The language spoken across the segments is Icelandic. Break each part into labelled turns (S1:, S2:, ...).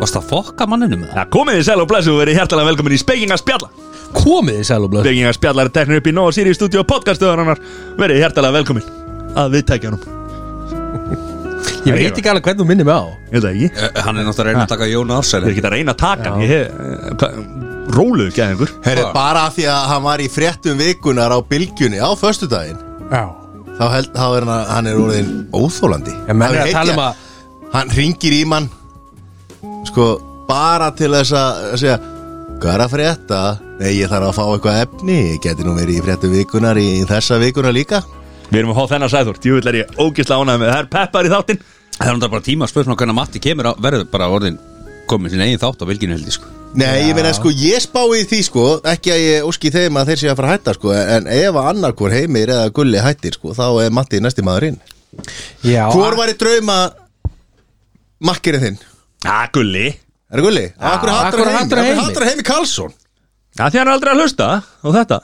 S1: Varst það fokka manninum með það?
S2: Já, komið þið sæl og blessu og verið hjertalega velkomin í Spekinga Spjalla
S1: Komið þið sæl og blöð
S2: Spekinga Spjalla er teknir upp í Nóa Sirius Studio podcastöðunar Verið hjertalega velkomin að viðtækjanum
S3: Ég veit ekki alveg hvernig þú minnir mig á
S2: Ég veit það ekki
S4: Eh, Hann er náttúrulega að reyna að taka Jón
S2: Þeir
S4: Ársæli
S2: geta að reyna að taka hann Ég hef eh, Róluðu ekki aðeins
S5: Herri, bara af því að hann var í fréttum vikunar á bylgjunni á föstudaginn
S3: Já
S5: þá, held, þá er hann, hann er orðin óþólandi
S3: Ég menn
S5: Hann
S3: er að tala um
S5: heill-
S3: að-
S5: Hann ringir í mann sko, bara til þess að að segja Hvað er að frétta? Nei, ég þarf að fá eitthvað efni Ég geti nú verið í fréttum vikunar í þessa vikuna líka
S2: Við erum að fá þennan sæður Djúvill er ég ógisla ánægð með það er peppar í þáttinn
S4: Það er náttúrulega bara tíma að spurninga hvernig Matti kemur á, verður bara orðin komið sinni eigin þátt á vilginu heldur sko.
S5: Nei, ég meina sko, ég spái því sko ekki að ég óski þeim að þeir sé að fara að hætta sko en ef að annarkvor heimir eða gulli hættir sko, þá er Matti næsti maðurinn
S3: Já
S5: Hvor var í drauma makkirinn þinn?
S2: Já, gulli
S5: Er það gulli? Akkur hattar
S3: akkur
S5: heimi?
S3: hatar
S5: Akkur
S3: hann heimi?
S5: hattar heimi Karlsson?
S2: Já, því hann er aldrei að hlusta á þetta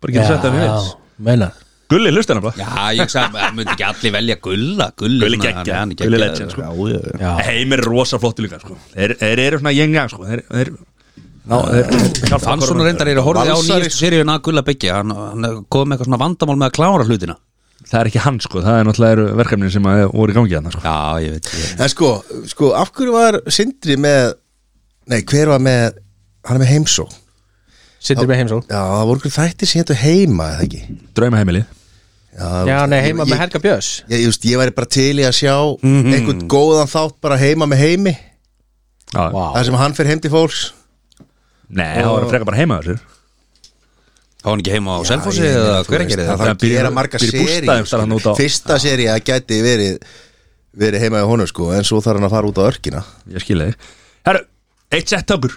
S2: Bara getur sett það mér eins
S3: Meinar
S2: Gulli hlusta hann bara
S4: Já, ég sagði, það myndi ekki allir velja gulla Gulli,
S2: Gulli
S4: svona, hann-
S2: geggja
S4: hann er
S2: Gulli
S4: geggjaður,
S2: legend
S4: sko.
S2: sko. Heimir er rosa flottu líka sko. Þeir þeir eru svona jenga sko. Þeir þeir- Ná, þeir- þeir hjálpa
S4: Hann svona
S2: hvorum.
S4: reyndar er að horfið á
S5: Valsari-
S4: nýjastu seríun að gulla byggja Hann, hann kom með eitthvað svona vandamál með að klára hlutina
S2: Það er ekki hann sko, það er náttúrulega eru verkefnin sem að voru í gangi hann sko.
S4: Já, ég veit ég.
S5: En sko, sko, af hverju var Sindri með Nei, hver var með Hann er með heimsó Já,
S3: Sittir með heimsól
S5: það voru okkur þættir sem hétu heima, eða ekki
S2: Draumaheimilið
S5: Já,
S3: Já, nei,
S5: ég-
S3: heima
S5: ég-
S3: með Helga Björns
S5: Ég, ég, veist, ég væri bara til í að sjá einhvern góðan þátt bara heima með heimi
S2: Já.
S3: Vá.
S5: þar sem hann fer heim til fólks
S2: Nei, það var að freka bara heima þessir
S4: Þá var hann ekki heima á Selfossi eða hver ekki
S5: það
S4: það
S5: þarf
S2: Það
S5: að gera
S2: býr-
S5: marga
S2: býr bústaðum
S5: seríur,
S2: þar hann út á-
S5: skilur. fyrsta seri að gæti verið verið heima hjá honum sko en svo þarf hann að fara út á örkina
S2: Ég skil þig Herru, eitt sett okkur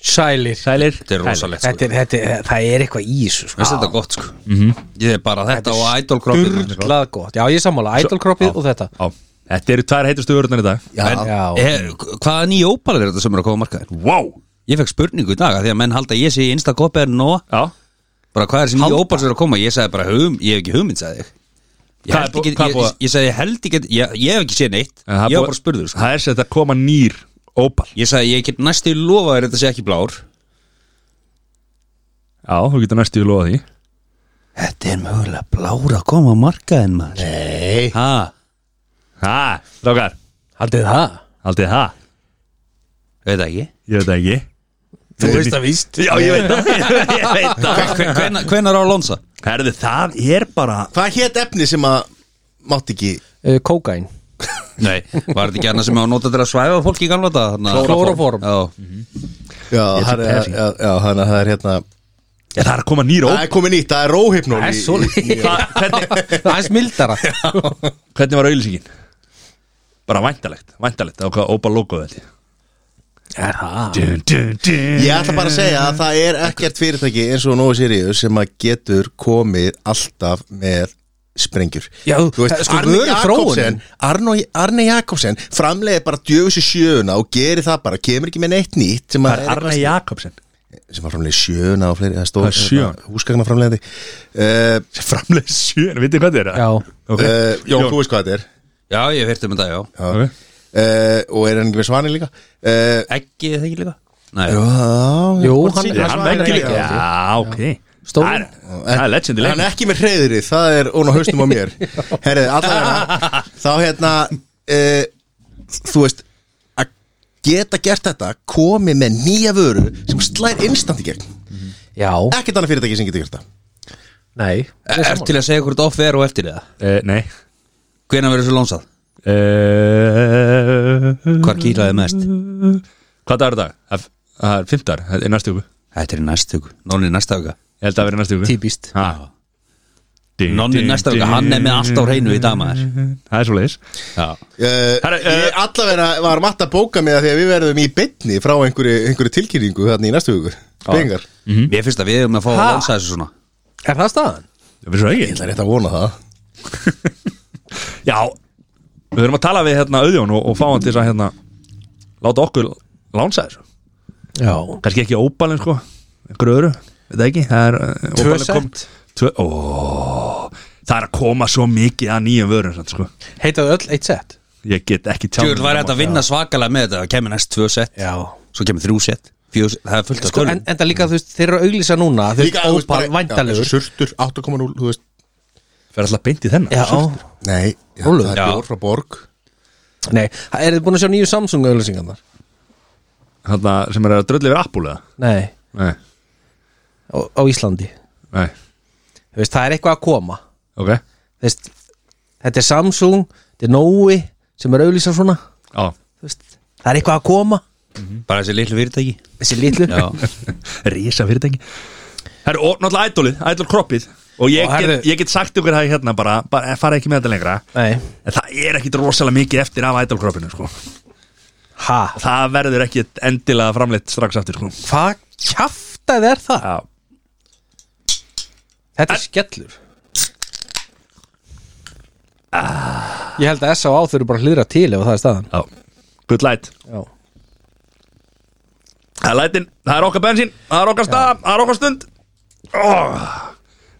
S3: Sælir
S2: Sælir
S4: Þetta er rosalegt sko.
S3: Þetta er, þetta er, það er eitthvað í þessu sko.
S4: Veist þetta gott sko Ég er bara þetta og sko. idolkroppin
S3: Sturglað gott Já, ég er sammála, ædolkroppið og þetta
S2: Já, þetta eru tvær heitustu vörurnar í dag
S5: já,
S3: Já,
S4: Eh- Hvaða nýja ópalar er þetta sem er að koma á markaðin?
S2: Wow
S4: Ég fekk spurningu í dag að því að menn halda að ég sé Instakopi er nóg
S2: Já
S4: bara hvað er þessi nýja ópar sem er að koma ég sagði bara hugum, ég hef ekki hugmynd sagði ég ég,
S2: Hvað er
S4: held
S2: bú-
S4: ekki,
S2: hvað er
S4: ég,
S2: búið
S4: ég,
S2: að-
S4: ég sagði ég held ekki ég, ég hef ekki séð neitt,
S2: En það er
S4: ég var
S2: búið-
S4: bara spurður sko.
S2: Það er sett að koma nýr Opal
S4: ég sagði ég get næstu lofa þér að þetta sé ekki blár
S2: Já, þú getur næstu í lofa því
S4: þetta er mögulega blár að koma á markaðin maður
S5: Nei,
S4: ha,
S2: Ha, rákar
S3: haldið þið það
S2: Haldið það
S4: veit það ekki
S2: Ég veit það ekki
S3: Þú veist það víst
S2: Já, ég veit það Ég veit það
S4: Hve- hve- hvenær- hvenær á Lonsa?
S2: Herðu, það er bara
S5: hvað hétt efni sem að mátt ekki
S3: Uh, Kókain
S4: Nei, var þetta ekki annað sem á nota til að svæfa fólk í gamla þetta?
S3: Klóróform.
S5: já, hann er, já, já, hann er, það er hérna
S2: Ég, Það er að koma nýr
S5: það
S2: Opal
S5: er komið nýtt, það er róhypnól
S3: Það er
S5: í-
S3: svo
S5: í- í-
S2: Hvað- Hvernig,
S3: Það er smildara
S2: hvernig var auðlýsingin? Bara væntalegt Væntalegt á hvað Opal logoði þetta
S3: Er það?
S2: dun, dun, dun.
S5: Ég ætla bara að segja að það er ekkert fyrirtæki eins og Nóa Sirius sem að getur komið alltaf með sprengjur
S3: Já,
S5: Þú
S3: það
S5: veist,
S3: er sko
S5: Arne Jakobsen
S3: vöruþróunin.
S5: Arno, Arne Jakobsen framleiði bara djöfusi sjöuna og gerir það bara, kemur ekki með neitt nýtt sem,
S2: Það
S5: að
S2: er Arne Jakobsen
S5: er- sem var framleiði sjöuna og fleiri, það
S2: Það
S5: stóð
S2: er sjöun.
S5: húsgagna framleiði uh,
S2: Framlega sjö, vitið hvað þetta er?
S3: Já
S2: Ok.
S5: uh, Jón,
S2: Jón.
S5: þú veist hvað þetta er
S4: Já, ég hef hirt um þetta, já
S2: Ok.
S5: uh, og er hann ekki með svani líka uh,
S4: Ekki, það ekki líka? Nei,
S5: Já,
S3: Jú,
S5: Jón
S3: hann-
S5: Sirius.
S2: Hann
S3: Hann
S2: vekki
S3: er
S2: líka
S3: ekki-
S2: Já, ok
S3: Stór.
S2: Það er- Það er legendið
S5: Hann
S2: leik
S5: er ekki með hreyðrið, það er ón á haustum á mér Herrið, allavega Þá hérna uh, Þú veist Að geta gert þetta, komi með nýja vöru Sem slær instant í gegn
S3: Já,
S5: Ekkert annað fyrirtæki sem getur gert það
S3: nei
S4: er er til að segja hvort off er og eftir það
S2: Eh, Nei
S4: Hvenær verður svo lónsað?
S2: Eh,
S4: Hvar kýlaði mest?
S2: Hvað dagur er það? Það er- Það er fimmtar, það er næstu hugu
S4: Þetta er í næstu viku, nonni í næsta vika
S2: Ég held að vera næstu hugu
S3: Típist
S4: Nonni í næsta vika, hann er með allt á hreinu í dag maður
S2: Það er svo leiðis
S4: Já,
S5: uh,
S2: Herri, eh,
S5: Ég allavega var matt að bóka mig það Því að við verðum í bytni frá einhverju, einhverju tilkynningu Þannig í næstu hugur Bengar
S4: Mér finnst að við erum að fá að
S3: Ha?
S4: lansa þessu svona
S3: Er það staðan?
S2: Við erum svo
S5: Ég
S2: ekki
S5: ætla rétt að vona það
S2: Já Við þurfum að tala við hérna auðjón og, og fá hann til þess að hérna Láta okkur lánsa þessu
S3: Já
S2: Kannski ekki óbalinn sko Einhverju öðru veit það ekki það er, eh,
S3: Tvö
S2: óbæðilega kom-
S3: sent.
S2: tvö, ó, það er að koma svo mikið að nýjum vörum samt, sko.
S3: Heitaðu öll eitt sett
S2: ég get ekki tjáð um
S4: Tjóður væri þetta að vinna svakalega með þetta Það kemur næst tvö sett,
S3: Já
S4: svo kemur þrjú sett Fjögur sett, það er fullt af
S3: sko,
S4: tölum
S3: en, en það líka þú veist, þeir eru að auglýsa núna þú veist,
S5: Líka, þú veist,
S3: ópal,
S5: bara- Já,
S3: væntalegur
S5: Surtur 8.0, þú veist
S2: fer alltaf beint í þennan
S3: Já,
S5: Nei, já,
S3: Rúllu.
S5: það er
S4: Já.
S5: bjór frá Borg
S3: nei, er þið búin að sjá nýju Samsung auglýsingarnar?
S2: Þarna sem er að drölla yfir Apple eða?
S3: Nei,
S2: nei,
S3: á, á Íslandi
S2: nei,
S3: Þú veist, það er eitthvað að koma
S2: ok
S3: Þú veist, þetta er Samsung, þetta er Nói sem er að auglýsa svona Þú
S2: á,
S3: veist, það er eitthvað að koma
S4: Bara þessi litlu fyrirtæki
S3: þessi litlu
S4: Já,
S2: rísa fyrirtæki Það er náttúrulega ædolið, ædol kroppið Og ég,
S3: Og herðu-
S2: get, ég get sagt ykkur það hérna bara, bara fara ekki með þetta lengra
S3: Nei,
S2: En það er ekkit rosalega mikið eftir af ædol kroppinu sko.
S3: ha,
S2: Það verður ekki endilega framleitt strax eftir sko.
S3: hvað kjaftaði er það?
S2: Já.
S3: Þetta er skellur Ég held að S.A.A. þurfi bara að hlýra til ef það er staðan
S2: Já. Good light
S3: Já
S2: Það er lightin, það er okkar bensín, það er okkar staða, það er okkar stund oh.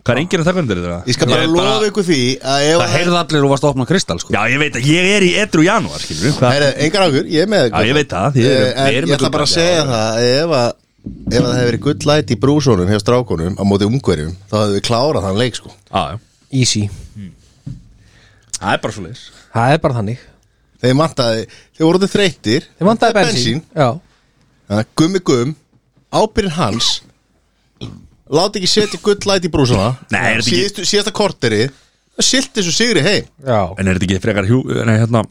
S2: Hvað er enginn að taka undir þetta?
S5: Ég skal bara
S4: Ég
S5: lofa
S4: bara-
S5: ykkur því að ef
S4: það heyrði allir og varst að opna kristall sko.
S2: Já, ég veit að ég er í edru janúar, skilur við
S5: Heyrðu, engar áhugur, ég er með
S2: Já, ég veit það, þið
S5: Eh,
S2: eru-
S5: En
S2: við erum
S5: ég
S2: með
S5: ætla
S2: good
S5: bara að
S2: light,
S5: segja
S2: já.
S5: það að ef að ef að það hefði verið gull light í brúsónum hjá strákunum á móti ungverjum þá hefði við klárað þann leik sko
S2: Já, já.
S3: Easy
S2: Það er bara svo leis
S3: Það er bara þannig
S5: Þeir mantaði, þeir voruðu þreyttir
S3: Þeir vantaði bensín, Já
S5: Þannig að gummi gum, ábyrðin hans Láti ekki setja gull light í brúsóna
S2: Nei, er þetta ekki-
S5: Síðustu, Síðasta korteri Það silti svo sigri heim
S3: Já
S2: En er þetta ekki frekar hjú Nei, hérna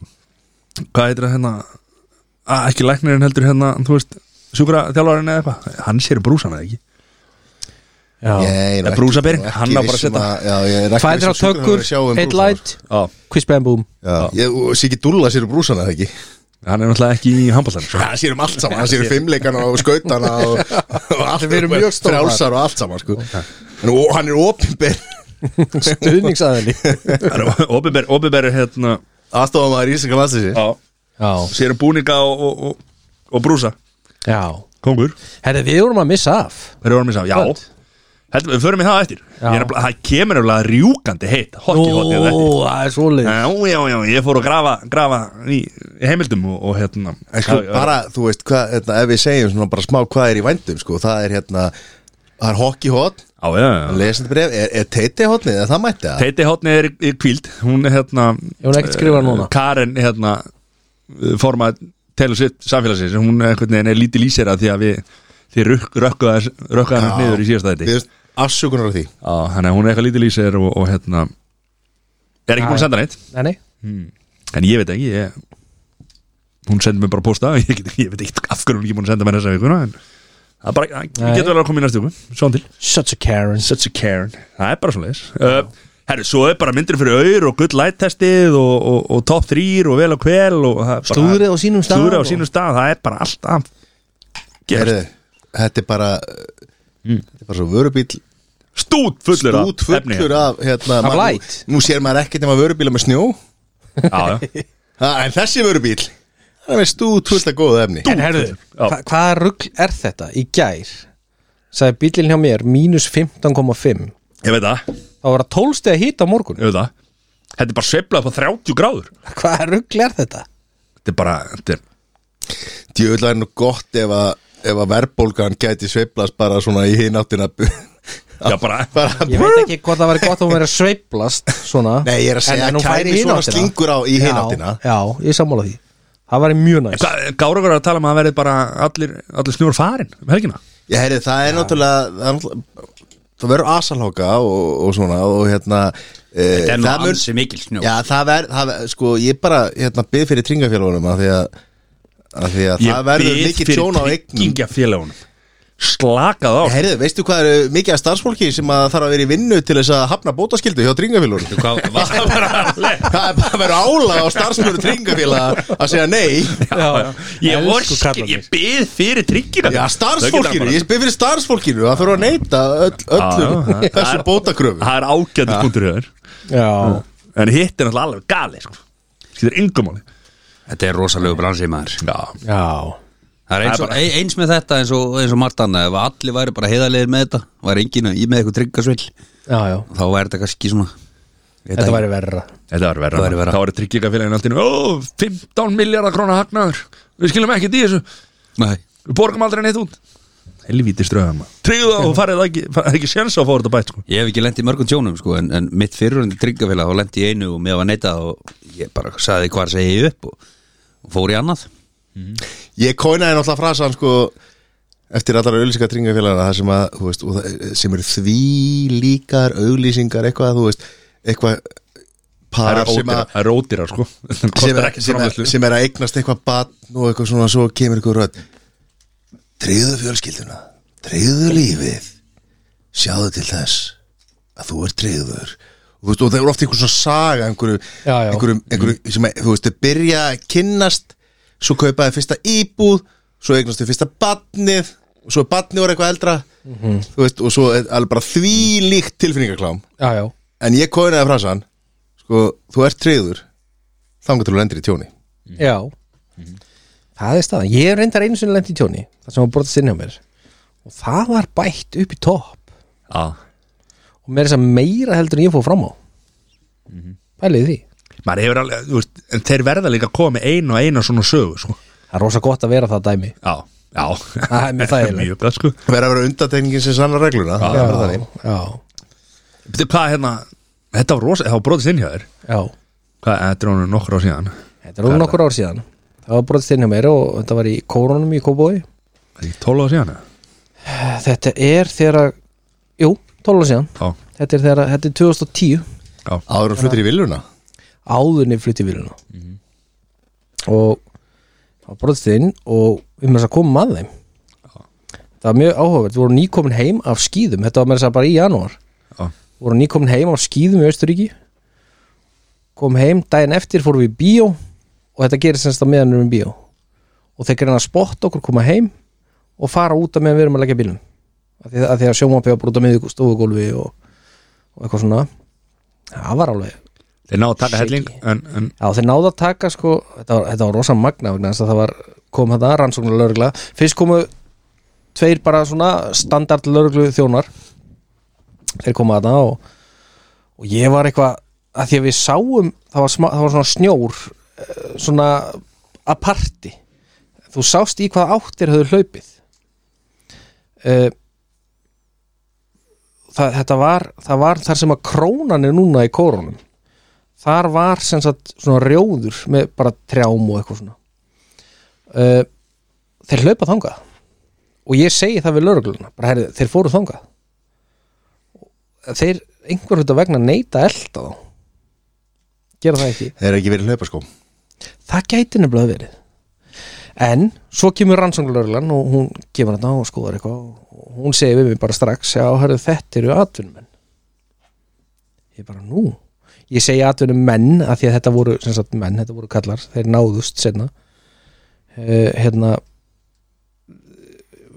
S2: Hvað heitir það hérna að, Ekki læknirinn heldur hérna Þú veist Sjúkra þjálfarinn eða eitthvað Hann sér brúsan eða ekki
S5: Ég
S2: En
S5: nú
S2: brúsaberinn,
S5: ekki-
S2: hann á bara að
S5: viss um
S2: setja-
S5: Já, ég er ekki
S3: Hvað er á
S5: viss um sjúkrahúsin
S3: tökur,
S5: sjá um
S3: eitt
S5: brúsana,
S3: light
S2: Já
S3: Quiz bam boom
S5: sko. Já, ég sé ekki dúlla sér um brúsana eða ekki
S2: Hann er náttúrulega ekki í sko. handbóltan
S5: Það sér um allt saman, það sér um fimmleikana og skautana og, og allt Við erum mjög stóðar Frjálsar og allt saman sko En og hann er opinber
S3: Stuðningsaðili
S2: Óbibber, óbibber hérna
S5: Aðstofan maður í Ísaka landsins
S2: Já
S3: Já
S2: Sér um búninga og, og, og, og brúsa
S3: Já
S2: Kongur
S3: Herri, við vorum að missa af
S2: Þeir vorum í sá Já
S3: Hvað?
S2: Heldur, við förum í það eftir
S3: Já.
S2: Ég er nefnilega- Það kemur nefnilega rjúkandi heitt Hokki hokki þetta eftir
S3: Ó, það er svolítið
S2: Já, já, já, ég fór að grafa, grafa í í heimildum og, og hérna
S5: En sko,
S2: Já, já.
S5: bara, þú veist, hvað, hérna, ef við segjum svona bara smá hvað er í vændum, sko, það er hérna, það er hockey hot,
S2: Já, já, já
S5: lesendabref, er, er teiti hotnið, eða það mætti það?
S2: Teiti hátni er í kvíld Hún er hérna
S3: Ég hún ekkert skrifað núna.
S2: Karen hérna Forma telur sitt samfélagsins Hún er einhvern veginn er lítið lýsera Því að við Þið rökkaði hann
S5: Já.
S2: niður í síðasta þetta
S5: Við veist, afsökunar á því.
S2: Þannig að hún er eitthvað lítið lýsera og, og hérna Er ekki búin að
S3: Já.
S2: senda neitt
S3: Nei, nei
S2: En ég veit ekki ég, Hún sendi mér bara posta Ég, get, ég veit ekki af hverju hún er ekki búin að senda mér þessa vikuna En það er bara
S3: Nei.
S2: Ég get vel að koma í næstu viku Svona til
S3: Such a Karen
S2: Such a Karen Það er bara svona leis uh, Herru, svo er bara myndir fyrir auður og good light testið og, og, og top 3 og vel og kvel og það er bara-
S3: Slúðrið á sínum stað
S2: Slúðrið á
S3: og-
S2: sínum stað, það er bara allt að
S5: Heyrðu,
S2: gerast
S5: þetta er bara, mm. þetta er bara svo vörubíl,
S2: Stút fullur af
S5: stút fullur af, hérna,
S3: Af
S5: maður-
S3: light.
S5: Nú sér maður ekkert nema vörubíla með snjó,
S2: af
S5: ha, en þessi vörubíl, það er með stút fullt af góðu efni.
S3: En herðu,
S2: Já.
S3: hva, hvaða rugl er þetta í gær? Sæði bílinn hjá mér mínus 15,5
S2: Ég veit það,
S3: Það var að tólstið að hýta á morgun
S2: ég veit það Þetta er bara sveiflað upp á 30 gráður
S3: Hvaða rugl er þetta?
S2: Þetta er bara, þetta er
S5: Djöfull væri nú gott ef að, ef að verðbólgan gæti sveiflast bara svona í hináttina
S2: Já, bara-
S5: bara
S3: Ég veit ekki hvort það væri gott að hún verið að sveiplast svona
S5: Nei, ég er að segja
S3: hún
S5: að
S3: færi
S5: kæri
S3: í
S5: svona
S3: hináttina.
S5: slingur á í
S3: Já,
S5: hináttina.
S3: Já, ég er sammála því Það væri mjög næst
S2: Gára var að tala um að það verði bara allir, allir snjór farin um helgina
S5: Já, heyri, það er náttúrulega það, er náttúrulega, það verður asalháka og, og svona og hérna e,
S4: Þetta er nú
S5: það mun-
S4: ansi mikil snjó
S5: Já, það verður, það ver, sko, ég bara hérna byrð fyrir tringafjálfunum að því að, að, því að það verður mikið tjón á eignum
S2: eignum Slakað á
S5: Heyrðu, veistu hvað eru mikið af starfsfólki sem að þarf að vera í vinnu til þess að hafna bótaskildu hjá tringafjálfunum?
S4: Hvað, var,
S2: Það er bara alveg
S5: Það er bara að vera álag á starfsmjöru tringafélag að segja nei
S2: já, ég
S3: Elsku
S2: vorskir,
S3: kallarnir.
S2: ég byð fyrir tryggina
S5: Já, starfsfólkinu, ég spyr fyrir starfsfólkinu að þurfa að neyta öll,
S2: Já, já,
S5: öllum
S2: það- það
S5: þessu
S2: er-
S5: bótakröfu
S2: það er ágætið punktur hjá þér
S3: Já,
S2: en hitt er náttúrulega alveg gali sko. skilur yngum áli
S4: Þetta er rosalegu bransið maður
S2: já,
S3: já
S4: Það er eins,
S6: Það er
S4: og, ein- eins með þetta eins og, eins og margt annað ef allir væri bara heiðarlegir með þetta væri enginn í með eitthvað tryggasvill
S3: já, já,
S4: þá væri þetta kannski svona Ég veit
S3: þetta
S4: ekki.
S3: væri verra
S6: Þetta var verra,
S4: Það væri verra.
S6: Það var tryggingafélagin allt í nú Ó, 15 miljardar krónar hagnaður Við skilum ekkert í þessu
S4: Nei,
S6: Við borgum aldrei neitt út Helvíti ströðum Tryggðu það og farið ekki, farið ekki séns á að fá þetta bætt sko.
S4: Ég hef ekki lent í mörgum tjónum sko, en, en mitt fyrirhundi tryggafélag þá lent í einu og mér var neitað og ég bara saði hvað segi ég upp og, og fór í annað
S5: Ég kónaði náttúrulega frasan sko eftir allar auðlýsingar tryggingafélagana það sem að, þú veist, og það- sem eru því líkar auðlýsingar eitthvað, þú veist, eitthvað
S6: Það
S5: par
S6: eru
S5: sem
S6: ódýrar-
S5: að
S6: það eru ódýrar sko Það
S5: sem
S6: kostar
S5: er,
S6: ekki
S5: sem, er,
S6: framleiðslu
S5: sem er að eignast eitthvað batn og eitthvað svona svo kemur eitthvað rödd treyðu fjölskylduna treyðu lífið sjáðu til þess að þú er treyður og, þú veist, og það er ofta einhver svona saga einhverju,
S3: Já, já. Mm.
S5: einhverju, einhverju sem að, þú veist, þau byrja að kynnast svo kaupaði fyrsta íbúð svo eignast þau fyrsta batnið og svo er batnið orðið eitthvað eldra
S3: Mhm.
S5: þú veist, og svo er alveg bara þvílíkt tilfinningaklám
S3: já, já,
S5: en ég kóðinaði frasan sko, þú ert treyður þangar til þú lendir í tjóni
S3: já Mhm. það er staðan, ég reyndar einu sinni lent í tjóni það sem var brotast inn hjá mér og það var bætt upp í topp
S6: Já.
S3: og mér er þess að meira heldur en ég fór fram á Mhm. pælið því
S6: Maður hefur alveg, þú veist, en þeir verða líka að koma með einu og einu svona sögu sko.
S3: það er rosa gott að vera það dæmi
S6: Já, já
S3: Það er mjög þægilegt.
S6: Mjög gott, sko.
S5: verða að vera undatekningin sem sannar regluna það er bara þannig.
S3: já,
S6: Bíddu, Hvað hérna, þetta var rosa, það var brotist inn hjá þér
S3: já
S6: Hvað, eh, þetta er honum nokkur á síðan
S3: þetta er alveg nokkur ár síðan það var brotast inn hjá mér og þetta var í kóronum í Kóbói
S6: Er ekki 12 á síðan? eða?
S3: þetta er þegar að jú, 12 ára síðan
S6: Já,
S3: þetta er, þegar, að- þetta er 2010
S6: já,
S5: áður en fluttir í viljuna
S3: áðurni flutti viluna mm -hmm. og það var brotist inn og við með þess að koma að þeim það var mjög áhugavert, við vorum nýkomin heim af skýðum, þetta var með þess að bara í janúar
S6: já
S3: Við vorum nýkomin heim af skýðum í Austuríki kom heim, daginn eftir fórum við í bíó og þetta gerir semst að meðan við erum í bíó og þeir gerðan að spotta okkur koma heim og fara út að meðan við erum að leggja bílum af því að, því að sjómapi var brúta með stofugólfi og, og eitthvað svona það var alveg
S6: Þeir ná að taka helling en, en,
S3: Já, þeir náðu að taka sko, þetta var, þetta var rosa magna vegna þess að það var, kom þetta rannsóknar lögregla fyrst komu tveir bara svona standard lögreglu þjónar þeir komu að það og, og ég var eitthvað að því að við sáum, það var, sma, það var svona snjór eh, svona aparti þú sást í hvað áttir höfðu hlaupið uh, það, þetta var það var þar sem að krónan er núna í kórunum þar var sem sagt svona rjóður með bara trjám og eitthvað svona uh, þeir hlaupa þangað og ég segi það við lögregluna bara herrið, þeir fóru þangað þeir einhver hluta vegna neita að elta þá gera það ekki
S5: þeir eru ekki verið hlaupa sko
S3: það gæti nefnilega verið en svo kemur rannsóknlörglan og hún gefur þetta og skoðar eitthvað og hún segir við mig bara strax já, herru, þetta eru atvinnumenn ég bara nú ég segi atvinnumenn af því að þetta voru sem sagt menn, þetta voru kallar, þeir náðust senna uh, hérna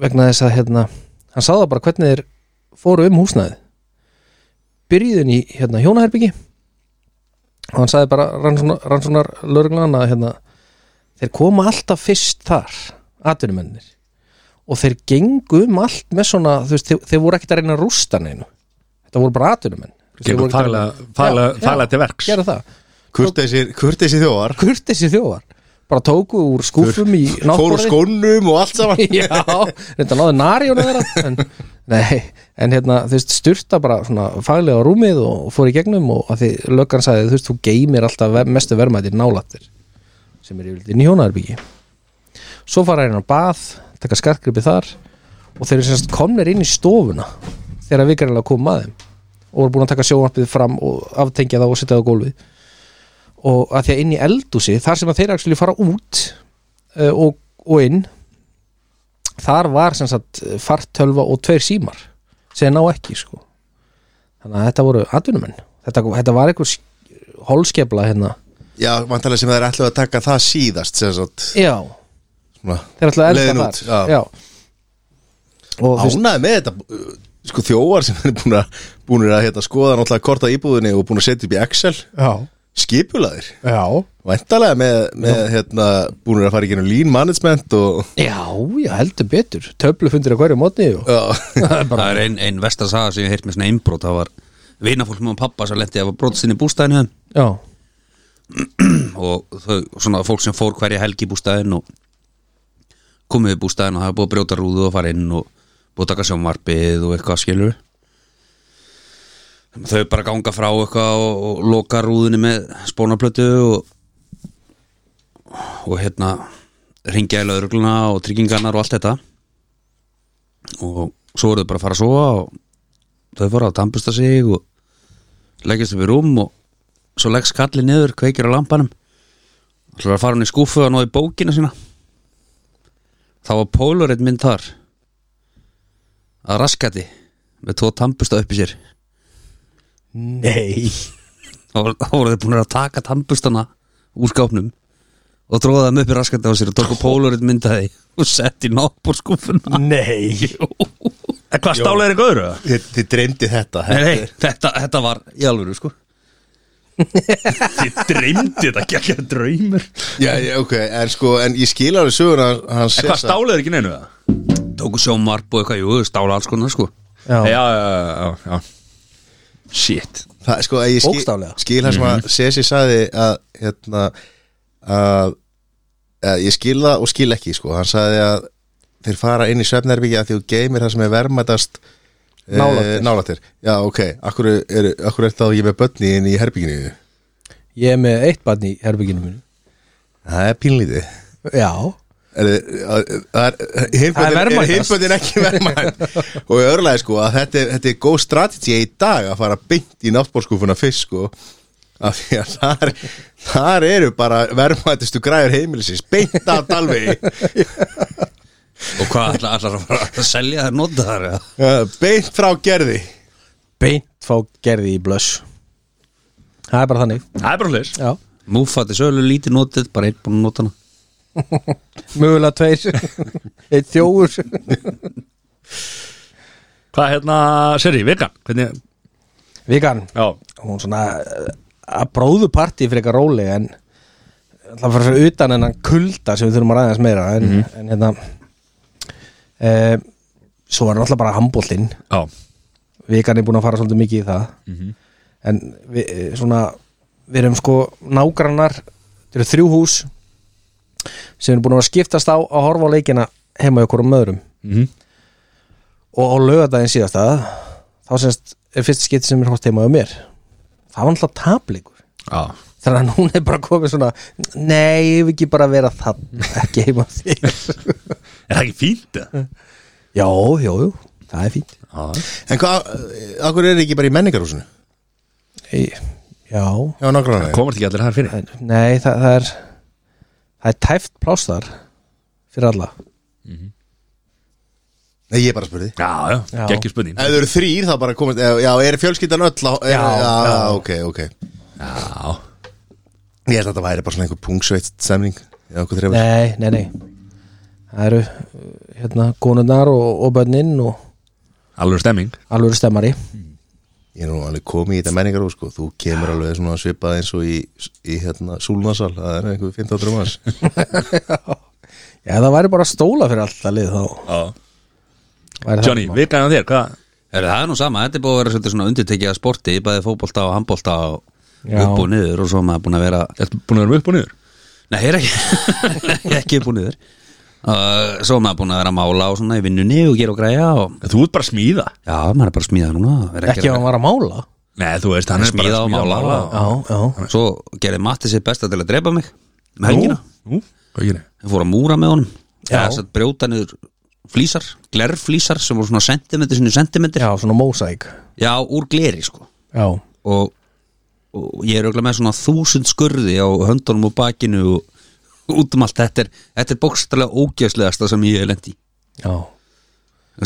S3: vegna þess að hérna, hann sáða bara hvernig þeir fóru um húsnæði byrjuðin í hérna hjónaherbyggi og hann sagði bara rannsóknar, rannsóknar lögreglan að hérna, þeir koma alltaf fyrst þar atvinnumennir og þeir gengu um allt með svona þú veist, þeir, þeir voru ekkert að reyna að rústa neinu þetta voru bara atvinnumenn Þeir
S6: Gengu
S3: voru ekkert að-
S6: faglega- faglega-
S3: Já, já,
S6: faglega til verks.
S3: gera það,
S5: kurteisi þjóðar
S3: kurteisi þjóðar bara tóku úr skúfum í
S5: fóru úr
S3: náttborði
S5: skónum og allt saman
S3: já, þetta náði nari og næra en, nei, en hérna þú veist, styrta bara svona faglega á rúmið og fór í gegnum og að því löggan sagði, þú veist, þú geymir alltaf ver, mestu vermaðir nálattir sem er yfirleitt inn í hjónaðarbyggi svo fara hérna á bað, taka skartgripi þar og þeir eru semst komnir inn í stofuna þegar við gerðanlega komum að þeim og voru búin að taka sjóvarpið fram og aftengja það og setja það á gólfið og að því að inn í eldúsi þar sem að þeir actually fara út uh, og, og inn þar var sem sagt fartölva og tveir símar sem þeir ná ekki sko þannig að þetta voru atvinnumenn þetta, þetta var einhver sk- holskefla hérna
S5: já, vantarlega sem þeir ætlu að taka það síðast sem sagt,
S3: já,
S5: svona
S3: þeir ætlaði að elda
S5: Leiðin
S3: þar
S5: út, já.
S3: og þú veist,
S5: ánæði með þetta uh, sko þjóðar sem er búin að búin að hérna, skoða náttúrulega korta íbúðinni og búin að setja upp í Excel
S3: já.
S5: skipulaðir
S3: Já,
S5: Væntalega með, með hérna, búinir að fara í genum lean management og
S3: já, já heldur betur Töflufundir á hverju mótni og...
S5: já,
S4: Það er ein, ein versta saga sem ég heirt með svona einbrot Það var vinafólk með pappa sem lendi að brot sinni í bústæðinu þeim.
S3: Já,
S4: og þau, svona fólk sem fór hverja helgi í bústæðin og komið í bústæðin og það er búið að brjóta rúðu og fara inn og búið að taka sjónvarpið og eitthvað skilur þau bara ganga frá eitthvað og, og loka rúðunni með spónaplötu og, og hérna ringja í löðrugluna og tryggingarnar og allt þetta og svo voru þau bara að fara að sofa og þau fóru að tampusta sig og leggjast upp í rúm og svo leggst kallið niður, kveikir á lampanum Það er að fara hann í skúfu og náði bókina sína Þá var Polaroid mynd þar að raskati með tvo tambusta uppi sér
S3: nei
S4: Þá voru- þá voru þau búin að taka tambustana úr skápnum og tróða þeim upp í raskati á sér og tóku Polaroid mynd að því og setti nápp úr skúfuna
S3: Nei
S6: En hvað stála er eitthvað öðru? eða?
S5: þið, þið dreymdi þetta
S4: Nei, nei, þetta, þetta var í alvöru sko
S6: Ég dreymdi þetta, ekki ekki að draumur
S5: já, já, ok, en sko, en ég skil alveg söguna hans
S6: En hvað stála er ekki neinu það?
S4: Tóku sjómarp og eitthvað, jú, stála alls konar sko
S6: Já,
S3: Já,
S6: já, já, já, já. Shit
S5: það, sko, að ég skil,
S3: Bókstaflega.
S5: skil það sem
S6: Mhm.
S5: að Sesi saði að hérna að, að ég skil það og skil ekki sko. hann saði að þeir fara inn í svefnerbyggja að því þú geymir það sem er vermaðast
S3: Nálægt þér.
S5: nálættir já ok, akkur er, akkur er það ég með börni inn í herbygginu
S3: Ég er með eitt barn í herbygginu mínu
S5: það er pínlítið
S3: Já,
S5: Er, er, er,
S3: Það er verðmætast.
S5: hinböndin ekki verðmætt og í örlega sko að þetta er, þetta er góð strategi í dag að fara beint í náttbórskúfuna fyrst sko af því að þar, þar eru bara verðmættistu græður heimilisins beint af dalvegi
S4: Og hvað ætlar, ætlar að fara að selja þær nota þar eða?
S5: Uh, beint frá gerði
S3: beint fá gerði í blöss Það er bara þannig
S6: Það er bara hlis
S3: Já,
S4: Múfati sölu lítið notið, bara einn búin að nota hana
S3: mögulega tveir Eitt þjófur
S6: Hvað hérna, seri, vegan? Hvernig,
S3: Vikan,
S6: já
S3: hún svona eh, að bróðu partí fyrir eitthvað róli en það fyrir fyrir utan en hann kulda sem við þurfum að ræðast meira en, en hérna e, svo var náttúrulega bara handbóltinn
S6: Já,
S3: vikan er búin að fara svolítið mikið í það en við, eh, svona við erum sko nágrannar þetta eru þrjú hús sem eru búin að vera að skiptast á að horfa á leikina heima í okkur um öðrum
S6: Mhm.
S3: og á lögadaginn síðast að þá semst er fyrst skipti sem er hort heima á mér það var náttúrulega tapleikur
S6: já
S3: þannig að hún er bara komið svona nei, ég vil ekki bara vera það ekki heima á þér
S6: Er það ekki fínt? eða?
S3: já, já, já, það er fínt
S5: en hvað, akkur er ekki bara í menningarhúsinu
S3: Ei, já,
S5: já, nákvæmlega
S6: Komast ekki allir þar fyrir
S3: En- Nei, það, það er það er tæft pláss þar fyrir alla
S5: nei, ég bara spurði
S6: Já, já,
S3: Já.
S6: ekki spurning
S5: ef þau eru þrýr þá bara komast já, er fjölskyldan öll á, er,
S3: Já,
S5: já,
S3: já.
S5: ok, ok
S6: Já,
S5: ég held að þetta væri bara svona einhver pungsveitt semning já, okkur þreifur
S3: Nei, nei, nei Það eru uh, hérna konundar og, og bönnin og
S6: alveg stemming
S3: alveg stemmari
S5: ég er nú alveg komið í þetta menningar sko. þú kemur
S4: Ah.
S5: alveg svona svipað eins og í, í hérna, súlnasal það er einhver 15 manns
S3: Já, það væri bara stóla fyrir alltaf lið þá
S6: Já
S3: væri það
S6: Johnny,
S3: mál.
S6: vegan á þér, hvað?
S4: Er það er nú sama, þetta er búið að vera svolítið svona undirtekið að sporti, bæði fótbolta og handbolta og
S3: Já.
S4: upp og niður og svo er maður búin að vera
S6: Ertu búin að vera upp og niður?
S4: Nei, er ekki, ekki upp og niður uh, Svo er maður búin að vera að mála og svona í vinnunni og gera og græja og
S6: En Þú ert bara að smíða
S4: já, maður er bara að smíða núna er
S3: Ekki að hann var að mála
S6: Nei, þú veist, hann er bara
S4: Smíða og mála
S6: og-
S3: Já, já,
S4: Svo gerði Matti sér besta til að drepa mig með helgina,
S6: Nú, hvað gerir?
S4: ég fór að múra með honum
S3: Já.
S4: Þess að brjóta niður flísar, glerflísar sem voru svona sentimentir sinni sentimentir
S3: já, svona mósæk
S4: já, úr gleri sko
S3: Já,
S4: og, og ég er auðvitað með svona þúsund skurði á höndunum og bakinu og út um allt þetta er, þetta er bókstælega ógjöfslegasta sem ég hef lendi
S3: já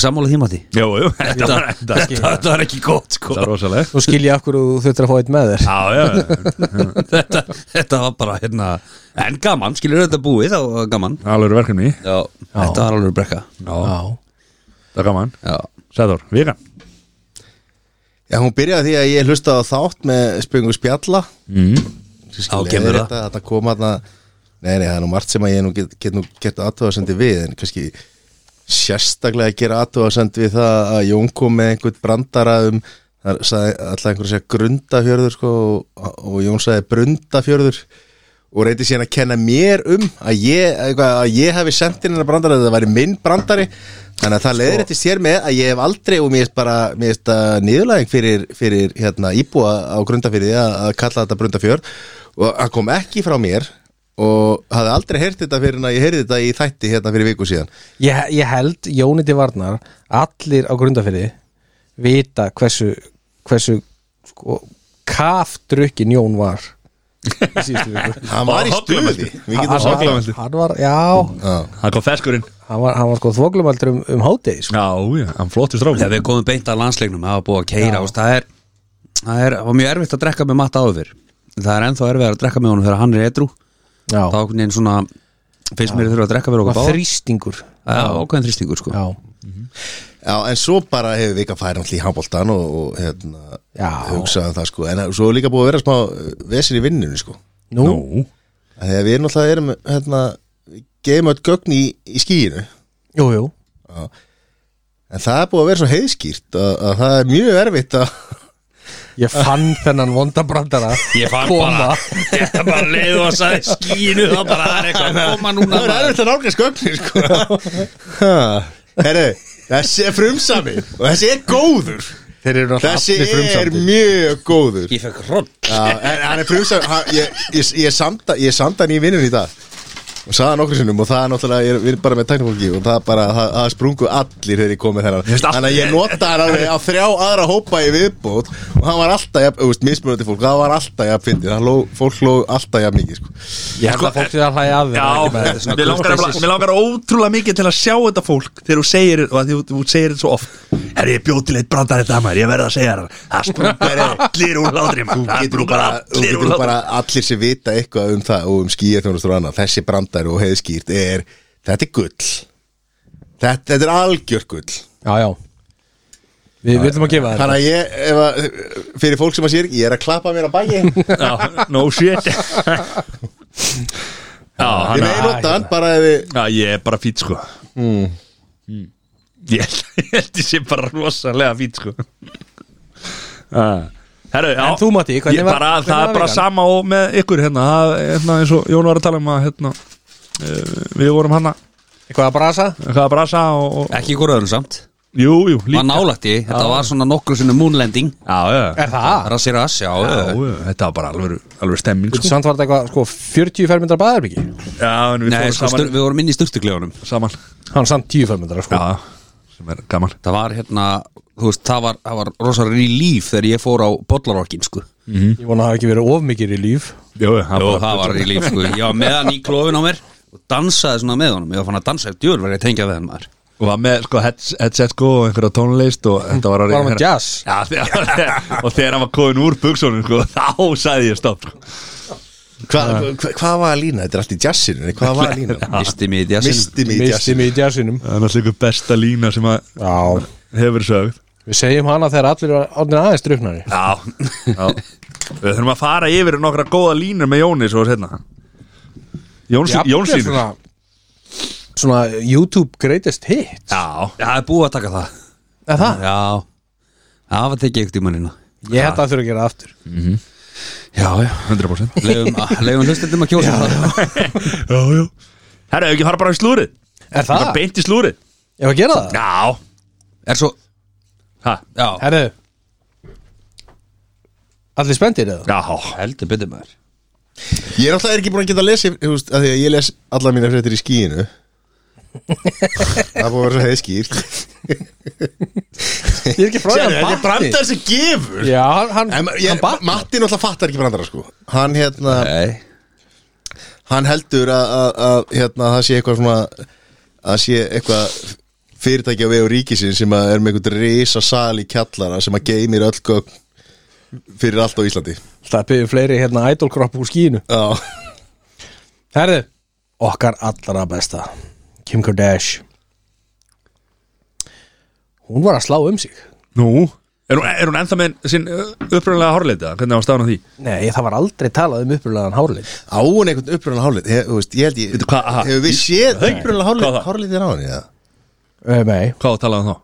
S4: sammála því mati
S6: Jú, jú, þetta var þetta
S4: þetta þetta var ekki gott sko
S6: Þetta er rosaleg
S3: Nú skil ég af hverju þú þurftir að fá eitt með þér
S6: Já, já,
S4: þetta, þetta var bara hérna en gaman, skilur þetta búið þá var gaman
S6: alveg verkefni
S4: já, þetta var alveg brekka
S6: Já,
S3: Já,
S6: það er gaman
S4: já,
S6: Sæður, vegan
S5: já, hún byrjaði á því að ég hlustaði á þátt með spjöngu spjalla
S6: mm.
S4: Á,
S5: skal
S4: kemur
S5: leiðrétta þetta koma þarna nei, nei, það er nú margt sem að ég nú get, get nú gert aðtöðasendi við en kannski sérstaklega að gera aðtöðasend við það að Jón kom með einhvern brandara um það sagði alltaf einhverjum segja grundafjörður sko, og, og Jón sagði brundafjörður og reyndi síðan að kenna mér um að ég, eitthvað, að ég hefði sendt inn hennar brandari að það væri minn brandari þannig að það leiðir eftir sér með að ég hef aldrei og mér er bara mér er þetta niðurlæðing fyrir, fyrir hérna, íbúa á grundafyrði að, að kalla þetta brundafjörð og hann kom ekki frá mér og hafði aldrei heyrt þetta fyrir en að ég heyrði þetta í þætti hérna fyrir viku síðan
S3: ég, ég held Jóniti Varnar allir á grundafyrði vita hversu hversu sko, kafdrukkin Jón var í síðustu viku
S5: hann var í stuði Við getum sagt það.
S2: þoklumæltur.
S3: hann var, já,
S5: Já.
S2: Það kom feskurinn
S3: hann var, hann var sko þvoglumældur um, um hátegi sko.
S2: Já, já, hann flottur strákur
S4: Já, við komum beint að landsleiknum, það var búið að keira og það er, það er, það var mjög erfitt að drekka með matta áður fyrr. Það er ennþá erfitt að drekka með honum þegar hann er edru.
S3: já,
S4: Þá okkur neginn svona, finnst mér þurfa að drekka með okkur
S3: var
S4: bá.
S3: þrýstingur
S4: Já, ákveðin þrýstingur sko.
S3: já,
S5: Já, en svo bara hefur við ekki að færa allir í handbóltan og, og hérna,
S3: Já.
S5: hugsaðum það sko en svo er líka búið að vera smá uh, vesen í vinnunni sko
S3: nú,
S5: Af því að við erum alltaf erum, hérna, við gefum öll gögn í, í skíinu
S3: jú, jú
S5: en það er búið að vera svo heiðskýrt að, að það er mjög erfitt að
S3: ég fann þennan vondabrandara
S4: Ég fann
S3: koma
S4: þetta bara leið og að sagði skínu, þá bara það er eitthvað að koma núna.
S5: það er erfitt að nálgast gögnir sko Ha, herru, þessi er frumsami og þessi er góður
S3: þeir eru náttúrulega
S5: þessi
S3: allir
S5: er
S3: frumsamtir
S5: mjög góður
S4: Ég fekk hroll.
S5: Já, en hann er frumsam hann, ég, ég, ég, samda, ég samda hann í vinnun í dag og sagði hann okkur sinnum og það er náttúrulega, ég er- við erum bara með teknifólki og það bara, það, það sprungu allir þegar ég kom með þennan þannig að ég nota hann alveg á þrjá aðra hópa í viðbót og hann var alltaf, jafn, þú veist, mismunandi fólk það var alltaf jafn fyndið, það ló, fólk ló alltaf jafn mikið, sko
S3: ég held að fólk sér að hlæja að þeim
S2: Já, mér
S3: um
S2: langar, nefnilega- mér langar ótrúlega mikið til að sjá þetta fólk þegar þú segir, og að þú, þú segir þetta svo oft Herri, ég bjóð til eitt brandar þetta maður, ég verð að segja það Það sprungar allir úr hlátri maður.
S5: þú
S2: Það
S5: getur
S2: sprungar
S5: bara, þú
S2: allir úr
S5: getur
S2: hlátri
S5: bara allir sem vita eitthvað um það og um skíjarþjónustur og annað, þessi brandar og heiðskýrt er, þetta er gull þetta, þetta er algjör gull
S3: já, já við viljum að gefa þér
S5: Þannig að ég, ef að, fyrir fólk sem að sér ekki, ég er að klappa mér á bæi Ég
S2: Já, no shit Já, hann
S5: megi nota hann bara ef þið
S2: Já, ég er bara fýt sko mm. Ég held- ég held ég sé bara rosalega fýt sko ah. Herru, já
S3: En þú, Matti, hvernig
S2: Ég
S3: var-
S2: bara,
S3: hvernig
S2: Það
S3: var
S2: er bara
S3: vikan?
S2: sama og með ykkur hérna Það er hérna, eins og Jón var að tala um að hérna, uh, Við vorum hana
S3: eitthvað að brasa
S2: Hvað að brasa og, og
S4: Ekki hvort öðrum samt.
S2: Jú, jú,
S4: Var
S2: líka
S4: nálægt í, þetta var svona nokkru sinni moonlanding.
S2: Já, já, já,
S3: er það?
S4: Rassir ass, já. já.
S2: já Þetta var bara alveg, alveg stemming sko.
S3: samt var þetta eitthvað sko 40 fermyndar baðarbyggi
S2: Já, en við
S4: Nei,
S2: fórum
S4: sko,
S2: saman,
S4: styr, við vorum inn í sturtugljónum
S2: saman
S3: hann var samt 10 fermyndar sko
S2: Já, Ah, sem er gaman
S4: Það var hérna, þú veist, það var, það var rosa relíf þegar ég fór á bollarokkin, sko
S3: ég vona að það hafi ekki verið of mikið í líf
S2: Jú,
S4: Jó,
S2: það var bara-
S4: það var relíf, sko Ég var með hann í klófin á mér og dansaði svona með honum Ég var fann að dansa eftir djúr, var ég að tengja við hann maður
S2: og var með sko, heads- headset sko, og einhverja tónlist og þetta var að
S3: Var hann með jazz?
S2: já, þegar, og þegar hann var komin úr buksónum sko, þá sagði ég stopp sko.
S5: Hvað hva, hva var að lína? Þetta er allt í jazzinu, nei, hvað var að lína?
S4: Misti mig í djassin
S5: Misti mig í
S3: misti
S5: jazzinu
S3: mig í jazzinum
S2: það er náttúrulega einhver besta lína sem að
S3: já
S2: hefur verið sögð
S3: við segjum hana þegar allir er orðin aðeins druknari
S2: já, við þurfum að fara yfir nokkra góða línur með Jóni svo hérna Jónsín
S3: Jafnvel
S2: Jónsín
S3: svona, svona YouTube greatest hit
S2: já,
S4: Já, það er búið að taka það
S3: er það?
S4: Já, það var tekið hérna. ykkur tímanina
S3: ég held að það þurfa að gera það aftur
S4: Já, já
S2: 100%
S4: Leifum, leifum hlustendum að kjósa það
S2: já, já herra, ef ekki fara bara í slúrið
S3: er
S2: bara
S3: það?
S2: beint í slúrið
S3: ég var að gera það?
S2: já,
S4: Er svo,
S2: ha,
S4: já,
S3: herru allir spenntir eða?
S2: já
S4: heldur betur maður
S5: Ég er alltaf ekki búin að geta að lesa þú veist, af Því að ég les alla mína fréttir í skíinu Það er búið að vera svo heiðskýrt
S3: ég er ekki frá því að
S5: Þetta er
S3: hann batti
S5: brandar sem gefur
S3: já, hann, hann,
S5: En ma-
S3: hann
S5: ég-
S3: batti
S5: Matti náttúrulega fattar ekki brandara sko Hann hérna
S4: Nei,
S5: hann heldur að, að, að hérna, það sé eitthvað svona að sé eitthvað fyrirtæki á vegu ríkisin sem að er með einhvern risa sal í kjallara sem að geymir öll gögn fyrir allt á Íslandi
S3: það byrju fleiri hérna idolkropp úr skínu
S5: Já,
S3: herru okkar allra besta Kim Kardashian hún var að slá um sig
S2: nú, Er hún, er hún ennþá með sinn uppröðlega hárleita? Hvernig á staðan á því?
S3: Nei, það var aldrei talað um upprúlegan hárlið
S5: á hún einhvern upprunna hálflið ég, þú veist, ég held ég
S2: Veitu hvað, aha.
S5: hefur við séð upprunna
S2: Hvað
S5: hálflið
S2: það?
S5: hálfliðin á henni eða?
S3: uh, Nei,
S2: Hvað talaði hann þá?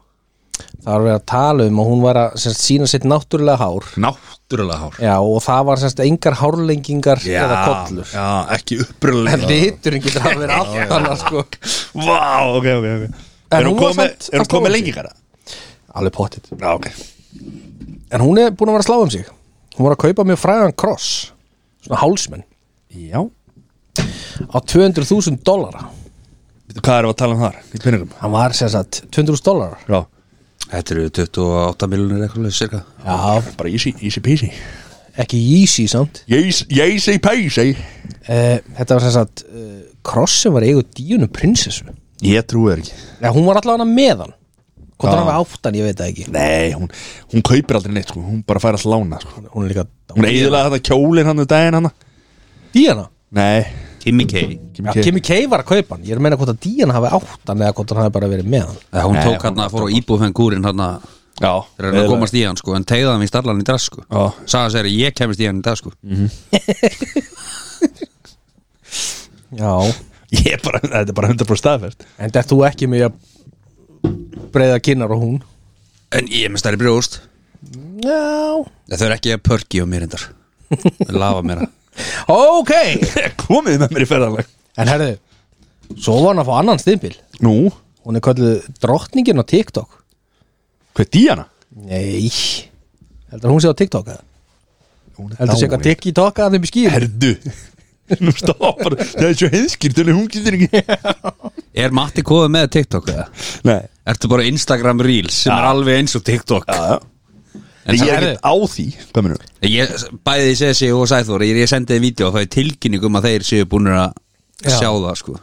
S3: það var verið að tala um og hún var að sem sagt, sína sitt náttúrulega hár
S2: Náttúrulega hár
S3: Já, og það var semst engar hárlengingar eða kollur
S2: já ekki uppröðlega
S3: En liturinn getur hafa verið allt annað sko
S2: Vá, ok, ok, ok
S3: En
S2: Er hún
S3: hún var
S2: komið,
S3: samt-
S2: er hún
S3: samt
S2: komið
S3: óvön
S2: lengi
S3: sig.
S2: hérna?
S3: Alveg pottit
S2: Já, ok
S3: En hún er búin að vera að slá um sig Hún var að kaupa mjög frægan kross Svona hálsmenn
S2: Já
S3: Á 200.000 dollara
S2: Hvað erum við að tala um þar? Í pinningum?
S3: Hann var sem sagt 200.000 dollara
S2: Já
S4: Þetta eru 28 miljonir eitthvað leið, cirka
S3: Já,
S2: Bara easy, easy peasy
S3: ekki easy samt
S2: Yes- Easy peasy
S3: uh, Þetta var sem sagt uh, Kross sem var eigu díunum prinsessu
S2: Ég trúi þér ekki
S3: Já, hún var allavega meðan Hvort
S2: Já.
S3: hann var áttan, ég veit það ekki
S2: Nei, hún, hún kaupir aldrei neitt, sko Hún bara fær að lána, sko
S3: Hún er líka
S2: Hún eiginlega þetta kjólinn hann um daginn hann
S3: Díana
S2: Nei
S4: Kimmy K
S2: Kim
S3: Já,
S2: K.
S3: Kimi K var að kaupa hann Ég er að meina hvort að Díana hafi áttan eða hvort hann hafi bara verið meðan
S4: Eða, Eh, Hún
S2: Nei,
S4: tók
S2: hún
S4: hann að fór á íbúfengúrin hann að
S2: Já
S4: reyna að komast í hann sko en tegða hann í starlan í dag sko
S2: Já. Mm.
S4: Saga sér að ég kemist í hann í dag sko
S3: Já
S2: Ég bara, þetta er bara 100% staðfært
S3: En þetta þú ekki með að breyða kinnar og hún
S4: En ég er með stærri brjóst
S3: Já
S4: Það er ekki að pörki á mér endar Lava mér að
S3: Ok
S2: Komið með mér í ferðarlag
S3: En herðu, svo var hann að fá annan stimpil
S2: Nú,
S3: Hún er kallið drottningin á TikTok
S2: hvað er Díana?
S3: Nei Heldur hún sé á TikTok eða? Heldur sé eitthvað TikTok að þeim í skýr
S2: Herðu Nú stoppar, það er svo heiðskýrt Þannig hún getur ekki
S4: Er Matti kóðið með TikTok eða?
S2: Nei
S4: Ertu bara Instagram Reels sem er alveg eins og TikTok
S2: Já, já.
S4: En
S2: Ég
S4: samt-
S2: er ekkert á því Hvað minnur?
S4: Ég, bæði því Sessi og Sæþór ég, ég sendið þeim vídeo og það er tilkynning um að þeir séu búin að
S3: Já.
S4: sjá það sko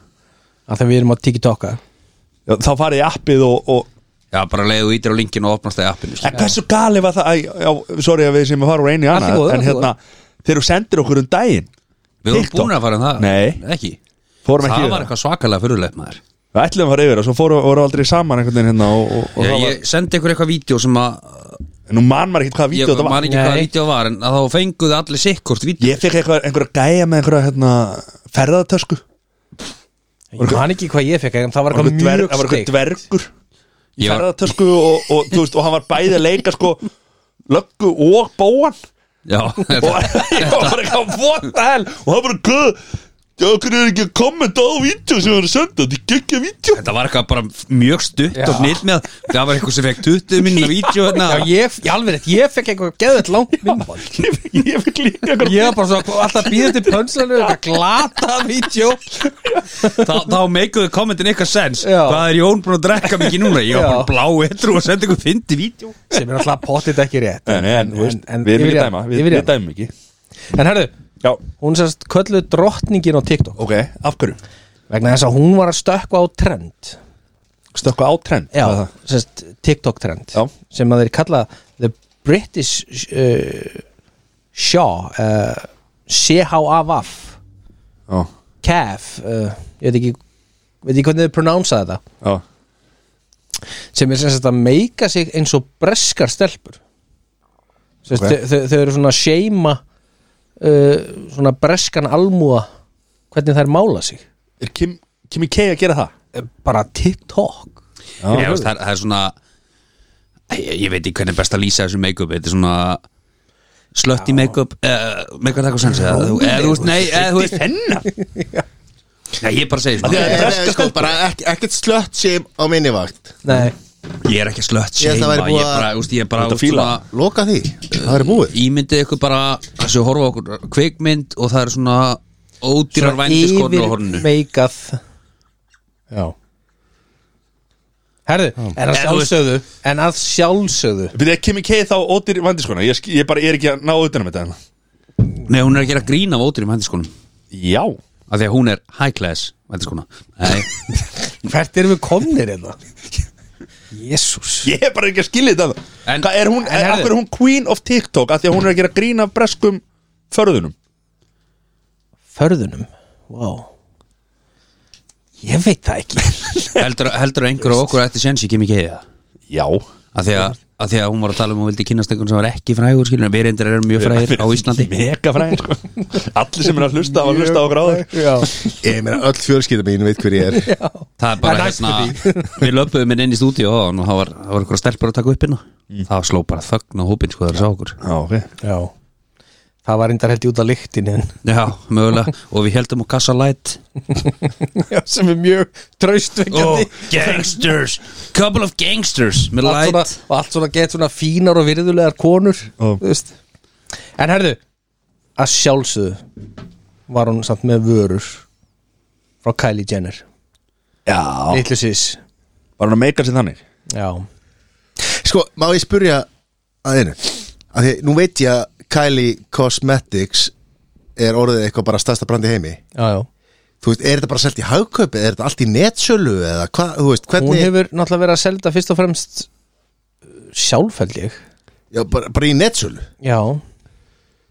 S3: Að þeim við erum á TikTok að
S2: Já, þá farið í appið og, og
S4: Já, bara leiðu ítir á linkin og opnast það í appinu sko.
S2: En hversu gali var það Æ, já, Sorry að við sem að fara úr einu í
S3: Allt í
S2: annað
S3: góðu,
S2: En
S3: allt í
S2: hérna, þegar þú sendir okkur um daginn
S4: Við vorum
S2: TikTok?
S4: búin að fara um það
S2: Nei.
S4: Ekki
S2: Fórum ekki
S4: Það
S2: yfir
S4: var eitthvað svakalega fyrirlegt maður
S2: Við ætlum að fara yfir það Svo fórum voru aldrei saman einhvern veginn hérna og, og, og
S4: ég,
S2: það
S4: ég sendi ykkur eitthvað vídeo sem að
S2: var Nú man maður ekkert hvaða
S4: Ég
S2: vídeo þetta var
S4: man ekki hvað
S3: Nei.
S4: vídeo var en að þá fenguðu allir sikkort vídeo
S2: Ég fekk eitthvað, einhverja gæja með einhverja hérna, ferðatösku
S3: Ég man ekki hvað ég fekk en það var
S2: Það var
S3: eitthvað
S2: einhver dver-
S4: Ég
S2: það var einhver dvergur Í
S3: mjög steik
S4: var-
S2: ferðatösku og, og, þú veist, og hann var bæði að leika sko Löggu og bóan
S4: Já,
S2: og ég var bara eitthvað what the hell og það bara gæð já, hvernig er ekki að kommenta á vídeo sem hann er að senda þetta er geggja vídeo
S4: Þetta var eitthvað bara mjög stutt
S3: Já.
S4: og nýtt með Það var eitthvað sem fekk 20 minna vídeo hérna
S3: Já, ég, ég alveg rétt, ég fekk eitthvað geðvett langt minnband
S2: ég fekk- ég fikk líka eitthvað
S3: Ég var bara svona alltaf býðið til pönslanu eitthvað glata vídeo
S4: Þá, þá meikuðu kommentin eitthvað sens
S3: Já.
S4: Hvað er Jón búin að drekka mikið núna? Ég var
S3: Já.
S4: bara blá etru og sendi ykkur fyndi vídeo
S3: sem er alltaf pottit ekki rétt
S2: en, en, þú veist, við erum
S3: yfir
S2: ekki
S3: í
S2: að dæma við,
S3: yfir í
S2: við dæmum ekki
S3: En herðu,
S2: já,
S3: hún sérst kölluð drottningin á TikTok
S2: ok, af hverju
S3: vegna þess að hún var að stökkva á trend
S2: stökka á trend
S3: Já,
S2: Hvað er það?
S3: sérst TikTok trend
S2: Já.
S3: sem að þeir kalla The British uh, Shaw uh, C-H-A-V
S2: já,
S3: CAF uh, ég veit ekki, veit ekki hvernig þau pronouncea þetta
S2: já,
S3: sem er sérst að meika sig eins og breskar stelpur sérst,
S2: Ok.
S3: okay. þau, þau eru svona að seima uh, svona breskan almúa hvernig þær mála sig
S2: er Kim, Kimi K að gera það?
S3: Eh, bara TikTok
S4: ég, veist, það, er- það er svona ég, ég veit ekki hvernig er best að lýsa þessu make-up Þetta er svona slötti make-up uh, make-up takk og sens eða þú- eða þú veist, nei, eða þú veist
S2: hennar
S4: Nei, ég bara segi
S2: Af því
S4: svona
S2: að-
S5: Nei,
S2: breska
S5: nei, sko,
S2: stelpur.
S5: bara ekki, ekkert slött sem á minni vakt
S3: Nei,
S4: Ég er ekki slött
S5: Ég held að
S4: seima
S5: væri
S4: Ég,
S5: búið
S4: ég, bara,
S5: að-
S4: þú veist, ég er bara
S2: Þetta
S4: út svona-
S2: fíla.
S5: loka því, það er búið
S4: Ímyndið ykkur bara þessu horfa á okkur kveikmynd og það er svona ódýrar vændiskornu á hornu
S3: yfirmeikað Já Herðu, en að
S4: En þú veist-
S3: sjálfsögðu En að sjálfsögðu
S2: við erum Kimi K þá ódýr vandiskona ég, sk- ég bara er ekki að ná utanum þetta hérna.
S4: Nei, hún er að gera grín af ódýrum vændiskornum
S2: já
S4: af því að hún er high class vændiskona Nei,
S3: Hvert erum við komnir hérna? Jésús
S2: ég er bara ekki að skilja þetta
S4: En-
S2: hvað er hún,
S4: en
S2: en,
S4: herðu-
S2: af hverju er hún queen of TikTok af því að hún er að gera grín af breskum förðunum
S3: Förðunum Vá Ég veit það ekki
S4: heldur, heldur einhver af okkur að þetta séns ég kem ekki heiða
S2: já
S4: af því að að því að hún var að tala um að hún vildi kynast einhvern sem var ekki frægur skilur, við reyndir erum mjög frægir á Íslandi
S6: Mega fræðir sko. Allir sem er að hlusta hafa hlusta á okkur áður
S3: Já,
S5: Ég meina öll fjölskylda mín veit hver ég er
S4: það er bara hérna, við löpuðum inn inn í stúdíu og það var, það var einhverja stelpur að taka upp hérna það sló bara þögn á hópin sko þegar það sá okkur
S5: Já, ok
S3: já Það var reyndar held ég út af lyktin en
S4: já, mögulega, og við heldum á Kassa Light
S3: Já, sem er mjög
S4: oh,
S3: traustvekjandi
S4: gangsters, couple of gangsters með
S3: allt svona,
S4: light
S3: og allt svona get svona fínar og virðulegar konur
S5: Ó.
S3: þú veist. en herðu að sjálfsögðu var hún samt með vörur frá Kylie Jenner
S6: Já
S3: litlu sís
S6: Var hann að meika sér þannig?
S3: já,
S5: Sko, má ég spurja að einu að því, nú veit ég að Kylie Cosmetics er orðið eitthvað bara stærsta brandi í heimi
S3: já, já
S5: Þú veist, er þetta bara selt í hagkaupi, er þetta allt í netsölu eða hvað, þú veist,
S3: hún
S5: hvernig
S3: hefur náttúrulega verið að selda fyrst og fremst uh, sjálfældig
S5: já, bara, bara í netsölu
S3: já,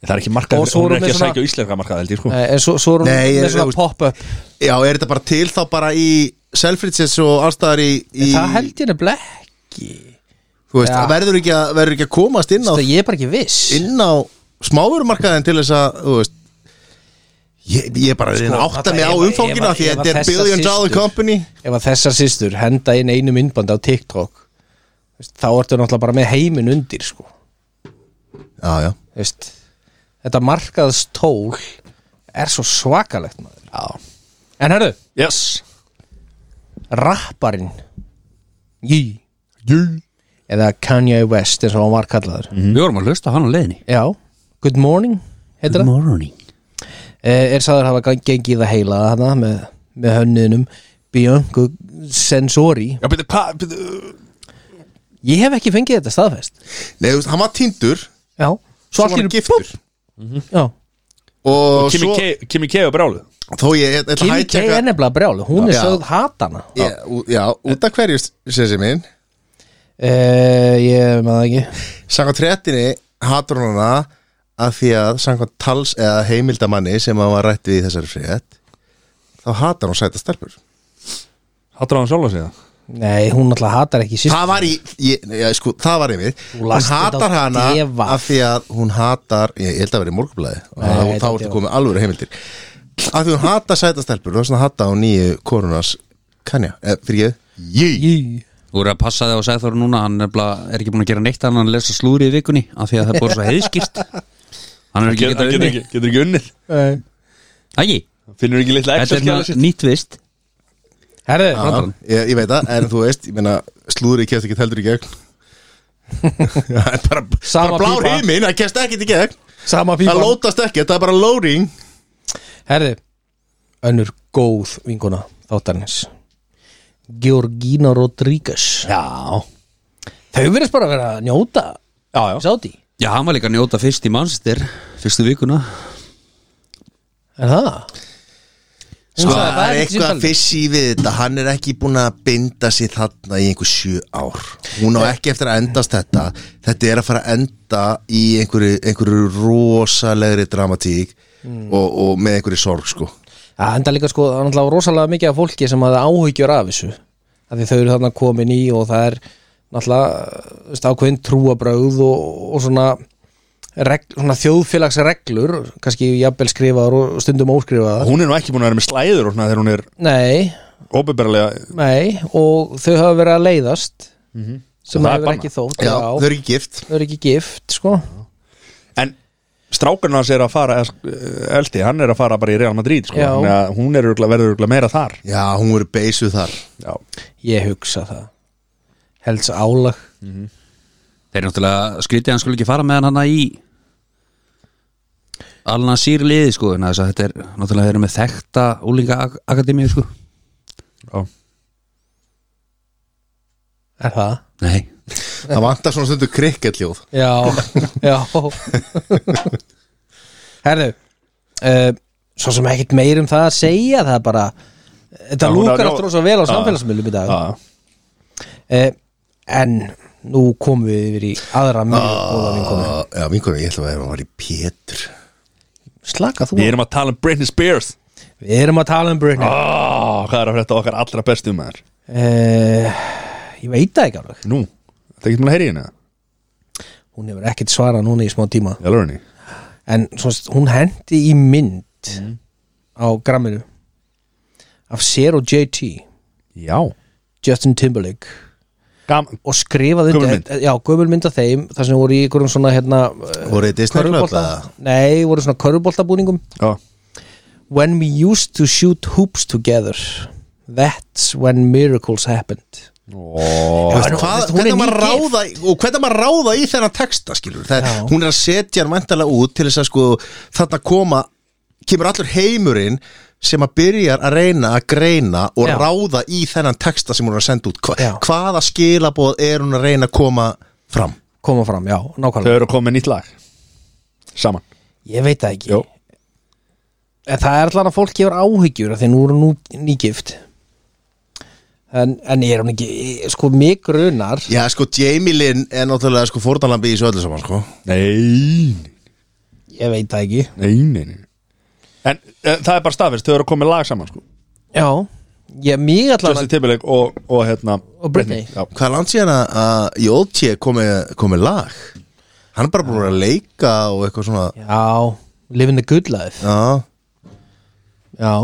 S6: Það er ekki markað,
S3: Og svo
S6: hún
S3: erum
S6: er ekki að
S3: við svona- Eh.
S6: sækja íslenska markað held ég sko
S3: Nei, en svo, svo er hún
S5: Nei,
S3: með
S5: ég-
S3: svona
S5: þú-
S3: pop-up
S5: Já, er þetta bara til þá bara í Selfridges og allstaðar í, í
S3: það held ég nefnilega ekki
S5: Þú veist,
S3: Já.
S5: það verður ekki, að, verður ekki að komast inn á,
S3: það ég er bara ekki viss
S5: inn á smáverumarkaðin til þess að, þú veist Ég, ég bara sko, átta
S3: þarna
S5: mig á
S3: ef- ef-
S5: umfangina
S3: ef-
S5: því
S3: ef-
S5: þetta er
S3: þessar
S5: billion dollar
S3: systur-
S5: company
S3: ef að þessar sýstur henda inn einu myndbandi á TikTok þú veist, þá ertu náttúrulega bara með heimin undir sko.
S5: Já, já
S3: Þú veist, þetta markaðstól er svo svakalegt maður Já. en herru,
S6: Yes
S3: rapparinn Yee. Yee. eða Kanye West eins og hann var kallaður
S4: við vorum að hlusta á hann á leiðinni
S3: Já, Good Morning heitir það
S4: morning
S3: Eh, er sagður hafa gang- gengið að heila hana með, með hönniðnum Bianco Sensori
S6: Já, betur, hvað, betur
S3: ég hef ekki fengið þetta staðfest
S5: Nei, þú veist, hann var týndur
S3: Já,
S5: Svo var hann giftur
S3: Já,
S5: og
S6: Kimi
S5: svo,
S6: K- Kimi K og bráluð
S5: þó ég ég- ég ætla að
S3: Kimi K
S5: hætjaka
S3: er nefnilega brjálu, hún er
S5: Já.
S3: sögð hatana
S5: Já, ú- já, út af hverju sér sem minn
S3: uh, Ég maður það ekki
S5: Samkvæmt trettinni hatur hún hana að því að samkvæmt tals eða heimildamanni sem hann var rætt við í þessari frétt þá hatar hún sæta stelpur
S6: Hattur á hann sjálf að segja
S3: Nei, hún alltaf hatar ekki sýst
S5: Það var í, ég, já, sko, það var í mig
S3: Þú
S5: Hún
S3: last þetta
S5: hatar
S3: á
S5: hana
S3: DV.
S5: af því að hún hatar ég, ég held að vera í morgunblæði og
S3: Nei,
S5: þá,
S3: þetta
S5: þá
S3: er
S5: ertu
S3: DV.
S5: komið alvöru heimildir af því hún hatar sæta stelpur og þess vegna hatar hún nýju korunas Kanja, eh, fyrir ég Jú
S4: Þú eru að passa þig á Sæþór núna, hann er, bla, er ekki búin að gera neitt annan en að lesa slúri í vikunni af því að það er búin svo heiðskýrt Hann er ekki
S6: Getur
S4: getað
S6: getur
S4: unni
S6: ekki, getur ekki unnið
S4: Ægi,
S6: Finnur ekki litla
S4: þetta er
S6: Excel-skjala
S4: hérna
S6: sitt
S4: nýtt vist
S3: Herðu,
S5: Já, ég, ég veit það, en þú veist, ég meina slúðri kemst ekki heldur í gegn Það er bara,
S3: Sama
S5: bara blár
S3: pípa.
S5: heiminn, það kemst ekkert í gegn
S3: sama
S5: Það
S3: pípan
S5: lótast ekki, það er bara loading
S3: Herðu, önnur góð vinkona þáttarins Georgina Rodríguez Já Þau verðist bara að vera að njóta
S6: Já, já
S3: Sáti,
S4: Já, hann var líka að njóta fyrst í mannstir fyrstu vikuna
S3: er það? Hún
S5: Sko,
S3: sagði,
S5: það er
S3: ekki
S5: eitthvað
S3: símtalið.
S5: fissi við þetta Hann er ekki búin að binda sér þarna í einhver sjö ár Hún á ekki eftir að endast þetta Þetta er að fara að enda í einhverju, einhverju rosalegri dramatík
S3: Hmm.
S5: og, og með einhverju sorg, sko
S3: Já, enda líka sko, það er náttúrulega rosalega mikið af fólki sem hafði áhyggjur af þessu af því þau eru þarna komin í og það er náttúrulega, þú veist, ákveðin trúabrögð og, og svona, reg, svona þjóðfélagsreglur kannski jafnvel skrifaðar og stundum óskrifaðar
S6: Hún er nú ekki búin að vera með slæður og svona þegar hún er
S3: Nei,
S6: óbyrbarlega
S3: nei og þau hafa verið að leiðast
S6: Og
S3: sem
S6: það er
S3: hefur
S6: bannað.
S3: ekki þótt
S5: Já, þau eru ekki gift
S3: þau eru ekki gift, sko
S6: En strákarinn hans er að fara eh, Eldi, hann er að fara bara í Real Madrid sko.
S3: Já.
S6: Þannig að Hún er örugglega- verður örugglega meira þar
S5: Já, hún verður beisuð þar
S6: Já
S3: Ég hugsa það Helds álag
S4: Þeir eru náttúrulega skrítið að hann skulle ekki fara með hann hann í Alna sír liði sko en þess að þetta er náttúrulega þeir eru með þekta úlinga akademíu sko
S6: Já.
S3: Er það?
S4: Nei,
S5: Það vantar svona stundu krikketljóð
S3: Já, já Herðu uh, Svo sem ekkert meir um það að segja Það er bara
S6: Já,
S3: Þetta
S6: hún
S3: lúkar
S6: er-
S3: aftur svo vel á
S6: Já.
S3: samfélagsmiðlum í dag
S6: Já.
S3: uh, En nú komum við yfir í aðra mjög góða vinkonu
S5: Ah, Já, vinkunum, ég ætla að vera að var í Pétur
S3: Slaka þú
S6: Við
S3: á.
S6: erum að tala um Britney Spears
S3: Við erum að tala um Britney ah.
S6: oh, Hvað er að frétta okkar
S2: um
S6: allra bestu maður?
S3: Eh, Ég veit það ekki alveg
S6: Nú, það getur maður að heyri hérna
S3: hún hefur ekkert svarað núna í smá tíma
S2: Jálfurni
S3: en svona, hún hendi í mynd
S5: Mhm.
S3: á gramminu af sér og JT
S2: Já
S3: Justin Timberlake
S2: Gam
S3: og skrifaði
S2: Gömul
S3: undir- já, gömulmynd af þeim þar sem voru í einhverjum svona hérna, eh,
S5: Voru þið Disney Club,
S3: körfubolta-
S5: eða?
S3: nei, voru svona körfuboltabúningum
S2: Já
S3: When we used to shoot hoops together That's when miracles happened
S2: Ó,
S3: Já, en hún-
S5: Hvað,
S3: veist, hún
S5: hvernig
S3: er
S5: maður
S3: nýgift.
S5: ráða og hvernig á maður að ráða í þennan texta skilur það,
S3: Já.
S5: hún er að setja hann vantarlega út til þess að sko þarna koma kemur allur heimurinn sem að byrjar að reyna að greina og
S3: Já.
S5: ráða í þennan texta sem hún er að senda út Hva,
S3: Já.
S5: hvaða skilaboð er hún að reyna að koma fram
S3: koma fram, já,
S2: Þau
S3: nákvæmlega
S2: eru að koma með nýtt lag Saman
S3: ég veit það ekki
S2: Jó.
S3: en það er allan að fólk gefur áhyggjur af því nú eru nú nýgift en, en ég er hún ekki sko mig grunar
S5: Já sko Jamie Lynn er náttúrulega sko fórnalambi í þessu öllu saman sko
S2: Nei,
S3: ég veit það ekki
S2: nei, nei, nei. En e, það er bara staðfist, þau eru að koma með lag saman sko.
S3: já, ég mig allan
S2: Justin Timberlake og, og hérna
S3: Og Britney.
S2: Já,
S5: Hvað er langt síðan að- að Jóti komi, komi lag? Hann er bara búin að leika og eitthvað svona
S3: já, living the good life
S5: Já,
S3: já,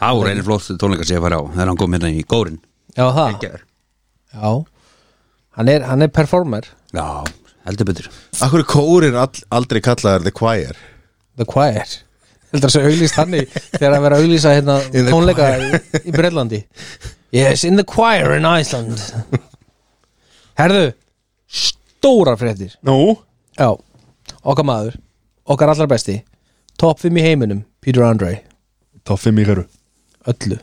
S4: Það voru einu flóttu tónleikar sem ég fari á Þegar hann kom hérna í górin
S3: já það já, hann er, hann er performer
S4: Já, heldur betur
S5: Akkur er kórin all, aldrei kallaður The Choir
S3: The Choir heldur þess að auglýst hann í þegar að vera að auglýsa hérna
S5: the
S3: tónleika í- í Breitlandi Yes, in the choir in Iceland Herðu stórar fréttir
S2: Nú,
S3: Já, okkar maður okkar allar besti, topp 5 í heiminum Peter Andre,
S2: þá fimm í hverju
S3: öllu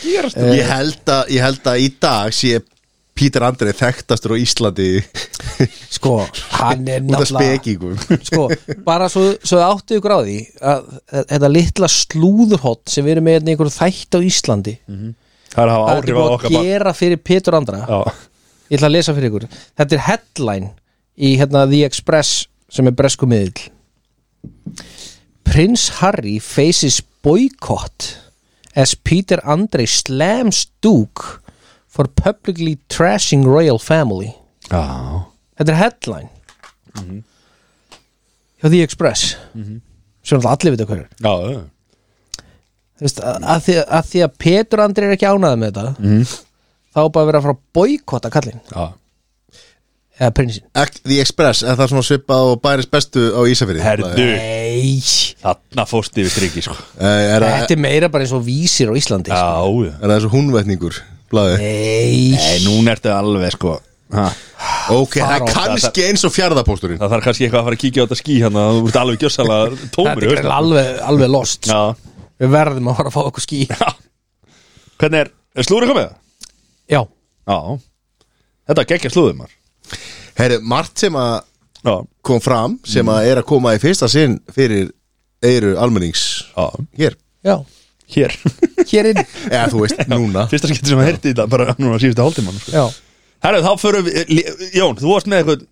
S5: ég, held að, ég held að í dag sé Pítur Andrið þekktastur á Íslandi
S3: sko, hann er
S5: út af spekingum
S3: sko, bara svo, svo áttu ykkur á því að þetta litla slúðurhott sem við erum með hérna í einhverju þætt á Íslandi
S2: Það er að hafa
S3: það er
S2: Mhm. áhrif á
S3: búið
S2: okkar
S3: að
S2: bara
S3: gera fyrir Peter Andra
S2: Já,
S3: ég ætla að lesa fyrir ykkur þetta er headline í hérna The Express sem er bresku miðill Prins Harry faces boycott as Peter Andre slams Duke for publicly trashing royal family
S2: já
S3: þetta er headline hjá The Express sem alltaf allir vita hverju
S2: Já, já.
S3: að, að, því- að því að Peter Andre er ekki ánæði með þetta þá er bara að vera að fara að boykotta kallinn
S2: já.
S3: eða prinsin
S5: Act The Express, er það svona svipað og bæris bestu á Ísafirði
S2: Herðu,
S3: Nei,
S2: þarna fórst yfir striki sko.
S5: Eh, Er það,
S3: þetta er meira bara eins og vísir á Íslandi sko.
S2: Já, já
S5: er það þessu húnvetningur? Blaði.
S3: Eh, Nei,
S2: Nei, núna ertu alveg sko ha.
S5: Ok, það er
S3: fara á-
S5: kannski eins og fjárðapósturinn
S2: Það þarf kannski eitthvað að fara að kíkja á þetta skí hérna Þú ert alveg gjössalega tómur í
S3: þetta er
S2: hausnum.
S3: greinilega alveg, alveg lost sko.
S2: Já
S3: Við verðum að fara að fá okkur ský
S2: Já. Hvernig er, er slúrið komið?
S3: Já,
S2: Já Þetta geggja slúðið maður
S5: Herri, margt sem að
S2: Já,
S5: kom fram sem að er að koma í fyrsta sinn fyrir eiru almennings
S2: já,
S5: hér,
S3: já,
S2: hér
S3: hér inn
S5: eða þú veist, núna
S2: Fyrsta skipti sem að heyrti þetta bara núna síðustu hálftíman sko.
S3: Já,
S2: Herru, þá förum við Li- Jón, þú varst með eitthvað,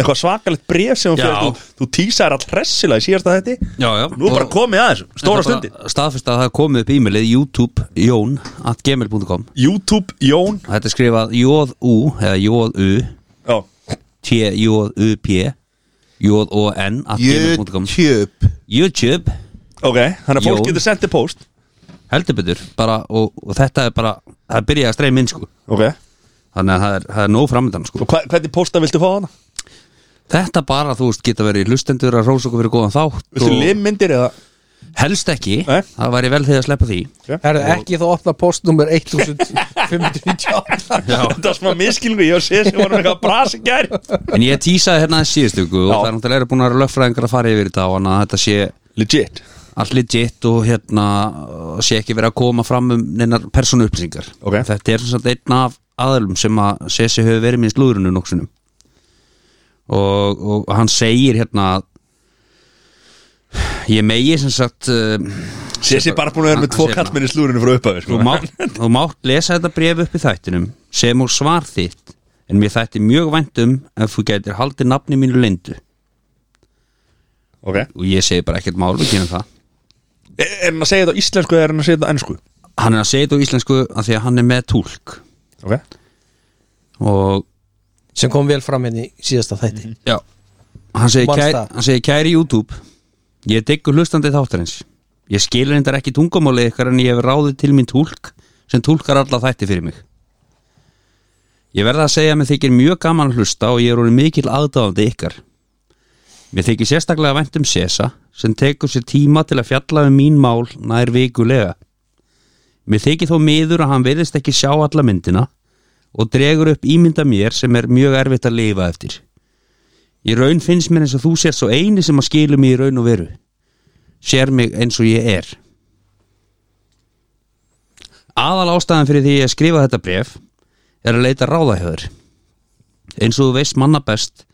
S2: eitthvað svakalegt bref sem hún
S4: Já.
S2: fyrir Þú, þú tísaðir all hressilega í síðasta þetta
S4: Já, já
S2: Nú er bara komið aðeins, stóra stundin
S4: Staðfist að það er komið upp e-mailið YouTube Jón at gmail.com
S2: YouTube Jón
S4: Þetta er skrifað J-U eða J-U
S2: Já,
S4: T-J-U-P J-O-N at gmail.com
S5: YouTube
S4: YouTube
S2: ok, þannig að fólk
S4: Jón.
S2: getur sendið post
S4: heldur betur bara, og, og þetta er bara, það byrjaði að streyma inn sko.
S2: Ok,
S4: þannig að það er, það er nóg framöndan sko.
S2: og hva, hvernig posta viltu fá hana?
S4: þetta bara, þú veist, geta verið hlustendur að rósa okkur fyrir góðan þátt
S2: Viltu limmyndir eða?
S4: helst ekki,
S2: Nei.
S4: það væri vel þegar að sleppa því
S3: það er ekki þá opna postnúmer 1598
S4: Já.
S2: Þetta er smá miskilningu, ég var að segja sem vorum eitthvað brasi gær
S4: en ég tísaði hérna síðustöku og
S2: Já.
S4: það er náttúrulega búin að vera lögfræðingar að fara yfir þetta og annað að þetta sé
S2: Legit
S4: allt legit og hérna og sé ekki verið að koma fram um neinar persónu upplýsingar
S2: Ok.
S4: þetta er sem sagt einn af aðlum sem að Sessi hefur verið með í slúðrunu nokksunum og, og hann segir hérna að ég megi sem sagt uh,
S2: Sessi bara búin að vera með tvo kallmenn í slúrinu frá upphæfi sko.
S4: þú mátt, þú mátt lesa þetta bref upp í þættinum sem og svar þitt en mér þætti mjög vænt um ef þú gætir haldið nafni mínu lindu
S2: Ok
S4: og ég segi bara ekkert mál við kynum það
S2: Er er hann að segja þetta á íslensku eða er hann að segja þetta á ennsku?
S4: hann er að segja þetta á íslensku af því að hann er með túlk
S2: Ok
S4: og
S3: sem kom vel fram hérna í síðasta þætti
S4: Já Hann segir,
S3: Manstu
S4: kæri,
S3: það?
S4: hann segir kæri YouTube Ég diggur hlustandi þáttarins Ég skilur reyndar ekki tungumáli ykkar en ég hef ráðið til mín túlk sem túlkar alla þætti fyrir mig Ég verða að segja að mér þykir mjög gaman að hlusta og ég er orðin mikil aðdáðandi ykkar Mér þykir sérstaklega vænt um Sesa sem tekur sér tíma til að fjalla um mín mál nær vikulega Mér þykir þó miður að hann verðist ekki sjá alla myndina og dregur upp ímynda mér sem er mjög erfitt að lifa eftir Í raun finnst mér eins og þú sér svo eini sem að skilur mig í raun og veru Sér mig eins og ég er Aðal ástæðan fyrir því ég skrifa þetta bref er að leita ráða hjá þér Eins og þú veist manna best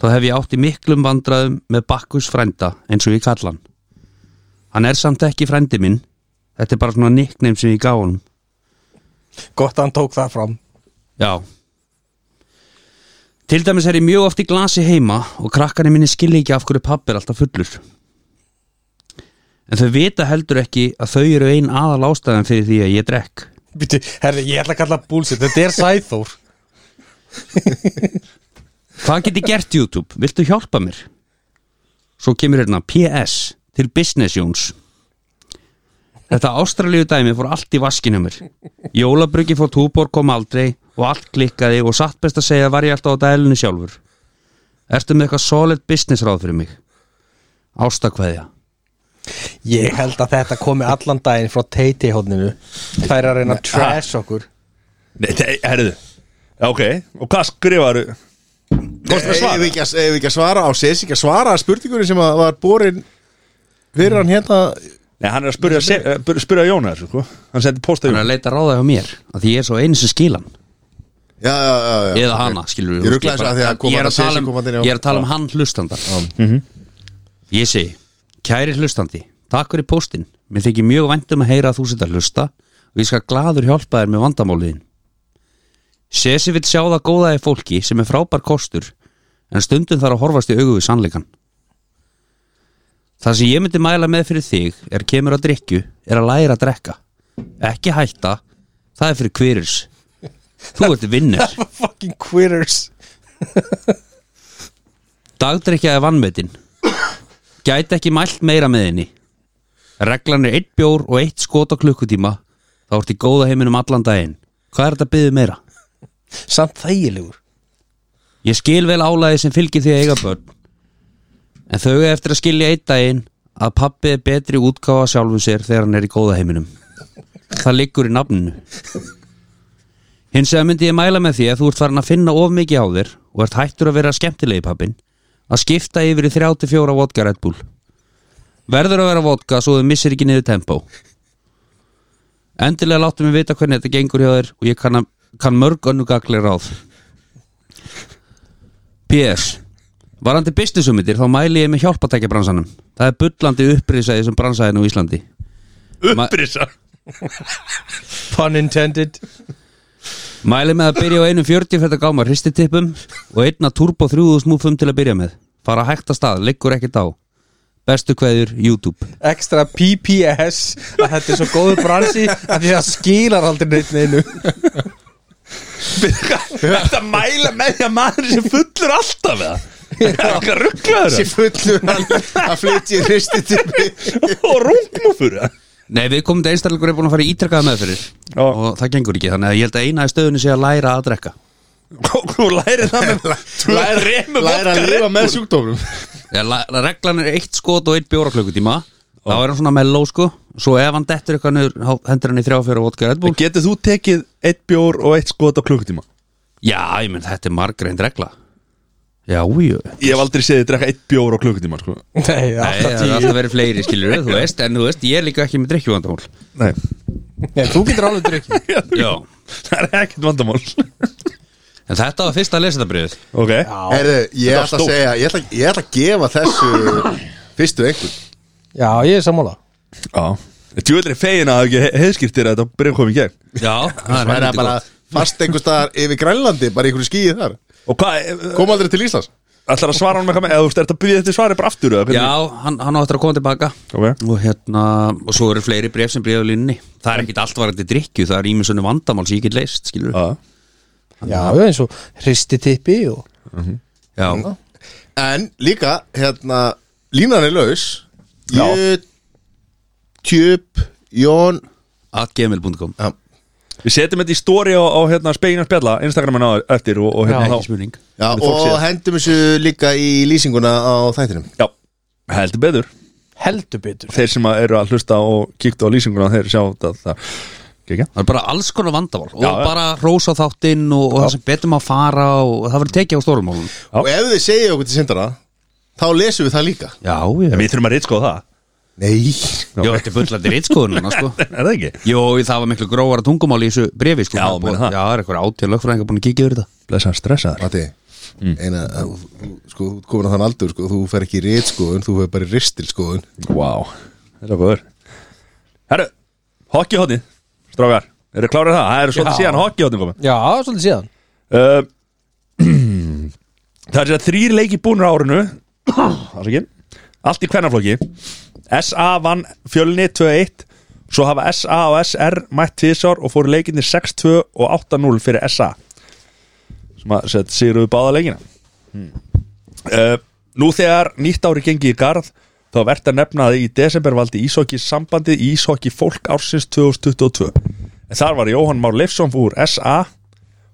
S4: þá hef ég átt í miklum vandræðum með Bakkus frænda eins og ég kalla hann Hann er samt ekki frændi minn Þetta er bara svona nickname sem ég gá honum
S3: gott að hann tók það fram
S4: Já Til dæmis er ég mjög oft í glasi heima og krakkarnir minni skilja ekki af hverju pabbi er alltaf fullur En þau vita heldur ekki að þau eru ein aðal ástæðan fyrir því að ég drekk
S3: Býtu, herri, ég ætla að kalla búlsitt, þetta er sæþór
S4: Hvað get ég gert YouTube? Viltu hjálpa mér? Svo kemur hérna PS til Business Jóns Þetta ástralíu dæmi fór allt í vaskinu mér Jólabryggi fór túbor kom aldrei og allt klikkaði og satt best að segja var ég alltaf á dælunni sjálfur Ertu með eitthvað solid business ráð fyrir mig? Ástakveðja
S3: Ég held að þetta komi allan daginn frá teiti hóðninu Það er að reyna að trash okkur
S2: Nei, nei, herðu Já, ok, og hvað skrifaru? Kostum að
S5: Ef
S2: svara?
S5: við ekki, að- ef við ekki að svara á sér ekki að svara að spurningunni sem að var borin fyrir hann hérna
S2: Nei, hann er að spyrja, se- eh, bur- spyrja Jóna þessu, sko Hann sendi posta
S4: Hann er
S2: Jóna
S4: að leita ráða hjá mér að því ég er svo einu sem skilan
S5: Já, já, já, já
S4: eða hana, skilur
S5: Ég ruglaði þessu að því að kom
S4: ég er
S5: þarna
S4: að tala
S5: Sesi kom þarna inn
S4: um,
S5: á-
S4: ég er að tala um hann hlustanda
S5: Mhm.
S4: ég segi kæri hlustandi, takk fyrir póstinn mér þykir mjög vænt um að heyra að þú setja að hlusta og ég skal gladur hjálpa þér með vandamóliðin Sesi vill sjá það góða í fólki sem er frábær kostur en stundum þarf að horfast í augu við sannleikan Það sem ég myndi mæla með fyrir þig er kemur að drikju, er að læra að drekka ekki hætta það er fyrir kviris þú ert vinnur
S3: Fucking quitters
S4: Dagdrykja er vannmetin Gæti ekki mælt meira með henni Reglan er eitt bjór og eitt skot á klukkutíma Þá ertu í góða heiminum allan daginn Hvað er þetta að byggðu meira?
S3: Samt þægilegur
S4: Ég skil vel álæði sem fylgir því að eiga börn En þau er eftir að skilja eitt daginn Að pappi er betri útgáfa sjálfu sér Þegar hann er í góða heiminum Það liggur í nafninu Hins vegar myndi ég mæla með því að þú ert farin að finna of mikið á þér og ert hættur að vera skemmtilegi pappin að skipta yfir í 34 vodka Red Bull. Verður að vera vodka svo þau missir ekki niður tempó. Endilega láttu mig vita hvernig þetta gengur hjá þér og ég kann, að- kann mörg önnugagli ráð. PS. Varandi businessumyndir þá mæli ég með hjálpatækja bransanum. Það er bullandi upprisaði sem bransaðin á Íslandi.
S2: Upprisa
S3: Pun intended
S4: Mæli með að byrja á einum 40 fyrir að gáma hristitippum og einna turbo 3000 múfum til að byrja með. Fara hægt að stað, liggur ekkert á. Bestu kveður, YouTube.
S3: Extra PPS að þetta er svo góður bransi að því að skilar aldrei neitt neinu
S2: Þetta mæla með því að maður sem fullur alltaf eða Það er ekki að ruggla
S5: Þessi fullur hann að flytja í ristitipi
S2: þeirra Og rungmúfur eða?
S4: Nei, við komum til einstakleikur er búin að fara í ítrekkaða meðferðir
S2: Já.
S4: og það gengur ekki, þannig að ég held að eina í stöðunni sé að læra að drekka
S2: Og Þú læri það með Þú remur
S5: Læra að lifa með sjúkdómum
S4: Þegar la- reglan er eitt skot og eitt bjóra klukkutíma þá er hann svona melló sko svo ef hann dettur eitthvað nöður, hendur hann í þrjá fyrir vodka Red Bull
S2: Getur þú tekið eitt bjór og eitt skot á klukkutíma?
S4: Já, ég menn, þetta er margreind regla Já, jú
S2: Ég hef aldrei séð þið drekka eitt bjór á klukkutíma sko.
S3: Nei,
S4: Nei,
S3: alltaf
S4: það er alltaf verið fleiri skilur þú veist, en þú veist, ég er líka ekki með drikkjuvandamál
S2: Nei,
S3: Nei, þú getur alveg drikki
S4: Já
S2: það er ekkert vandamál
S4: En þetta var fyrsta lesendabriðið
S2: Ok
S5: Herðu, ég ætla að
S2: stórt.
S5: segja Ég ætla, ég ætla að gefa þessu fyrstu einhvern
S3: Já, ég er sammála
S2: Já Djúvel er fegin að það hafi ekki heiðskiptir að þetta bref komið gegn
S4: Já, það
S5: Það
S4: er
S5: er
S4: helviti
S5: bara
S4: gott.
S5: fast einhver staðar yfir Grænlandi Bara í einhverju skýið þar
S2: Og hvað,
S5: Kom aldrei til Íslands
S2: ætlar að svara hann með hvað með Eða þú ert að byrja þetta svari bara aftur eða,
S4: Já, hann, hann áttur að koma tilbaka
S2: hvernig?
S4: og hérna, og svo eru fleiri bref sem bref á línni, það er ekkit allt varandi drikju, það er ímjössunni vandamál sem ég get leist, skilur
S2: Ok Já
S3: já, já, eins og hristitippi og
S4: Já,
S5: En líka, hérna Línan er laus
S2: Já.
S5: Tjöp, Jón
S4: at gmail.com
S5: Já,
S2: Við setjum þetta í story á, á hérna, spegin og spjalla Instagramin á eftir og, og hérna
S4: Ekki
S2: þá
S4: spurning
S5: já
S2: Við fólk
S5: og
S2: séð.
S5: hendum þessu líka í lýsinguna á þættinum
S2: Já, heldur beður
S3: heldur betur
S2: Þeir sem að eru að hlusta og kíktu á lýsinguna þeir sjá þetta það. Gekja.
S4: Það er bara alls konar vandavál og
S2: Já, já.
S4: bara rósa þáttinn og, og það sem betur maður að fara og það verður tekið á stórumálum
S2: Já.
S5: Og ef þið segja okkur til sindara Þá lesum við það líka
S4: Já, já,
S2: En Við þurfum að reitskoða það
S5: Nei
S4: já þetta er fullandi reitskoðununa sko.
S2: Er það ekki?
S4: Jó, það var miklu grófara tungumál í þessu brefi sko.
S2: Já,
S4: Það er búið-
S2: meina það.
S4: já, það er eitthvað átíð lögfræðingar búin að kíkja yfir þetta
S2: Blessaðan stressaður
S5: Mati
S2: Mm.
S5: Eina, sko, þú ert komin á þann aldur, sko, þú fer ekki í rétskoðun, þú fer bara í ristilskoðun
S2: Vá, wow. þetta er góður Herru, hockeyhotni Strágar, eru klárið það? Það eru svolítið síðan hockeyhotni komið
S3: já, svolítið síðan
S2: uh, Það er sér þrýr leiki búnir á árinu Afsakið. Allt í kvennaflokki SA vann fjölni 2-1 Svo hafa SA og SR mætt tísar og fóru leikinni 6-2 og 8-0 fyrir SA sem að set sigruðu báða leikina uh, Nú þegar nýtt ári gengi í garð þá er verðt að nefna að í desember valdi Ísokki sambandi Ísokki fólk ársins 2022 en þar var Jóhann Már Leifsson úr SA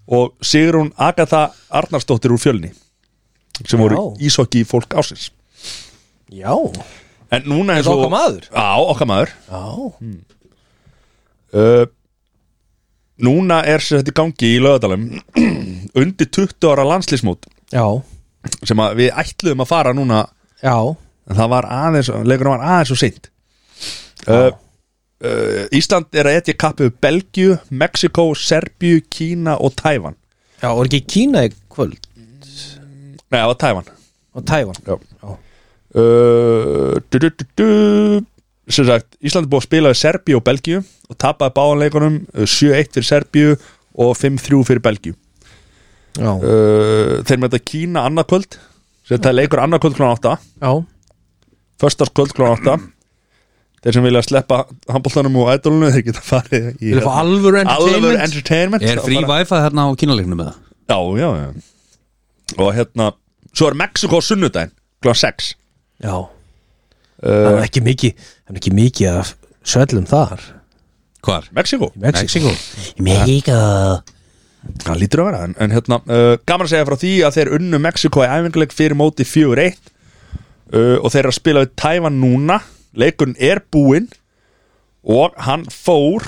S2: og Sigrún Agatha Arnarsdóttir úr fjölni sem voru
S3: Já.
S2: Ísokki fólk ársins
S3: já,
S2: En núna eins
S3: Þetta
S2: og
S3: okkar maður?
S2: Já, okkar maður
S3: já,
S2: uh, Núna er sér þetta í gangi í lögadalum undir 20 ára landslísmót
S3: já,
S2: sem að við ætluðum að fara núna
S3: já.
S2: en það var aðeins, leikurinn var aðeins og seint uh, uh, Ísland er að etja kappið Belgíu, Mexiko, Serbíu, Kína og Tævan
S3: já og er ekki Kína í kvöld
S2: Nei, það var Tævan
S3: og Tævan
S2: Já. Uh, du, du, du, du. Sem sagt, Ísland er búið að spila við Serbíu og Belgíu og tapaði báðanleikunum uh, 7-1 fyrir Serbíu og 5-3 fyrir Belgíu
S3: já,
S2: uh, Þeir með þetta Kína annað kvöld sem þetta er leikur annað kvöld klán 8
S3: já,
S2: Föstars kvöld klán 8 Þeir sem vilja sleppa handbóltanum og ædolunum þeir geta farið í hérna,
S3: við erum alvöru
S2: Alvöru
S3: entertainment
S2: entertainment
S4: Er
S2: Þá
S4: frí
S2: fara-
S4: wifi þarna á kínaleiknum með það?
S2: Já, já, já Og hérna, svo er Mexiko á sunnudaginn klán 6
S3: já, það er ekki mikið það er ekki mikið af svellum þar
S4: Hvar?
S2: Mexiko
S3: í Mexiko
S2: Það lítur að vera En, en hérna, uh, gaman að segja frá því að þeir unnu Mexiko í æfinguleik fyrir móti 4-1 uh, Og þeir eru að spila við Tævan núna Leikurinn er búinn Og hann fór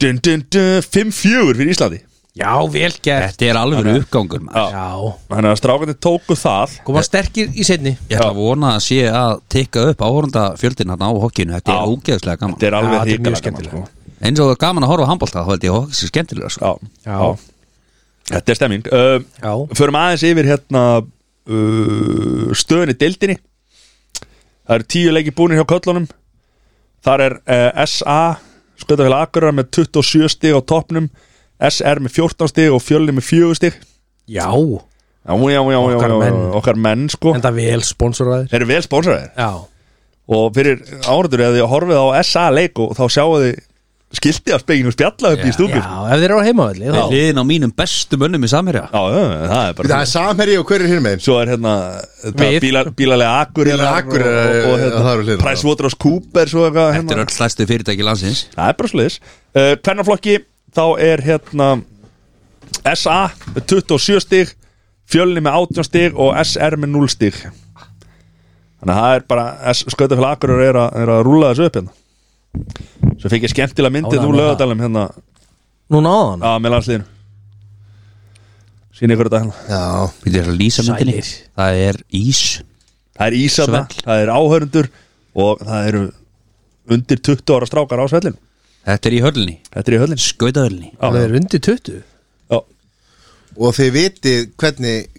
S2: dun, dun, dun, 5-4 fyrir Íslandi
S3: já, vel gert
S4: Þetta er alveg uppgangur maður.
S2: Já.
S3: já,
S2: Þannig að strákandi tóku það
S3: koma sterkir í setni
S4: Ég ætla að vona að sé að tikka upp áhórunda fjöldin hérna á hokkinu Þetta
S2: Já.
S4: er ógeðslega gaman
S2: Þetta er
S3: Já,
S2: alveg
S3: þetta er mjög
S2: hrikalega gaman,
S3: skemmtilegt.
S4: Eins og það er gaman að horfa á handbólta þá held ég að hokkis er skemmtilega sko.
S2: sko. já, já. Þetta er stemming uh,
S3: já,
S2: Förum aðeins yfir hérna uh, stöðunni deildinni Það eru tíu leiki búinir hjá köllunum Þar er uh, SA Skötafélag Akurar með 27 stig á toppnum SR með 14 stig og Fjölni með 4 stig
S3: já
S2: Já, já, já, já,
S3: Okkar
S2: já,
S3: menn.
S2: okkar menn sko
S3: en það vel sponsoraðir
S2: Þeir eru vel spónsaðir
S3: já,
S2: Og fyrir áratur eða þið horfið á SA leik og þá sjáu þið skilti af speginu spjalla upp í
S3: já,
S2: stúku Já,
S3: ef þeir eru á heimavalli
S4: Við
S3: þá
S4: liðin á mínum bestu mönnum í samherja
S2: já, já, það er
S5: Það
S2: bara
S5: er samherji og hver er hérna með
S2: Svo er hérna þetta
S3: Við.
S2: bíla, bílalega Akureyrar
S5: Bílalega Akureyrar,
S2: og, og, og
S5: það eru
S2: hérna,
S5: hliðar.
S2: Price Waterhouse Cooper svo eitthvað
S4: Þetta er
S2: hérna.
S4: öll stærstu fyrirtæki landsins
S2: Það er bara sliðis uh, Kvennaflokki þá er hérna SA með 27 stig Fjölni með 18 stig og SR með 0 stig Þannig að það er bara Skautafélag Akureyrar er, að- er að rúla þessu upp hérna Svo fikk ég skemmtilega myndið
S3: Ánægður
S2: úr
S3: með
S2: lögadalum hérna
S3: núna á hann
S2: að með landsliðinu Sýni ykkur þetta hérna
S5: Já,
S4: Við erum að lýsa myndinni
S3: Sælir.
S4: Það er ís
S2: Það er ísana,
S4: Svell.
S2: það er áhörundur og það eru undir 20 ára strákar á svellinu
S4: Þetta er í höllinni
S2: Þetta er í höllinu
S4: Skautahöllinni
S3: það er undir 20
S2: Já,
S5: og þið vitið hvernig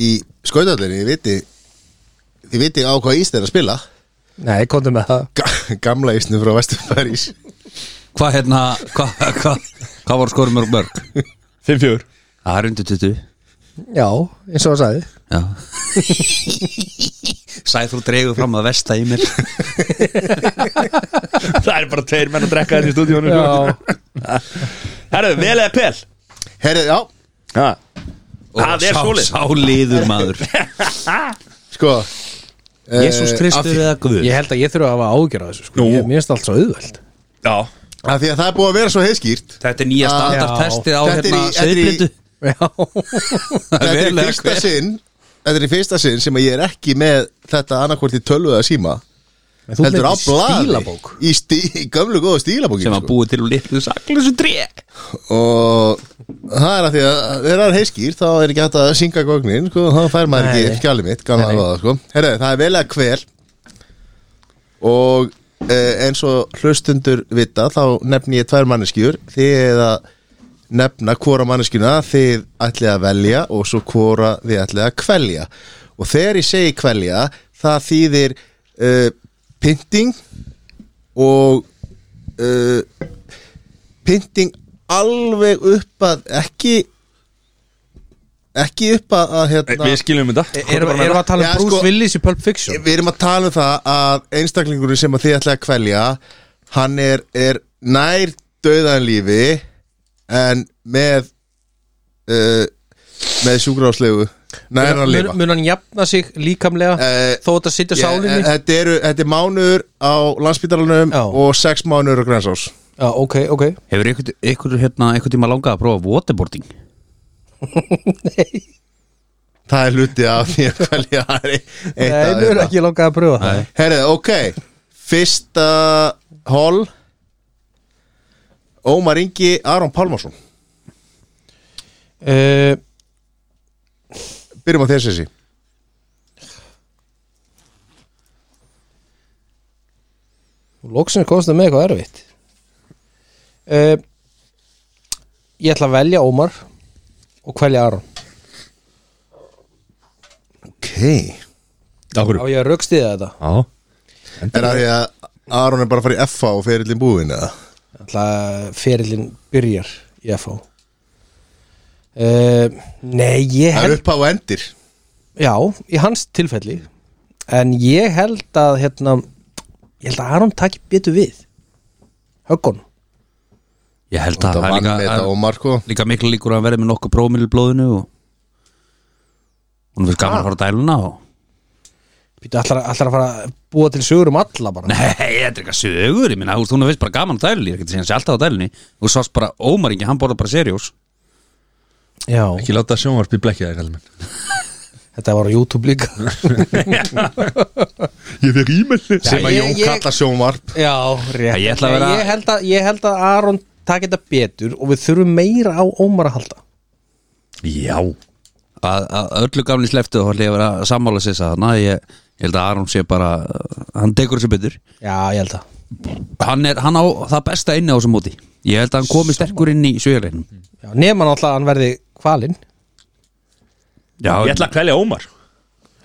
S5: í skautallinni, þið vitið þið vitið á hvað ís þeir að spila
S3: nei, komdu með það
S5: Ga- gamla ísnum frá Vestur París
S4: Hvað hérna Hvað hva, hva, hva voru skorum mörg mörg?
S2: 5-4
S4: Það er undir 20
S3: já, eins og það sagði
S4: Já Sæþrú dreigur fram að vesta í mér
S2: hérna
S3: Eh,
S2: Það er bara tveir menn að drekka þetta í stúdíónu
S3: Já.
S2: Herðu, vel eða pel
S5: Herrið, já,
S2: Ha. Það er svoleið.
S4: Sáliður maður
S5: sko eh,
S1: Jésús Kristur eða Guð
S3: Ég held að ég þurfa að hafa ágjör að þessu sko.
S2: Nú.
S3: ég, Mér finnst allt svo auðveld
S2: Já,
S5: Af því að það er búið að vera svo heiðskýrt
S4: Þetta er nýja standartestið á
S5: Þetta er í-
S4: hérna
S5: þetta er í-
S4: sveiðblindu
S5: Þetta er í
S4: verulega
S5: fyrsta
S4: hver.
S5: sinn Þetta er í fyrsta sinn sem að ég er ekki með þetta annarkvort í tölvu eða síma
S3: þú
S5: Heldur á
S3: ert í
S5: blaði
S3: stílabók.
S5: Í, stí, í gömlu góðu stílabóki
S4: sem að
S5: sko.
S4: búið til úr litlu saklausu tré
S5: Og það er af því að þegar það er heiðskýrt þá er ekki hægt að synga gógnin sko, þá fær maður
S3: Nei.
S5: ekki skjali mitt gamla
S3: Nei.
S5: alvaða, sko. Herra, það er vel að hver og eh, eins og hlustundur vita þá nefni ég tvær manneskjur þið að nefna hvora manneskjuna þið ætlið að velja og svo hvora þið ætlið að kvelja og þegar ég segi kvelja það þýðir uh, pynting og uh, pynting alveg upp að ekki ekki upp að, að hérna,
S2: við skiljum þetta
S3: Erum erum við að tala
S5: Já,
S3: um Bruce
S5: sko-
S3: Willis í Pulp Fiction?
S5: Við erum að tala um það að einstaklingurinn sem að þið ætlaði að kvelja hann er, er nær döðanlífi en með uh, með sjúgráslegu nær að
S3: Mun
S5: lifa
S3: mun hann jafna sig líkamlega
S5: Eh,
S3: þó þetta sitja
S5: Ég- eh,
S3: sálinni?
S5: Þetta eru, þetta er mánuður á landsbytarlanum
S3: Já.
S5: og sex mánuður á grænsás
S3: Já, ok, ok
S4: Hefur einhvern einhver, hérna, einhver tíma langað að prófa waterboarding?
S5: Það er hluti af því að kvelja það er eitt
S3: Nei, nú
S5: af
S3: er
S5: þetta.
S3: ekki langað að pröfa það
S5: Herrið, ok Fyrsta hol Ómar Ingi Aron Pálmarsson
S3: Eh,
S5: Byrjum á þér sessi
S3: Lóksins komst það með eitthvað erfitt uh, Ég ætla að velja Ómar og kvelja Aron
S5: Ok
S3: Á ég að rökstiða þetta
S5: Er það því að Aron er bara að fara í FH og ferillin búin eða?
S3: Ég ætla að ferillin byrjar í FH uh, Nei, ég
S5: Það er
S3: held
S5: upp á og endir
S3: Já, í hans tilfelli En ég held að hérna, Ég held að Aron taki betur við Höggun
S4: Ég held að
S5: Það
S4: það er
S5: vann með
S4: líka,
S5: þetta
S4: að-
S5: og Marko
S4: líka miklu líkur að hann verði með nokkuð prófumil í blóðinu og hún finnst gaman að fara á dæluna og
S3: Býtu ætlar, ætlar að fara að búa til sögur um alla bara
S4: Nei, þetta er eitthvað sögur, ég minna, hún finnst bara gaman á dælunni, ég er ekki að segja hann sé alltaf á dælunni og sást bara Ómar Ingi, hann borða bara seriós
S3: Já,
S2: Ekki láta sjónvarpi blekja þér helminn
S3: þetta var á YouTube líka
S2: Ég fekk ímeldi
S5: Sem að
S3: ég-
S5: Jón
S3: ég-
S5: kalla sjónvarp
S3: Já, rétt
S4: Ég ætla að vera-
S3: ég, held að, ég held að Aron taki þetta betur og við þurfum meira á Ómar að halda
S2: Já
S4: að, að öllu gamli sleftu þá ætla ég að vera að sammála sér það ég, ég held að Aron sé bara hann tekur þessu betur
S3: Já, ég held að
S4: hann, er, hann á það besta inni á þessu móti ég held að hann komi sterkur inn í sjölein
S3: Já, nema náttúrulega að hann verði kvalinn
S4: já,
S2: Ég ætla að kvelja Ómar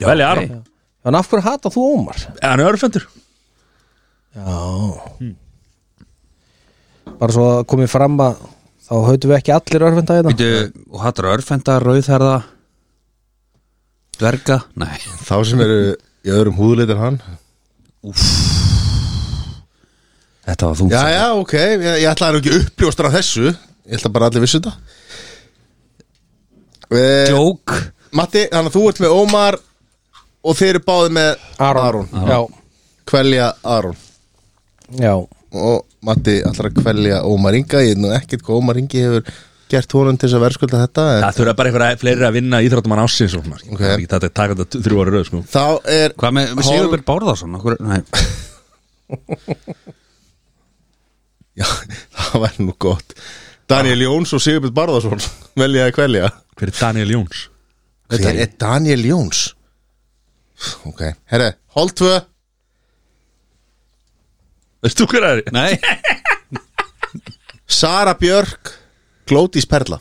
S2: Kvelja Aron
S4: ok.
S3: En af hverju hata þú Ómar?
S2: Hann er örfendur
S3: Já Bara svo að komið fram að þá hautum við ekki allir hérna. örfenda í þetta
S4: Bíddu, og hattur örfenda, rauðherða dverga, nei
S5: Þá sem eru í öðrum húðleitir hann
S4: þetta var þú
S5: Já, já, ok, ég, ég ætla að ekki uppljóstra þessu Ég ætla bara að allir vissu þetta eh,
S4: joke
S5: Matti, þannig að þú ert með Ómar og þeir eru báðið með
S3: Aron,
S5: Kvelja Aron
S3: Já, já
S5: og Matti ætlar að kvelja Ómar Inga Ég er nú ekkert hvað Ómar Ingi hefur gert honum til þess að verðskulda þetta en...
S2: Það þurfa bara einhverja fleiri að vinna íþróttumann ásins og svona sko.
S5: Ok.
S2: Það er ekki þetta að taka þetta þrjú ára röð sko
S5: Þá er
S4: hvað með
S5: Hol-
S4: Sigurbjörn Bárðarsson okkur, nei,
S5: Já, það væri nú gott Daniel Jóns og Sigurbjörn Barðarsson velja að kvelja
S2: Hver er Daniel Jóns?
S5: Hver er Daniel Jóns? Ok, herre, hól tvö
S2: Veist þú hver er það?
S4: nei.
S5: Sara Björk Glótis Perla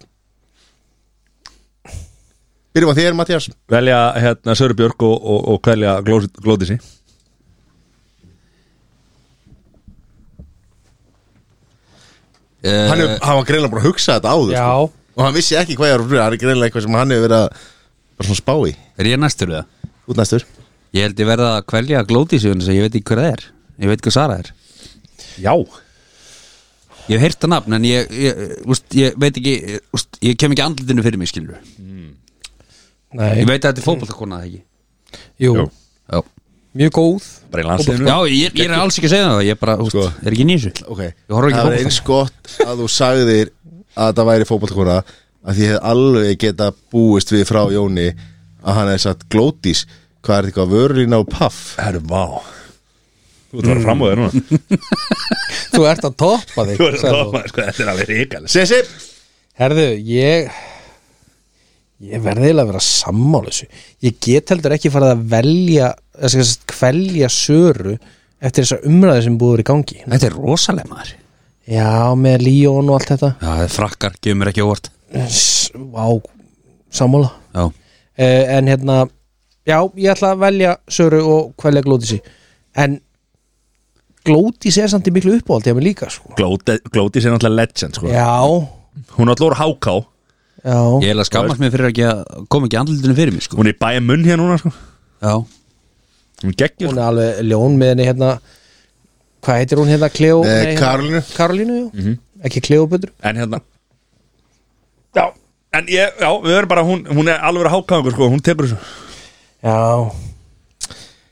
S5: Byrjum á þér, Mattias
S2: Velja hérna Söru Björk og, og, og kvelja Glóðisi
S4: Eh,
S5: Hann, hefur- hann var greinlega búin að hugsa þetta áður
S3: Já.
S5: sko. Og hann vissi ekki hvað ég var að fyrir Hann er greinlega eitthvað sem hann hefur verið að bara svona spá í
S4: er ég næstur við það
S5: Út næstur
S4: ég held ég verða að kvelja glóti sig ég veit ekki hver það er, ég veit hvað Sara er
S2: Já
S4: Ég hef heyrt það nafn en ég, ég, úst, ég veit ekki ég, úst, ég kem ekki andlutinu fyrir mig skilur Ég
S3: Nei,
S4: veit að þetta er fótboltakona það ekki
S3: jú,
S2: Jú.
S4: Já,
S3: mjög góð
S2: bara í landsliðinu
S4: Já ég, ég er alls ekki að segja það Ég bara, úst,
S5: Sko.
S4: er ekki nýsu
S5: Ok,
S4: Ég horf ekki
S5: það
S4: á
S5: er
S4: fótbolta.
S5: eins gott að þú sagðir að það væri fótballkona að því ég hef alveg geta búist við frá Jóni að hann hefði satt glótis hvað er þetta eitthvað vörlín á paff
S2: Herru, vá Þú ert að fara fram á þér núna
S3: Þú ert að toppa þig
S2: Þú ert að
S3: sagði þú.
S2: toppa, sko, þetta er alveg ríkalis
S5: Sessi
S3: Herðu, ég ég verði eiginlega að vera sammála þessu ég get heldur ekki farið að velja þess að kvelja söru eftir þessa umræði sem búður í gangi
S4: Þetta er rosalega maður Já,
S3: Já, með Líón og allt þetta
S4: það er frakkar, gefur mér ekki óvart
S3: S- Vá, sammála
S4: Já,
S3: uh, En hérna, já, ég ætla að velja söru og kvelja glótisi En glótisi er samt í miklu uppáhaldi hjá mér líka, sko
S2: Glótis er náttúrulega legend, sko
S3: Já,
S2: Hún er alltaf úr háká
S3: já
S4: ég er að skammast mér fyrir ekki að koma ekki andlutinu fyrir mig sko
S2: Hún er í bæja munn hér núna, sko
S4: Já,
S2: Hún sko. geggjur
S3: Hún er alveg ljón með henni hérna Hvað heitir hún hérna, Cleo?
S5: Eh,
S3: hérna-
S5: Karolínu.
S3: Karolínu, já Ekki Cleo betur
S2: En hérna Já, en ég, já, við erum bara Hún, hún er alveg hákáðingur, sko, hún tekur þessu
S3: Já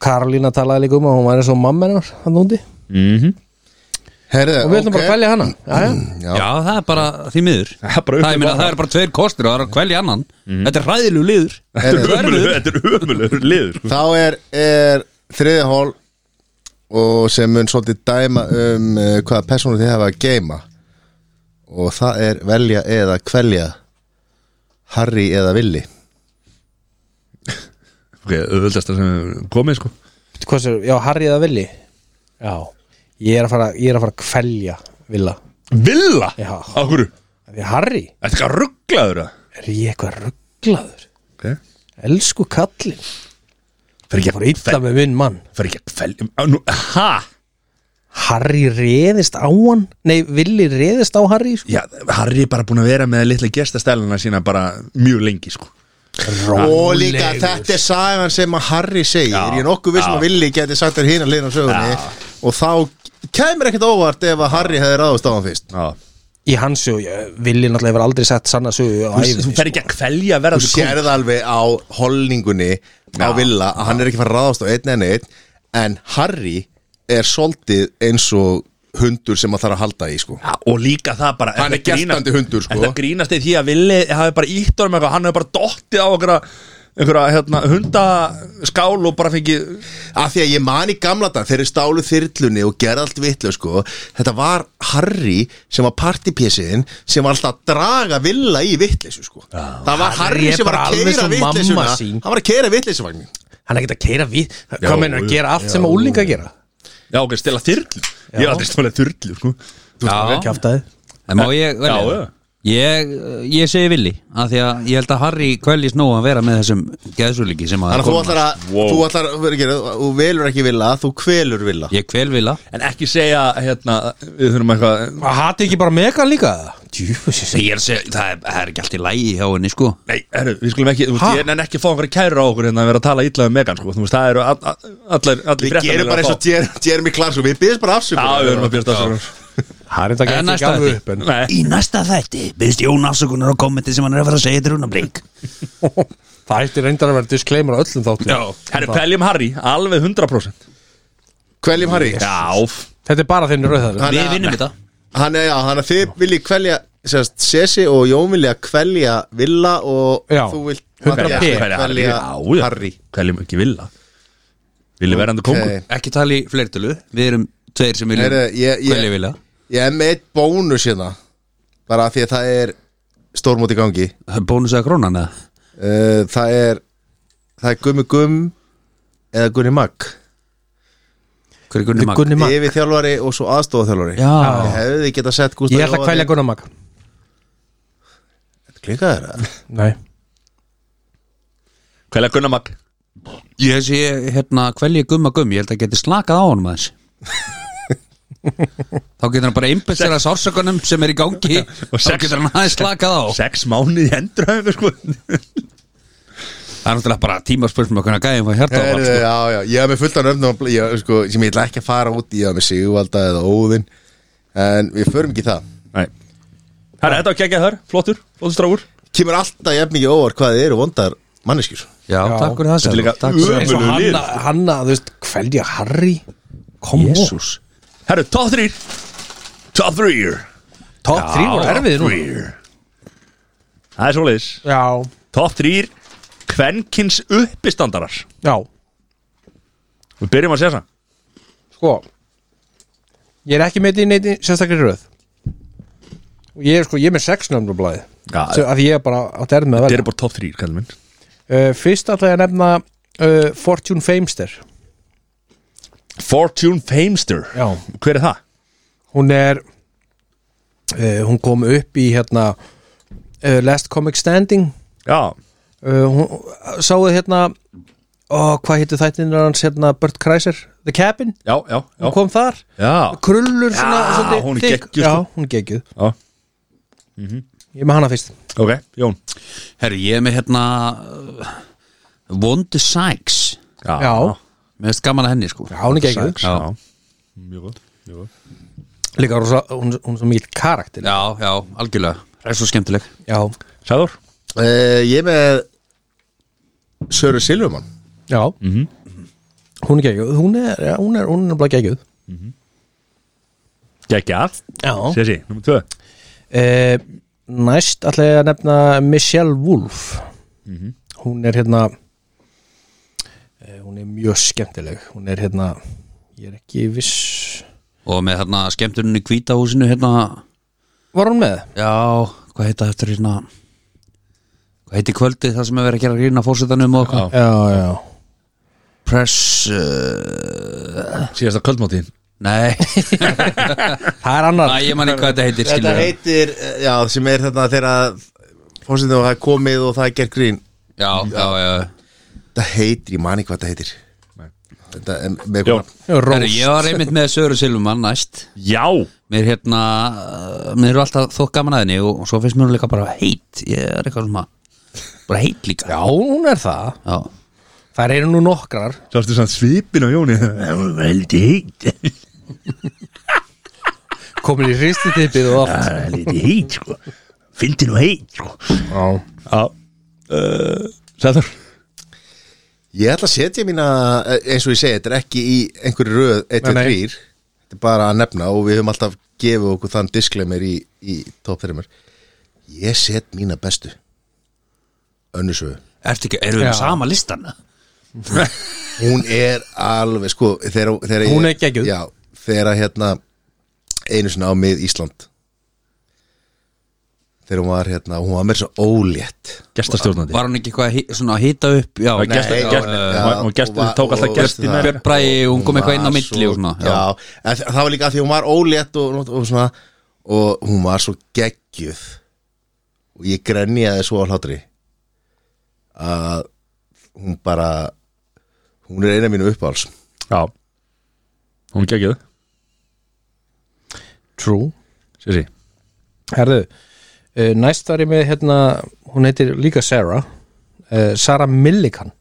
S3: Karolína talaði líka um að hún væri svo mamma hennar hann úti
S2: Mhm.
S5: Herðu,
S3: og við ætlum bara að velja hana já, já.
S4: já. það er bara því miður
S2: Það er bara
S4: Það, ég meina,
S2: upp-
S4: það er Mhm. bara tveir kostir og það er að kvelja annan Þetta er hræðilegu liður
S2: Þetta er
S4: Verður.
S2: ömurlegur- Þetta er ömurlegur liður, sko
S5: Mhm. Þá er, er þriði hól og sem mun svolítið dæma um uh, hvaða persónu þið hafa að geima og það er velja eða kvelja Harry eða Willi
S2: Ok, auðvöldast sem hefur komið, sko
S3: Hvað sér, já, Harry eða Willi Já, ég er að fara, ég er að, fara að kvelja Villa
S2: Villa?
S3: Já.
S2: Á hverju?
S3: Af Því að Harry,
S2: Þetta er eitthvað rugglaður, það?
S3: er ég eitthvað rugglaður
S2: Ok
S3: Elsku kallinn
S2: Fer ekki
S3: Ég fór illa með minn mann
S2: Fer ekki að felja á, nú- Ha?
S3: Harry reðist á hann Nei, Willi reðist á Harry sko.
S2: Já, Harry er bara búin að vera með litla gestastæluna sína bara mjög lengi, sko
S5: Og líka þetta er sagan sem að Harry segir
S2: Já.
S5: Ég er nokkuð vissum að Willi geti sagt þér hinn að liðna sögunni Og þá kemur ekkert óvart ef að Harry hefði ráðast á hann fyrst
S2: Já
S3: Í hans sög, Willi náttúrulega hefur aldrei sett sanna sögu á ævinni,
S2: Þú fer ekki að kvelja að vera
S5: Þú sérð alveg á holningunni á Villa að hann er ekki fara að ráðast á einn en einn En Harry er svolítið eins og hundur sem að þarf að halda í sko
S2: Já, og líka það bara
S5: Hann er
S2: þetta grínast-
S5: geltandi hundur, sko.
S2: Þetta grínast í því að Villi hafi bara ítt honum eitthvað Hann hefur bara dottið á einhverja, einhverja hérna, hundaskál og bara fengið
S5: Af því að ég man í gamla dag þeir eru stálu þyrlunni og gerði allt vitlu sko Þetta var Harry sem var partipjessiðin sem var alltaf að draga villa í vitleysu sko Það var
S3: Harry
S5: Harry
S3: er
S5: sem var
S3: bara
S5: að
S3: alveg
S5: keira
S3: svo mamma
S5: vitleysuna
S3: sín.
S5: Hann var að keira vitleysuvagnin
S3: Hann er ekkert að keira við Hvað meina að gera allt sem að úlinga gera
S2: Já, ok, stela þyrlu Ég er aldrei stelað þyrlu, sko
S4: Já,
S3: Kjaftaði
S4: það má ég velja
S2: Já,
S4: það?
S2: já.
S4: Ég, ég segi villi af því að ég held að Harry kveljist nóg að vera með þessum geðsúlíki sem að
S5: Þannig að þú ætlar að,
S2: Wow.
S5: þú ætlar að, vera að gera- þú velur ekki villa, þú kvelur villa
S4: Ég kvel villa
S2: En ekki segja, hérna, við þurfum eitthvað
S3: Að hati ekki bara megan líka Djúfus
S4: Ég er að segja, það er, það er ekki allt í lægi hjá henni sko
S2: Nei, herru, við skulum ekki, þú
S3: Ha?
S2: veist, ég nenn ekki að fá einhverja kæru á okkur hérna að vera að tala illa um Megan, sko Þú veist, það eru all- all- allir, allir
S5: Við gerum bara eins og Jer- Jeremy Clarkson, sko. við byrjum bara
S2: Já,
S5: afsökunar
S2: við erum að björsta þessu
S3: Hann er
S4: En
S3: þetta
S4: næsta
S3: ekki
S4: þætti.
S3: upp en
S2: Nei,
S4: Í næsta þætti byrðist Jón afsökunar á kommenti sem hann er að fara að segja til rúnablík
S3: Það ætti reyndar að vera disclaimer á öllum þáttum
S2: herru, peljum Harry, alveg 100%
S5: Kveljum Harry
S2: Já,
S3: Þetta er bara þinn rauðhæður
S5: Hann-
S4: Við vinnum þetta
S5: Hann er, já, hann að þið viljið kvelja sérst, Sesi og Jón vilja kvelja Villa og
S3: Já.
S5: þú vilt
S3: 100p.
S5: Matthías
S2: Hverja Harry?
S5: kvelja
S2: Já, já.
S5: Harry
S2: Hverjum ekki vilja Vilja vera hann kongur
S5: Ok.
S4: Ekki tala í fleirtölu, við erum tveir sem viljum
S5: Heyrðu, ég- ég-
S4: kvelja villa
S5: Ég er með eitt bónus hérna bara af því að það er stórmót í gangi
S4: Bónus eða krónan eða
S5: Eh, Það er það er Gummi Gum eða Gunni Magg
S4: Hver er Gunni Magg?
S3: Gunni Mag
S5: yfir þjálfari og svo aðstofa þjálfari
S4: Já,
S5: Ég hefði geta sett Gustaf
S3: Ég ætla að kvelja Gunni Mag
S5: Klinkaður það?
S3: Nei
S2: Hverja Gunnar Mag
S4: ég sé hérna kvelja gumma gummi Ég held að geti slakað á honum aðeins Þá getur hann bara einbætt sér að sársökunum sem er í gangi
S2: Og
S4: Þá
S2: sex-
S4: getur hann aðeins slakað á
S2: Sex mánuð í endurhæfingu sko
S4: Það er náttúrulega bara tímaspörsmum að kunna gæðin fá hjarta
S5: Heyrðu, Já, sko, já, ég hef með fullt af nöfnum á bl- ég, sko, sem ég ætla ekki að fara út í ég hef með Sigvalda eða Óðinn En við förum ekki í það
S2: Nei Herra, þetta var geggjað þar, flottur, flottur strákur
S5: Kemur alltaf jafn mikið óvar hvað þið eru vondar manneskjur
S4: Já, takk fyrir það
S2: Þetta er líka
S4: Sævar.
S3: eins og
S2: ömurlegur
S3: hanna,
S2: liður.
S3: hanna þú veist, kveldja Harry kom
S4: sko. Jesús.
S2: Herru, top 3 Top 3
S3: on top 3 voru erfiði nú
S2: Það er svoleiðis
S3: já,
S2: Top 3 Kvenkins uppistandarar
S3: já,
S2: Við byrjum að segja það
S3: sko ég er ekki með þetta í neitt sérstakri röð og ég er sko, ég er með sex nöfnum blæði
S2: Já.
S3: að því ég er bara átt erð með
S2: Þetta
S3: að velja
S2: er bara top 3, kallum minn
S3: uh, fyrst ætla ég að nefna uh, Fortune Famester
S2: Fortune Famester
S3: Já.
S2: Hver er það?
S3: hún er uh, hún kom upp í hérna uh, Last Comic Standing
S2: Já
S3: uh, hún, sáuð hérna ó, hvað hétu þættinir hans hérna Burt Kreiser, The Cabin
S2: Já, já, já
S3: hún kom þar,
S2: Já,
S3: krullur svona,
S2: Já,
S3: svolítið
S2: hún er
S3: þykk.
S2: geggjuð,
S3: já,
S2: sko.
S3: hún er geggjuð
S2: Já.
S3: ég er með hana fyrst
S2: ok, Jón
S4: Herru, ég er með hérna uh, Wonder Sykes
S3: já,
S4: Mér finnst gaman að henni sko
S3: já, hún er geggjuð
S4: Já,
S2: Mjög góð mjög góð.
S3: líka rosa, hún, hún er svo mikil karakter
S4: já, já algjörlega Það er svo skemmtileg
S3: já,
S2: Sæður
S5: uh, Ég er með Söru Silvumann
S3: já.
S4: Mhm.
S3: hún er geggjuð hún er, já, hún er, hún er bara geggjuð
S2: Gekjað
S3: já
S2: Sessi, nummer 2
S3: Eh, næst ætla ég að nefna Michelle Wolf
S4: Mhm.
S3: hún er hérna eh, hún er mjög skemmtileg hún er hérna ég er ekki viss
S4: Og með hérna skemmtunni í hvítahúsinu hérna
S3: var hún með?
S4: Já, hvað heita eftir hérna Hvað heiti kvöldið það sem er verið að gera grína fórsetanum og hvað
S3: já, já
S4: Press uh,
S2: Síðasta kvöldmáttíðin
S4: Nei,
S3: það er annar
S4: Æ, ég man ekki hvað þetta heitir
S5: Þetta
S4: skilur.
S5: heitir, eh, já, sem er þetta þegar Fórsetum og það er komið og það er gert grín
S4: Já, já, já
S5: Þetta heitir, ég man ekki hvað þetta heitir Þetta er með
S2: Jón
S5: eitthvað
S4: Heru,
S3: Rós
S4: Ég var einmitt með Söru Silvumann næst
S2: Já
S4: Mér hérna uh, Mér eru alltaf þótt gaman að henni og og svo finnst mér hún líka bara heit Ég er eitthvað svona Bara heit líka
S3: já, hún er það
S4: já.
S3: það eru nú nokkrar
S2: Sástu sann svipin á Jóni Það var veldi heitt
S3: komin í hristitippið og allt
S2: Það er lítið heitt sko Fyndi nú heitt sko
S3: já,
S2: Já uh, Sæður
S5: Ég ætla að setja mína, eh, eins og ég segi, þetta er ekki í einhverju röð 1, 2,
S3: Nei, nei.
S5: 3 Þetta er bara að nefna og við höfum alltaf gefið okkur þann disclaimer í, í top 3 Ég set mína bestu Önnusögu
S4: Ertu ekki, eru við
S3: Já.
S4: með sama listan?
S5: Hún er alveg, sko þegar, þegar
S3: Hún er geggjuð.
S5: Já, þegar að hérna einu sinna á mið Ísland Þegar hún var hérna, hún var með svo ólétt
S2: Gestastjórnandi
S4: Var hún ekki eitthvað að hi- svona að hita upp? Já,
S2: Nei, gesta-
S5: Nei,
S2: gest-
S5: já,
S2: hún-
S5: já,
S2: hún gest-
S5: hún var-
S2: tók alltaf
S5: og-
S2: gesti
S5: og-
S2: með.
S4: Björn Bragi, hún kom eitthvað inn á
S5: var
S4: milli
S5: svo-
S4: og svona, já.
S5: Já, en þa- það var líka af því hún var ólétt og, og, og svona og hún var svo geggjuð og ég grenjaði svo á hlátri að hún bara hún er eina mínu uppáls
S2: Já Hún geggjöð
S3: true
S2: Sessi
S3: herðu, uh, næst var ég með hérna, hún heitir líka Sarah uh, Sarah Millikan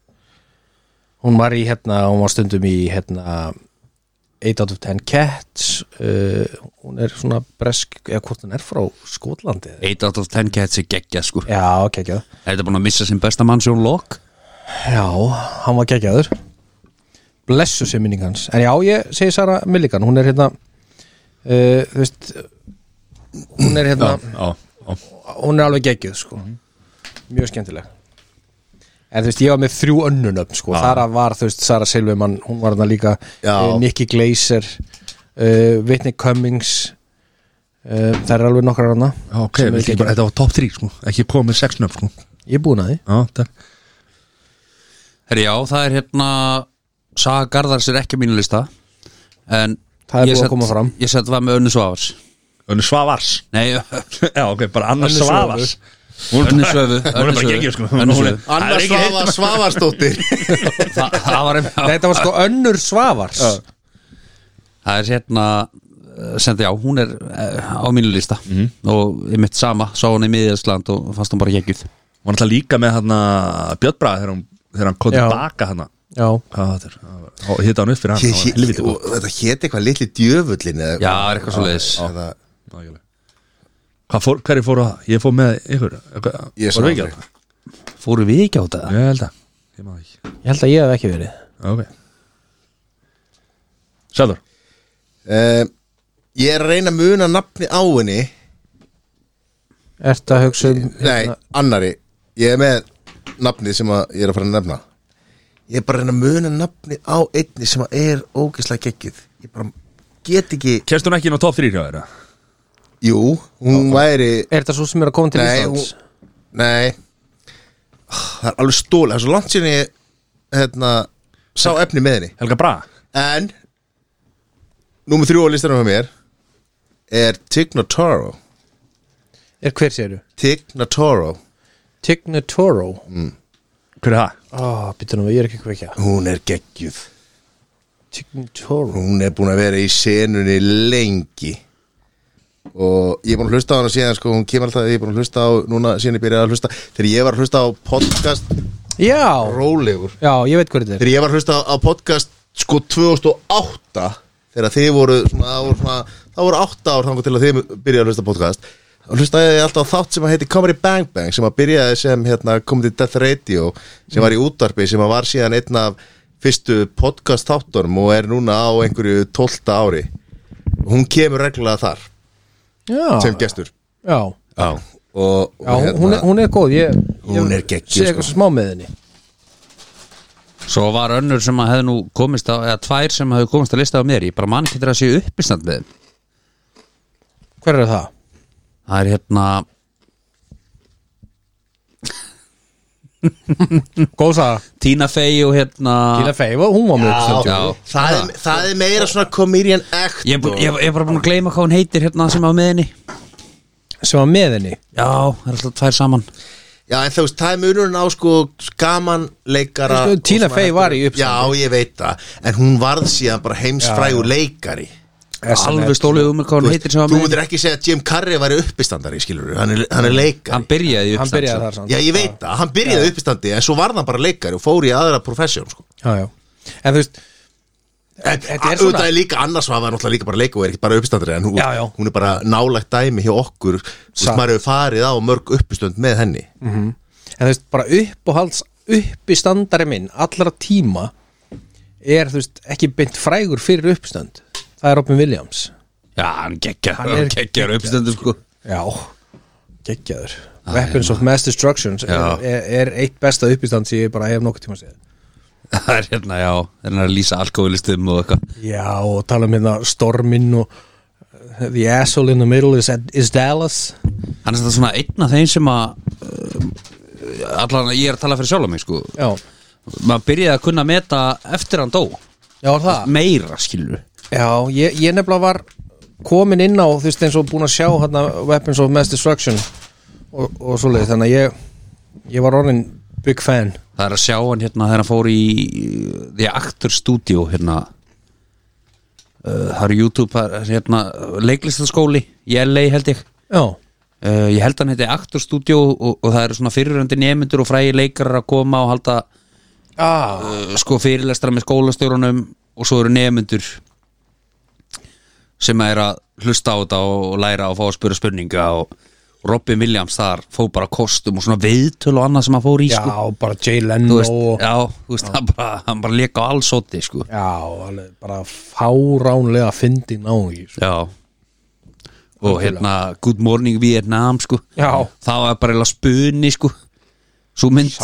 S3: hún var í hérna hún var stundum í hérna 8 out of 10 cats uh, hún er svona bresk eða hvort hún er frá Skotlandi eða-
S4: 8 out of 10 cats er geggja sko
S3: já, geggjað
S4: Er þetta búin að missa sinn besta mann Sjón Lok?
S3: já, hann var geggjaður blessu sem minning hans en já, ég segi Sarah Millikan hún er hérna uh, þú veist hún er hérna
S2: Já já.
S3: hún er alveg geggjuð sko mjög skemmtileg en þú veist ég var með þrjú önnunöfn sko þar að var þú veist Sara Silvimann hún var þarna líka
S5: Já.
S3: uh, Nicky Glaser uh, Whitney Cummings uh, það er alveg nokkar hana
S2: Já, ok,
S3: Sem er
S2: viltu ekki bara,
S3: geggjuð.
S2: þetta var top 3 sko Ekki komið 6 nöfn sko
S3: ég er búin að því
S2: Já, takk
S4: Herri já, það er hérna Saga Garðars er ekki á mínu lista En
S3: Það er
S4: ég
S3: búið að
S4: set-
S3: koma fram.
S4: Ég sett það með Önnu Svavars
S2: Önnu Svavars
S4: Nei,
S2: Já, ok, bara Anna
S3: Önnu
S2: Svavars
S3: Svavars.
S4: Önnu Svöfu
S2: Hún
S4: Önnu
S2: er bara
S4: Svöfu,
S2: geggjuð sko
S4: Önnu
S2: Hún er-
S4: Svöfu.
S2: Það
S5: Anna
S2: er ekki heitt sko.
S5: Svava Svavarsdóttir
S4: Það það var einhver
S3: þetta var sko önnur Svavars
S4: Það er hérna eh, sendi á, hún er eh, á mínu lista
S2: Mhm.
S4: og ég mitt sama, sá hún í miðjarsland og fannst hún bara geggjuð
S2: Hún var alltaf líka með hann Björn Braga þegar hún þegar hann kom
S3: Já.
S2: tilbaka hana
S3: já,
S2: hvað þetta er, og hitta hann upp fyrir hann
S5: Ég-
S2: það var
S5: ég-
S2: helviti
S5: og Þetta héti eitthvað litli djöfullin eða-
S4: Já, er eitthvað svo leiðis
S5: eða,
S2: gott Hvað fór, hverju fór að, ég fór með ykkur Hvað-
S5: Ég
S2: voru
S5: sá
S2: við ekki á
S5: aldrei.
S2: það?
S4: Fóru við ekki á þetta?
S2: Ég held að, ég maður ekki
S3: ég held að ég hef ekki verið
S2: Ok Sæður
S5: Eh, Ég er að reyna að muna nafni á henni
S3: Ertu að hugsa um
S5: Nei, annari Ég er með nafnið sem að ég er að fara að nefna Ég er bara að reyna að muna nafnið á einni sem að er ógeðslega geggið Ég bara get ekki
S2: Kemst hún ekki inn á top 3 hjá þeirra?
S5: Jú, hún væri
S3: Er þetta svo sem er að koma til
S5: Nei,
S3: Íslands?
S5: Nei Ah, Það er alveg stóla, það er svo langt sinni hérna, sá efni með henni
S2: Helga Braga
S5: En Númer þrjú á listanum hjá mér Er Tig Notaro
S3: Er hver séru?
S5: Tig Notaro
S3: Tignatoro
S2: Hver er það?
S3: Ó, býttu nú, ég er ekki að kveikja
S5: Hún er geggjuð
S3: Tignatoro
S5: Hún er búin að vera í senunni lengi Og ég er búin að hlusta á hana síðan sko, Hún kemur alltaf, ég er búin að hlusta á Núna síðan ég byrjaði að hlusta Þegar ég var að hlusta á podcast
S3: Já,
S5: Rólegur
S3: já, ég veit hver þetta er
S5: þegar ég var að hlusta á podcast sko 2008 þegar þið voru svona, það voru svona það voru 8 ár þangur til að þið byrjaði að hlusta á podcast og hlustaði ég alltaf á þátt sem að heiti Comedy Bang Bang sem að byrjaði sem hérna Comedy Death Radio sem var í útvarpi sem að var síðan einn af fyrstu podcast þáttunum og er núna á einhverju 12 ári hún kemur reglulega þar
S3: Já,
S5: sem gestur
S3: Ah. já,
S5: Já, og, og
S3: já hún- hún, er, hún er góð ég,
S5: Hún er geggjuð,
S3: Sér
S5: sko.
S3: smá með henni
S4: Svo var önnur sem að hefði nú komist á eða tvær sem hefði komist að lista á mér ég bara mann getur að sé uppistand með þeim
S3: Hver er það?
S4: Það er hérna
S3: Góðsa
S4: Tina Fey og hérna
S3: Tína Fey, hún var mjög
S4: Já,
S3: stundjum
S5: það, er, það er meira svona comedian act
S4: Ég er bú- ég- ég er bara búin að gleyma hvað hún heitir hérna sem á meðinni
S3: Sem var með henni
S4: Já, það er alltaf tvær saman
S5: Já, en þú veist, það er munurinn á sko gaman leikara
S3: Þú veist, Tina Fey var í uppstandi.
S5: uppstandi Já, ég veit það, en hún varð síðan bara heimsfrægur leikari
S4: Alveg stólið um mig hvað
S5: Þú
S4: hún
S5: veist,
S4: heitir sem á
S5: þú
S4: meðinni
S5: myndir ekki segja að Jim Carrey var uppistandari, skilur hann er, hann er
S4: Hann
S5: leikari
S4: byrjaði í
S3: Hann
S4: uppstand
S3: byrjaði
S4: svo.
S3: þar samt
S5: Já, ég veit það, hann byrjaði uppistandi en svo varð hann bara leikari og fór í aðra profession sko.
S3: Já, já En þú veist
S5: En
S3: Þetta er
S5: auðvitað
S3: svona-
S5: er líka annars var hann náttúrulega líka bara leik og er ekki bara uppistandari en hún,
S3: Já, já.
S5: hún er bara nálægt dæmi hjá okkur Þú veist,
S3: Satt. Mm.
S5: maður hefur farið á mörg uppistönd með henni
S3: en þú veist, bara upp og halds upp í standari minn allra tíma er, þú veist, ekki beint frægur fyrir uppstand það er Robin Williams
S4: Já, hann geggjar,
S3: Hann er
S4: geggjar uppstandur sko
S3: já, geggjaður Weapons of Mass Destruction
S4: Já.
S3: er, er, er eitt besta uppistand sem ég bara hef nokkuð tíma séð
S4: Það er hérna, já, hérna er að lýsa alkoholistum og eitthvað
S3: já, og tala um hérna stormin og uh, the asshole in the middle is, is Dallas
S4: Hann er þetta svona einn af þeim sem að uh, allan að ég er að tala fyrir sjálf mig sko
S3: já,
S4: maður byrjaði að kunna meta eftir hann dó
S3: já, er það
S4: meira skilur
S3: Já, ég, ég nefnilega var komin inn á þú veist eins og búin að sjá hérna, Weapons of Mass Destruction og, og svoleiði, þannig að ég ég var orðin big fan
S4: það er að sjá hann hérna þegar hann fór í uh, The Actor Studio hérna uh, það eru YouTube það er, hérna, leiklistaskóli í LA held ég
S3: Já,
S4: uh, ég held hann heiti Actor Studio og, og það eru svona fyrirrandi nemyndur og frægi leikarar að koma og halda
S3: ah.
S4: uh, sko fyrirlestra með skólastjórunum og svo eru nemyndur sem er að hlusta á þetta og læra og fá að spura spurninga og Robin Williams þar fóð bara kostum og svona viðtöl og annað sem hann fór í
S3: já
S4: sko.
S3: bara Jay
S4: þú
S3: Leno
S4: veist,
S3: og,
S4: já, þú veist, hann bara, hann bara leka á alls óti, sko
S3: Já, alveg, bara fáránlega fyndin á því sko.
S4: já og hérna Good Morning Vietnam, sko
S3: Já.
S4: það var bara eða spuni, sko svo mynd,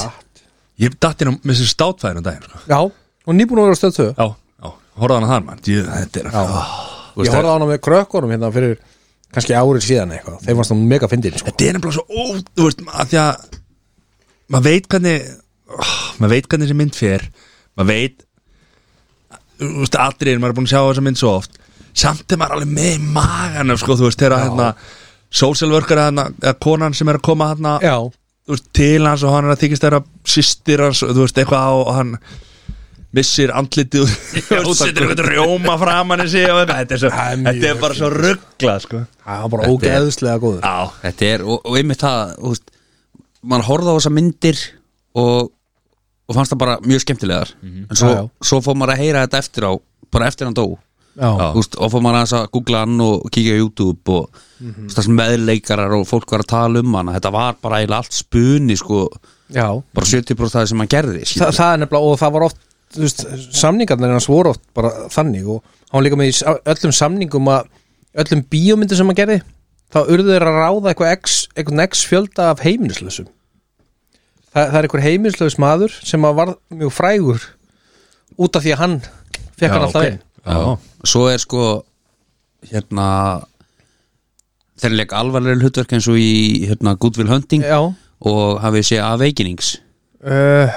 S2: Ég datt inn á með þessi státfæðinu daginn sko.
S3: Já, og nýbúin að vera stöð 2
S2: Já, já, horfða hann að þar mann Jú, þetta er Ó, þú
S3: Ég
S2: veist,
S3: horfði á hana með krökkunum hérna fyrir kannski árið síðan eitthvað, þeir varst hún mega fyndin sko.
S2: Þetta er nefnilega svo ó, þú veist, að því að maður veit hvernig oh, maður veit hvernig þessi mynd fer maður veit þú veist, atriðin, maður er búin að sjá þessa mynd svo oft samt er maður alveg með í maganum sko, þú veist, þegar hérna social worker, hérna, eða konan sem er að koma hérna,
S3: Já,
S2: þú veist, til hans og hann er að þykist þeirra sýstir hans og þú veist, eitthvað og hann missir andlitið og þú veist, setur eitthvað rjóma framan í sig og eitthvað, þetta er, svo,
S3: Það er mjög
S2: þetta er bara svo ruggla sko.
S3: það var bara ógeðslega góður
S2: Já,
S4: þetta er, og, og einmitt það, þú veist mann horfði á þessa myndir og og fannst það bara mjög skemmtilegar en svo,
S3: Mhm. Já, já.
S4: svo fór maður að heyra þetta eftir á bara eftir hann dó
S3: já,
S4: Þú veist, og fór maður aðeins að googla hann og kíkja á YouTube og mm
S3: Mhm.
S4: -hmm. þessum meðleikarar og fólk var að tala um hann þetta var bara eiginlega allt spuni sko,
S3: já.
S4: bara 70% það sem hann gerði
S3: Þa,
S4: skilur.
S3: það er nefnilega, og það var oft þú veist, samningarnir hans voru oft bara þannig og hann var líka með í sa- öllum samningum að öllum bíómyndu sem hann gerði þá urðu þeir að ráða eitthvað x, eitthvað x fjölda af heimilislausum Þa, það er einhver heimilislaus maður sem að var mjög frægur út af því að hann fekk hann alltaf inn
S4: svo er sko hérna þeir leik alvarlega hlutverk eins og í hérna, Goodwill Hunting
S3: Já,
S4: og hafið sé Awakenings
S3: uh,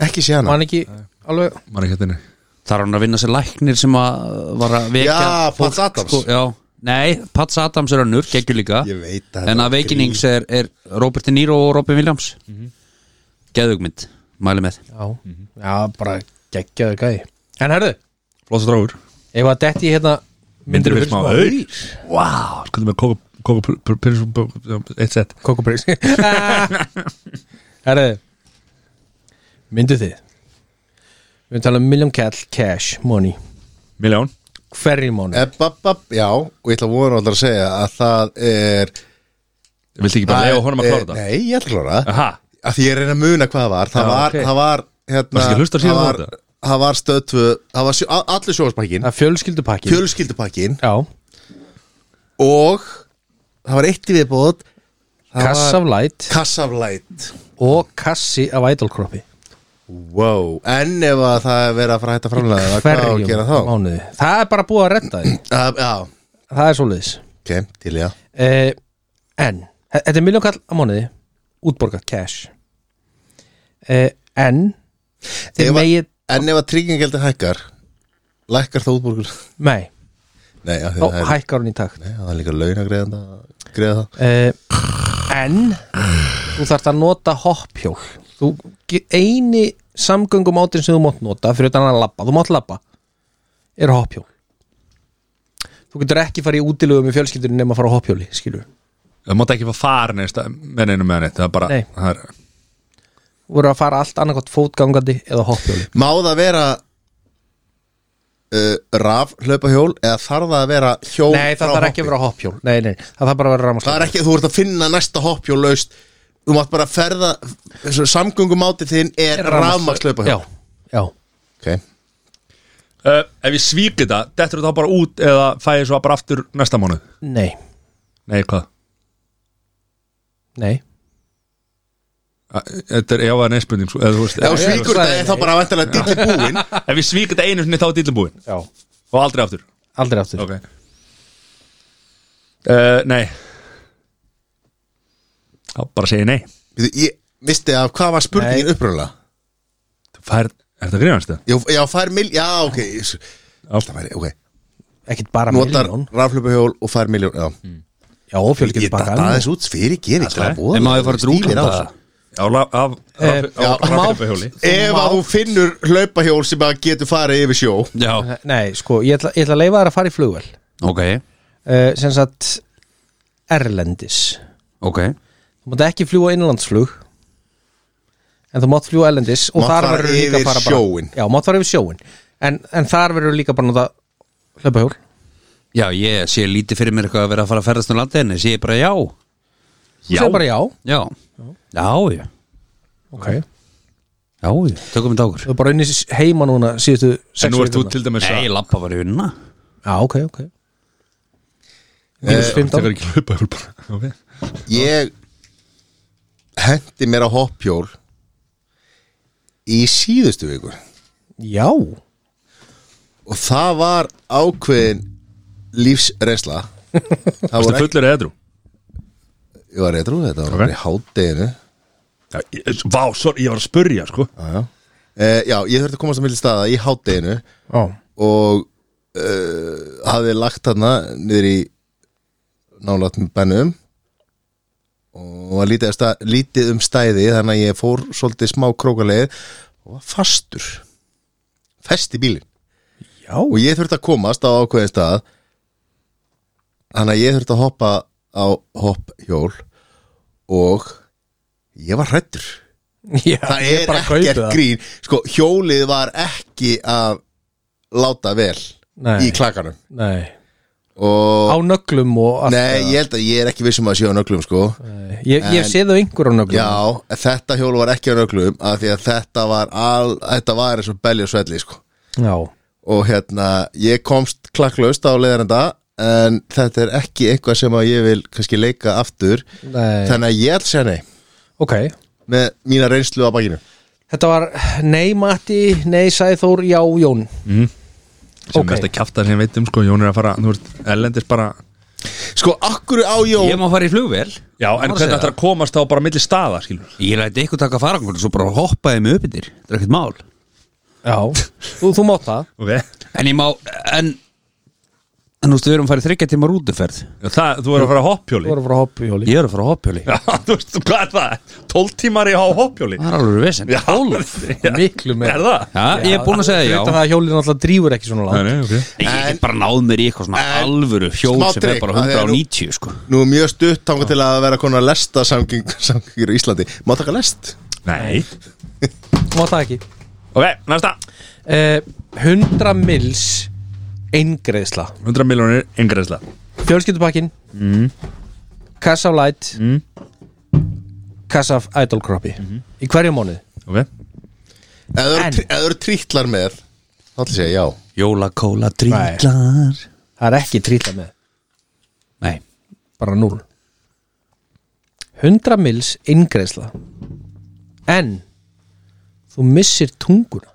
S5: Ekki sé hana
S3: mann ekki alveg
S1: maður ekki hérna
S4: þar er hann að vinna sér læknir sem að var að vekja
S5: Já,
S4: fólk,
S5: Pats Adams.
S4: sko, já, Nei, Pats Adams er önnur, geggjur líka
S5: Ég veit að
S4: En
S5: þetta
S4: að Veikinings er, er Robert De Niro og Robin Williams mm Geðugmynd, mæli með
S3: Já, já bara geggjaðu gæði En herðu,
S2: Flossa drágur
S3: ef að detti hérna
S2: Myndir við
S3: fyrir
S2: smá
S3: smá-
S2: auð Vá, skoðum við kókupyrins Eitt sett
S3: Kókubrís Herðu Myndu þið Við erum talað um million cash, cash money
S2: Miljón
S3: Hverri
S5: Eh,
S3: mánu
S5: Ebbabab, já, og ég ætla að vona alltaf að segja að það er
S2: Viltu ekki bara lega honum að klára
S5: Eh,
S2: þetta?
S5: Nei, ég ætla að klára það
S2: Aha,
S5: Af því ég er að reyna að muna hvað það var Það
S2: Já,
S5: var,
S2: ok.
S5: það var, hérna
S2: Varstu ekki að hlusta síðan
S5: það
S2: á
S5: var,
S2: þetta?
S5: það var stöðtvu Það var sjó, a- allur sjóðspakkin
S2: Ah,
S3: Það er fjölskyldupakki
S5: Fjölskyldupakkin
S3: Já,
S5: Og það var eitt í viðbóð það
S3: kass
S5: var
S3: af light
S5: Kassaflæt
S3: og kassi af idolkroppi
S5: Wow, en ef að það er verið að fara að hætta framlega það, Hvað á að
S3: Hverjum
S5: gera þá?
S3: mánuði Það er bara búið að redda því
S5: Uh, já,
S3: Það er svoleiðis
S5: ok, til já
S3: uh, En, þe- þetta er million kall á mánuði Útborgat cash uh, En
S5: Ef
S3: Þið
S5: að-
S3: megið
S5: En ef að tryggingeldi hækkar Lækkar það útborgur
S3: Nei,
S5: Nei, já,
S3: Ó,
S5: því það er,
S3: hækkar hún í takt
S5: nei, það er líka launagreðanda að greiða það
S3: uh, en þú þarft að nota hoppjól þú ge- eini samgöngum átinn sem þú mátt nota fyrir utan að labba, þú mátt labba er hoppjól þú getur ekki farið í útilögum í fjölskyldunum nema að fara á hoppjóli, skilur
S2: það mátt ekki fá farin eða stað- með neinu með neitt Það er bara
S3: Nei.
S2: það er,
S3: þú voru að fara allt annarkvæmt fótgangandi eða hoppjóli
S5: Má það vera uh, raf hlaupahjól eða þarf það að vera hjól
S3: nei, það
S5: frá
S3: þarf ekki
S5: hoppi?
S3: að vera hoppjól nei, nei, það þarf bara að vera
S5: Það er
S3: rámaslega
S5: ekki, þú ert að finna næsta hoppjól laust Þú mátt bara ferða Samgöngumátið þinn er rafmaks
S3: já,
S5: hlaupahjól
S3: já,
S5: okay.
S2: uh, Ef ég svík þetta, dettur þetta þá bara út eða fæ ég svo bara aftur næsta mánu
S3: nei,
S2: Nei, hvað?
S3: nei
S2: Æ, Þetta er ef að neinsbunding eða, þú veist,
S5: Ef þú
S2: ef-
S5: svíkur það er þá bara vantanlega dillir búinn
S2: Ef ég svík þetta einu sinni þá er dýllin búinn
S3: já.
S2: og aldrei aftur
S3: aldrei aftur
S2: Ok uh, Nei Já, bara segi nei
S5: Bíddu, Ég misti af hvað var spurningin
S3: Nei.
S5: uppröðlega
S2: Þú fær, er þetta grínast það?
S5: Já, já, fær miljón, já, ok Það væri, ok
S3: ekkit bara
S5: Notar
S3: miljón
S5: raflöpuhjól og fær miljón Já,
S3: já, og
S5: ég datt
S3: fjölskyldupakkan
S5: aðeins út fyrir gefi Það er voða
S4: En maður fara að drúka
S5: stílir á
S4: þetta
S5: þessu.
S2: Já, la- af
S3: Eh, já,
S2: Raffiðbæhjóli
S3: má-
S5: Ef að þú finnur hlaupahjól sem að getur farið yfir sjó
S4: Já,
S3: Nei, sko, ég ætla, ég ætla að leifa þær að fara í flugvel
S4: ok,
S3: uh, sem sagt Erlendis
S4: ok
S3: Þú mátt ekki fljúa innlandsflug en þú mátt fljúa Erlendis og
S5: Mátt
S3: þar
S5: fara
S3: verður líka
S5: yfir
S3: að fara bara
S5: sjóinn.
S3: Já, mátt fara yfir sjóin en, en þar verður líka bara að nota hlaupahjól
S4: Já, ég sé lítið fyrir mér eitthvað að vera að fara að ferðast um landið en ég sé bara já
S3: Þú segir bara já,
S4: Já, já, já,
S3: ok
S4: já, já. tökum við dagur
S3: Þú er bara unni heima núna síðustu sex
S2: En nú ert þú
S3: vikurnar.
S2: til dæmis
S4: Nei,
S2: að
S4: lappa var í vinna
S3: Já, ok, ok
S5: Eh,
S3: Mínus 15
S2: Þegar ekki hlaupa hjól bara okay.
S5: Ég hendi mér á hoppjól Í síðustu viku
S3: Já,
S5: Og það var ákveðin lífsreynsla Það
S2: Þú
S5: var ekki,
S2: fullur eða edru
S5: ég var reytrú Þetta var
S2: Ok.
S5: bara í hátdeginu
S2: Já, ég- Vá, sorry, ég var að spurja sko
S5: Já, já. Eh, já, ég þurfti að komast að milli staða í hátdeginu
S3: já,
S5: og uh, hafði lagt hana niður í nálat með bennum og var lítið, af stað, lítið um stæði þannig að ég fór svolítið smá krókaleið og var fastur fest í bílinn
S3: já
S5: og ég þurfti að komast á ákveðin stað þannig að ég þurfti að hoppa á hopphjól og ég var hrættur
S3: Já,
S5: það
S3: ég
S5: er
S3: bara kaupi
S5: ekkert
S3: það.
S5: grín sko, hjólið var ekki að láta vel
S3: Nei.
S5: í klakanum
S3: Nei,
S5: og
S3: á nöglum og allt
S5: nei, ég held að ég er ekki vissum að sé á nöglum sko.
S3: Nei. Ég, ég
S5: En-
S3: sé þau einhver á nöglum
S5: já, þetta hjól var ekki á nöglum af því að þetta var al, þetta var eins og belja og svelli sko.
S3: Já.
S5: og hérna, ég komst klakklaust á leiðarenda en þetta er ekki eitthvað sem að ég vil kannski leika aftur
S3: Nei.
S5: þannig að ég held sér nei
S3: ok
S5: með mína reynslu á bakinu
S3: Þetta var nei Matti, nei Sæþór, já Jón
S6: sem
S3: Ok.
S6: okay. mest að kjafta sem ég veit um sko Jón er að fara, þú veist, erlendis bara
S5: sko, akkur á Jón
S4: Ég má fara í flugvél
S2: Já, en
S4: Bara
S2: hvernig
S4: segja
S2: ætlar að komast þá bara milli staða, skilur
S4: Ég læti ykkur taka farangur Svo bara hoppaði mig upp yfir Það er ekkert mál
S3: Já, þú, þú mátt það
S2: okay.
S4: En ég má En En þú veist, við erum farið þryggja tíma rútuferð
S2: það, Þú er að fara að hoppjóli
S3: Þú voru að fara að hoppa í hjóli
S4: Ég er að fara á hoppjóli
S2: Já, þú veist, hvað er það? 12 tímar í há hoppjóli
S4: Það er alveg vesen
S2: Já, já.
S3: Miklu meira.
S2: Er það?
S4: Já, ég er búin að segja
S3: Þetta
S4: já
S3: það að hjólið náttúrulega drífur ekki svona langt
S2: nei, ok
S4: Ég get bara náð mér í eitthvað svona alvöru hjól
S5: smá
S4: sem er
S5: trikk,
S4: bara
S5: það er nú-
S4: 190 sko
S5: Nú er mjög stutt tanga til að vera konar lesta samgengur í Íslandi Má taka lest?
S2: Nei
S3: Þú mátt það ekki
S2: Ok, næsta
S3: Eh, 100 mils eingreðsla
S2: 100 miljónir yngreðsla
S3: fjölskyldupakkin mm. kassa af light mm. Mhm. kassa af idol croppi í hverju mónuð
S2: Ok
S5: Ef þú eru
S3: En-
S5: tr- ef þú eru trítlar með Þá ætla ég að segja já
S4: Jólakóla drýtlar
S3: það er ekki trýta með,
S4: Nei,
S3: bara 0 100 mils ingreðsla en þú missir tunguna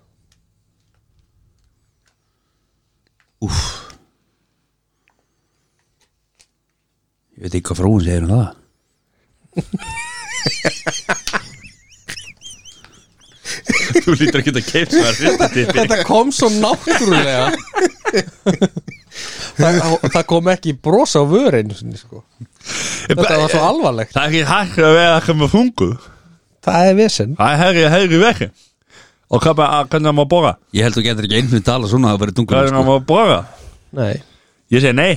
S4: ég veit ekki hvað frúin segir um það
S2: Þú lítur ekki að keipt sem er fyrsta tippi
S3: þetta kom svo náttúrulega það, það kom ekki bros á vörin sko. þetta var svo alvarlegt
S2: Það er ekki hægt að vera að kemur fungu
S3: það er vesen
S2: Það er herri, herri vekki Og hvað bara, hvernig má bóra?
S4: Ég held þú getur ekki einhvern tala svona að vera dungur
S2: Hvernig
S4: sko.
S2: má bóra?
S3: Nei.
S2: Ég segi nei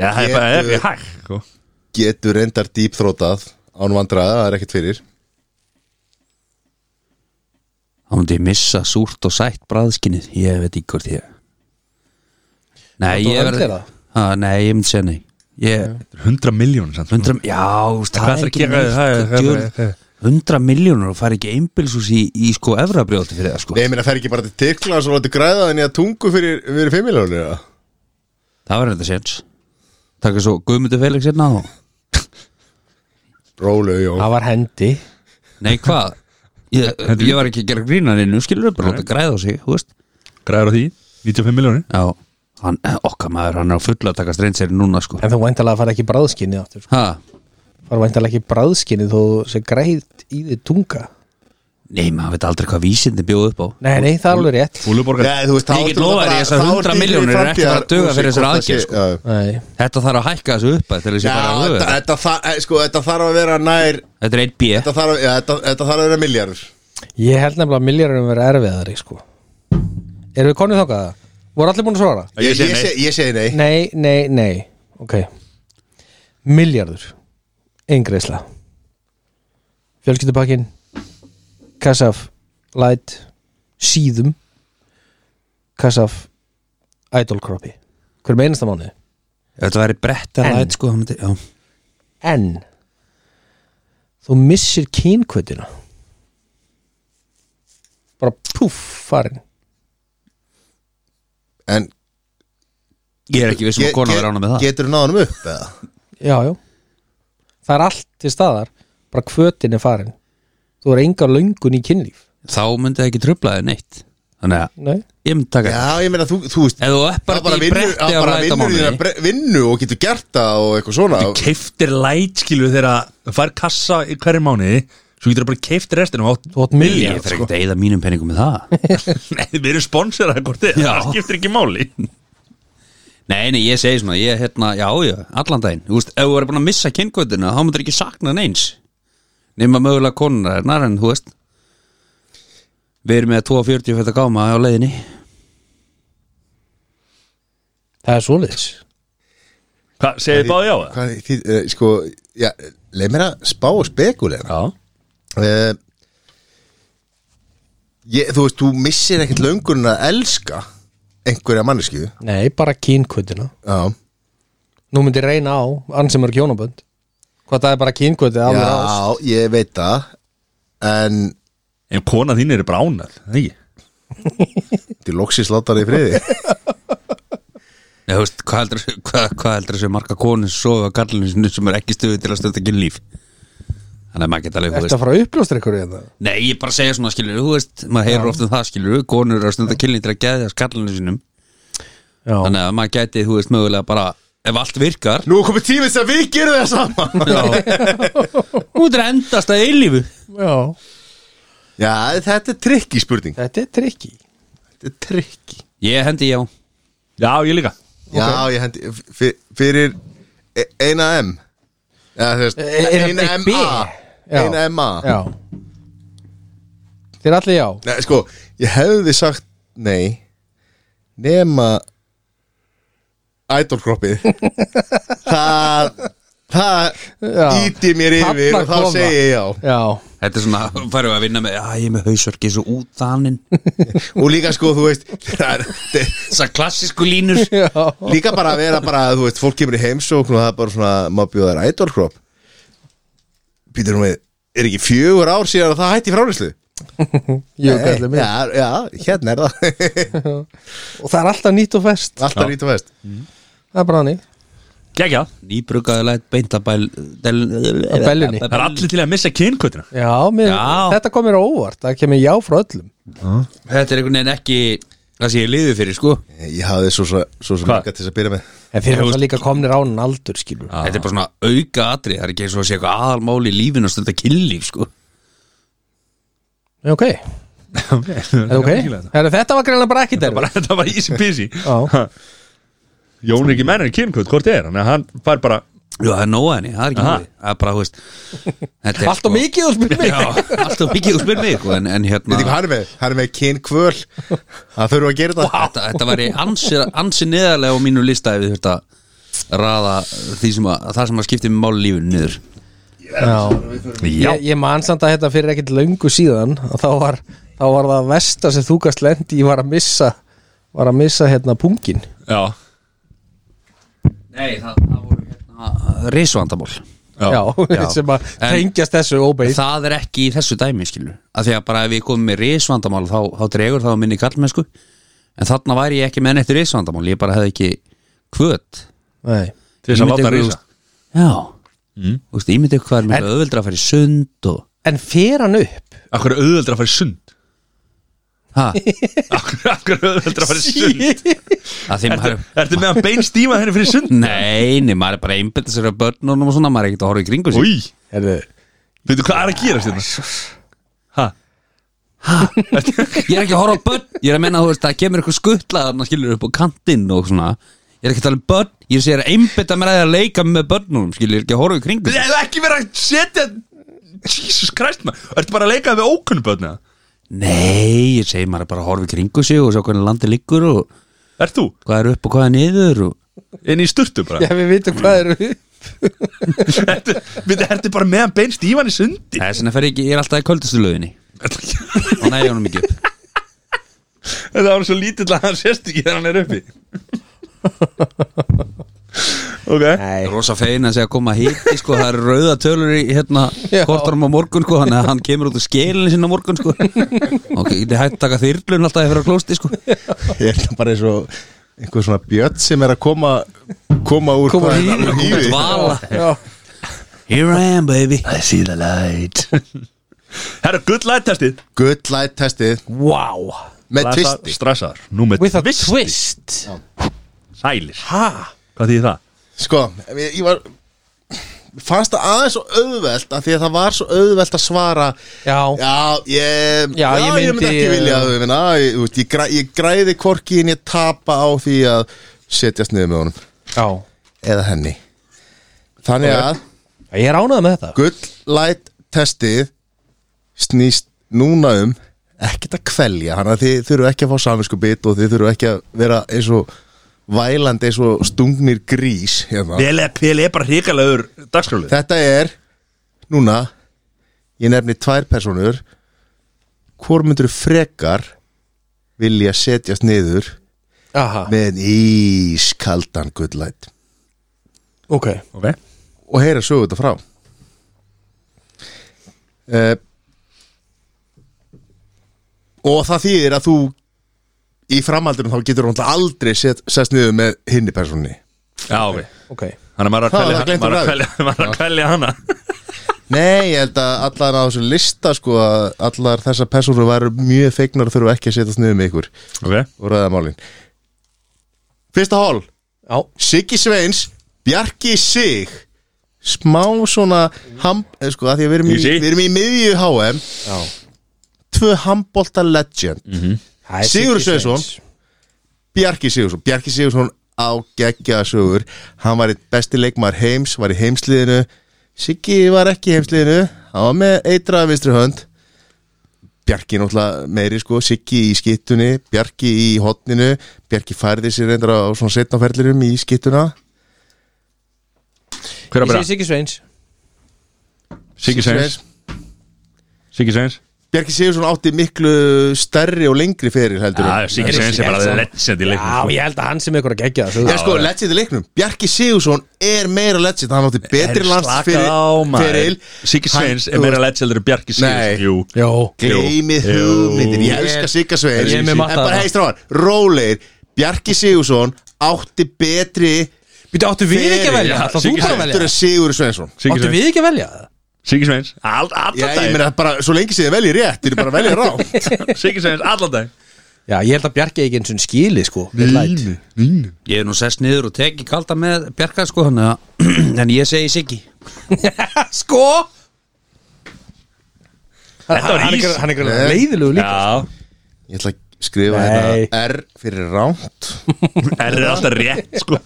S2: Já, það er
S5: Ég-
S2: bara það er ekki hægt sko.
S5: Getur reyndar dýpþrótað án vandræða, það er ekkert fyrir
S4: Þá myndi ég missa súrt og sætt bræðskinnið Ég veit ekki hvort ég Nei,
S3: Þú
S4: ég
S3: höllir það?
S4: ha, Nei, ég myndi segja nei ég,
S2: 100 miljónir samt
S4: 100, Já, þú veist,
S2: Hvað
S4: það er
S2: ætlarðu að
S4: ekki
S2: gera við það?
S4: neitt
S2: Það er-
S4: djöl- 100 miljónur og fara ekki einbilsús í, í sko efrabrjóti fyrir það sko
S5: Nei, ég meina fer ekki bara til Tyrkla og svo látið græða en ég að tungu fyrir, fyrir fimmiljónu
S4: Það var þetta séns Takk svo Guðmundur Felix hérna og
S5: Rólu, já
S3: það var hendi
S4: Nei, hvað? Ég, ég var ekki að gera grínaninu, skilur bara láta græða á sig, þú veist
S2: Græður á því 95 miljónir
S4: Já, hann, okkar maður, hann er á fulla að taka streynseri núna, sko
S3: En þú væntalega fara ekki bræðskinnið aftur
S4: Ha?
S3: Fara væntalega ekki bræðskinnið þú sem græð í þið tunga
S4: Nei, maður veit aldrei hvað vísindi bjóð upp á
S3: Nei, nei, það er alveg rétt
S2: Fúluborgar
S5: Nei, þú veist, þá
S4: Ég get
S5: ertu
S4: lofað
S5: bara-
S4: þér, þessar
S5: þá
S4: 100
S5: ertu í
S4: milljónir eru ekki að fara að duga
S5: framtíðar-
S4: fyrir þessar
S5: hvort það sé-
S4: aðgerð, sko.
S5: já.
S3: Nei,
S4: Þetta þarf að hækka þessu upp að til þessi
S5: Já,
S4: bara að
S5: þetta-
S4: höfu
S5: þetta þa- eh, sko, þetta þarf að vera nær
S4: Þetta er 1B
S5: Þetta þarf að- já, þetta- þetta þarf að vera miljardur
S3: ég held nefnilega að miljarunum vera erfiðari sko. Erum við konið þangað það? Voru allir búin að svara?
S5: Ég
S2: segi
S5: ég
S2: nei.
S5: segi ég segi nei
S3: Nei, nei, nei Ok Miljardur Eingreisla Fjölskyldupakkin Kassaf Light Síðum Kassaf Idol Croppi Hver með einasta mánuði
S4: Ef Þetta væri bretta
S3: En-
S4: læt, sko það myndi, já.
S3: En Þú missir kynkvötina Bara púff farin
S5: En
S4: Ég er ekki vissum að kona verið ána með það
S5: Getur þú náðanum upp eða?
S3: Já, já Það er allt til staðar Bara kvötin er farin Þú er enga löngun í kynlíf
S4: Þá myndi það ekki trublaði neitt Þannig að
S3: Nei
S4: ég myndi taka
S5: Já, ég meina, þú, þú veist
S4: Ef þú er
S5: Það bara
S4: bara í
S5: vinnur
S4: bretti
S5: það
S4: á
S5: bara
S4: læt á
S5: vinnur þína
S4: mánuði
S5: bre- vinnu og getur gert það og eitthvað svona
S2: Keiftir læt skilu þegar þú fær kassa í hverju mánuði Svo getur það bara keift restin og átt sko.
S3: Þú átt
S4: Ég
S3: miljard
S4: þarf ekki að eyða mínum peningum með það
S2: Nei, við erum sponsorað hvort þið
S4: Já.
S2: Það skiptir ekki máli
S4: Nei, nei, ég segi svona, ég hérna, já, já, allan daginn Þú veist, ef þú verður búin að missa kynkvöldina þá myndir ekki sakna neins nema mögulega konuna hennar, en þú veist Við erum með 2.40 fyrir að gáma á leiðinni
S3: Það er svoleiðis
S2: Hvað, segir þið báði á það?
S5: eh, Hvað, því, uh, sko, já, leið mér að spá og spekulega
S2: Já
S5: uh, ég, Þú veist, þú missir ekkert löngun að elska einhverja manneskju
S3: Nei, bara kínkvöldina
S5: Já,
S3: Nú myndi ég reyna á, ann sem eru kjónabönd Hvað það er bara kínkvöldið alveg ást
S5: Já ég veit það En
S2: En kona þín er bránað, það ekki?
S5: til loksis látar þið í friði
S4: Já, þú veist, hvað heldur hvað, hvað heldur þessu marga konu sem sofa á kallinu sinu sem er ekki stuðið til að stönda ekki líf Þannig að maður geta alveg, þú
S3: Ertu
S4: veist
S3: að fara að uppljóstra ykkur hérna? í þetta?
S4: Nei, ég bara segja svona skilur, þú veist maður heyrir ofta um það skilur, konur eru að stönda kynlíf til að geða skallinu sinum
S3: Já,
S4: Þannig að maður geti, þú veist, mögulega bara ef allt virkar,
S5: Nú komið tímið sem við gerum það saman
S4: nú er endast að eilífu
S3: já
S5: Já, þetta er trikki spurning
S3: Þetta er trikki
S5: Þetta er trikki
S4: Ég hendi já,
S2: Já, ég líka
S5: Já, ég hendi fyr- Fyrir e- eina M Já, þú veist
S3: E- eina-
S5: Eina
S3: eitt B.
S5: MA
S3: Já.
S5: Eina MA
S3: Já Þið er allir já
S5: Nei, sko, ég hefði sagt nei nema ædolkroppið það það
S3: Já.
S5: íti mér yfir
S3: Þarna
S5: og þá
S3: kom það.
S5: segi ég já
S3: Já,
S4: þetta er svona, færum við að vinna með að ég er með hausverki svo út þannin
S5: og líka sko, þú veist það er, þe-
S4: þessar klassísku línur
S3: já
S5: líka bara að vera bara, þú veist, fólk kemur í heimsókn og það er bara svona, maður bjóða þær ædolkropp býtur nú við er ekki fjögur ár síðan að það hætti frálislu
S3: Jú, kallið mig
S5: já, já, hérna er það
S3: Og það er alltaf nýtt og fest
S5: alltaf rít og vest
S3: Það er bara hannig
S2: Gekja
S4: Nýbrukaðu læt beint að bæl del,
S3: Að bellunni.
S2: Það er allir til að missa kynkvötuna
S3: Já, mér,
S4: Já.
S3: þetta kom mér á óvart Það kemur já frá öllum
S4: Þetta er einhvern veginn ekki það sem ég liði fyrir sko
S5: ég hafði svo svo, svo, svo
S2: Hvað?
S5: mikið til þess að byrja með
S3: En fyrir það líka komnir ánin aldur skilur
S4: Þetta er bara svona auka atri Það er ekki eins og að sé eitthvað aðalmál í lífinu og stönda kynlíf sko
S3: Já, ok, er, okay. Heru, Þetta var greinlega bara ekki
S2: Þetta
S3: derfi
S2: var, þetta var easy peasy
S3: Já.
S2: Jón er ekki menn en kynkvöt, hvort er hann? Hann fær bara
S4: Jú, það er nóa henni, það er ekki
S2: Aha.
S4: mjög Það er bara, þú veist þetta er
S3: Allt og
S4: sko-
S3: mikið þú spyrir mig
S4: Já, allt og mikið, þú spyr mig sko, en, en
S5: Veit
S4: hérna
S5: ekki hvað hann er með? Hann er með kynkvöl Það þurfum að gera þetta
S4: þetta, þetta væri ansi, ansi neðarlega á mínu lista ef við þurft að raða því sem að, það sem að skipti með máli lífinu niður
S3: Já.
S2: Já,
S3: Ég, ég man samt að þetta fyrir ekkit löngu síðan og þá var, þá var það versta sem þú gast lendi ég var að missa var að missa hérna pungin
S2: já,
S4: Nei, það, það voru hérna risvandamál
S2: já,
S3: já,
S4: Já.
S3: sem að
S4: En-
S3: tengjast þessu óbeið
S4: Það er ekki í þessu dæmi, skilur að því að bara ef ég kom með risvandamál þá, þá dregur það á minni kallmennsku en þarna væri ég ekki með neitt risvandamál ég bara hefði ekki kvöt
S3: Nei.
S2: Til þess að
S4: Ég myndi
S2: láta
S4: ykkur,
S2: risa. Mm.
S4: þú veist, Já, þú veist, ég myndi ykkur hvað er mér auðvöldra að fara í sund og
S3: en fer hann upp
S2: Af hverju er auðveldur að fara í sund?
S4: ha,
S2: Af hverju- af hverju er auðveldur að fara í sund?
S4: að því maður
S2: Ertu með að bein stíma henni fyrir sund?
S4: Nei, nei, maður er bara einbætt sér að börnunum og svona, maður er ekkert að horfa í kringu sig
S2: Új,
S3: Herðu,
S2: veitu hvað er að hérna? gera þetta? Hæ?
S4: Ég er ekki að horfa á börn, ég er að menna þú veist, það kemur eitthvað skuttla þarna skilur upp á kantinn og svona Ég er ekki að tala um börn, ég er að segja að einbætt að mér að því að leika með börnunum, skilur, ég er ekki að horfa í kringu sig.
S2: Ég hef ekki verið að setja Jesus Christ maður Ertu bara að leika við ókunnubötna?
S4: Nei, ég segi maður er bara að horfa í kringu sig og sjá hvernig landið liggur og
S2: Ert þú?
S4: hvað er upp og hvað er niður og...
S2: Inn í sturtu bara
S3: já við vitum hvað eru
S2: Ertu, veitu, ertu bara meðan bein stíman í sundi?
S4: Það er svona fer ég ekki, ég er alltaf í köldustu löginni og næja honum ekki upp
S2: Það var svo lítill að hann sést ekki þegar hann er uppi Ok
S4: Ég er Rosa fegin að segja að koma að hiti sko, það eru rauða tölur í hérna
S3: Já.
S4: kortarum á morgun sko, þannig að hann kemur út úr skilinu sinna á morgun sko og getið hægt að taka þyrlun alltaf fyrir að klósti sko
S5: Ég er það bara eins og einhver svona bjött sem er að koma koma úr
S3: Koma
S5: hvað-
S3: hýri.
S5: hýri.
S4: Vala,
S3: já,
S4: here I am baby
S2: Herra, good light testið
S5: Good light testið
S3: wow
S5: með
S2: Blasa-
S5: tvisti
S2: Stressaður Nú með
S3: with a
S2: twisti.
S3: twist
S2: Sælir
S3: ha,
S2: Hvað þýðir það?
S5: Sko, ég, ég var fannst það aðeins svo auðvelt af því að það var svo auðvelt að svara
S3: já,
S5: Já, ég,
S3: Já, ég
S5: ég
S3: myndi, eh,
S5: myndi ekki vilja að vinna ég, þú veist, ég, græ, ég græði korki en ég tapa á því að setjast niður með honum
S3: já
S5: eða henni Þannig að
S3: ég er ánað með þetta
S5: Good light testið snýst núna um ekkert að kvelja hann að þið þurfu ekki að fá saminsku bit og þið þurfu ekki að vera eins og vælandi eins og stungnir grís hérna.
S2: PL er bara hrikalegur dagskráli
S5: Þetta er núna ég nefni tvær personur hvort myndur frekar vilja setjast niður
S3: Aha,
S5: með en ískaldan gullæt
S3: ok
S2: Ok
S5: og heyra sögu þetta frá uh, og það þýðir að þú í framhaldunum þá getur hún aldrei set, sest niður með hinni personni
S2: Já, ok
S3: Ok,
S2: Þannig að maður er
S5: Það
S2: að
S5: var
S2: kvelja
S5: gleymt
S2: maður er
S5: um
S2: að
S5: ræðu.
S2: kvelja, maður er að kvelja hana
S5: Nei, ég held að allar á þessum lista sko að allar þessar persónur væru mjög feignar og þurfa ekki að setjast niður með ykkur
S2: Ok
S5: og ræða málin Fyrsta hól,
S3: já,
S5: Siggi Sveins Bjarki Sig smá svona ham, eh, sko, að því að við erum í,
S2: Easy.
S5: við erum í miðju HM
S3: já
S5: tvö handbolta legend
S2: Mm.
S3: Það er
S5: Sigurður
S3: Siggi Sveins.
S5: Sveinsson. Bjarki Sigursson Bjarki Sigursson á geggjaða sögur hann var eitt besti leikmaður heims var í heimsliðinu Siggi var ekki í heimsliðinu hann var með eitra vinstri hönd Bjarki náttúrulega meiri sko Siggi í skittunni, Bjarki í hotninu Bjarki færði sér reyndar á svona setnaferðlirum í skittuna
S2: Hver að
S3: Ég
S2: byrja?
S3: segi Siggi Sveins
S2: Siggi Sveins Siggi Sveins
S5: Bjarki Sigursson átti miklu stærri og lengri fyrir heldur en-
S2: Já, Siggi Sveins er bara legend í
S3: Já,
S2: leiknum sko.
S3: ég held að hann sem ykkur að gegja
S5: Já,
S3: það
S5: sko, legend í leiknum Bjarki Sigursson er meira legend Hann átti betri lands fyrir, fyrir
S2: Siggi Sveins er meira legend heldur en Bjarki
S5: Nei.
S2: Siggi Jú
S3: Jó,
S5: Gleimið
S2: Jú.
S5: hugmyndir Ég
S3: Ég-
S5: elska Sigga Sveins
S3: Ég er með
S5: En
S3: matta
S5: bara
S3: þarna.
S5: heist ráðan Róleir Bjarki Sigursson átti betri
S3: býttu áttu við ekki að
S5: Fyrir,
S3: velja
S2: já,
S3: Ætlar þú
S2: Siggi
S3: bara að
S5: Heldur
S3: velja
S5: en Sigur Sveinsson
S2: Siggi
S3: Áttu
S2: Sveins
S3: við ekki að velja það?
S2: Siggi Sveins All-
S5: Já,
S2: Allan
S5: ég
S2: dag
S5: meina bara Svo lengi séð þið velji rétt Þið er bara að velja rátt
S2: Siggi Sveins allan dag
S3: Já, ég held að Bjarki ekki eins og skili sko við læt.
S4: Ég er nú sest niður og teki kalda með Bjarka sko hann En ég segi Siggi
S3: Sko
S2: Þetta var
S3: Hann er
S2: ís.
S3: ekki- hann er ekki leiðilegu líka
S2: Já
S5: Ég ætla að skrifa
S3: Nei.
S5: hérna R fyrir rátt
S2: R er alltaf rétt sko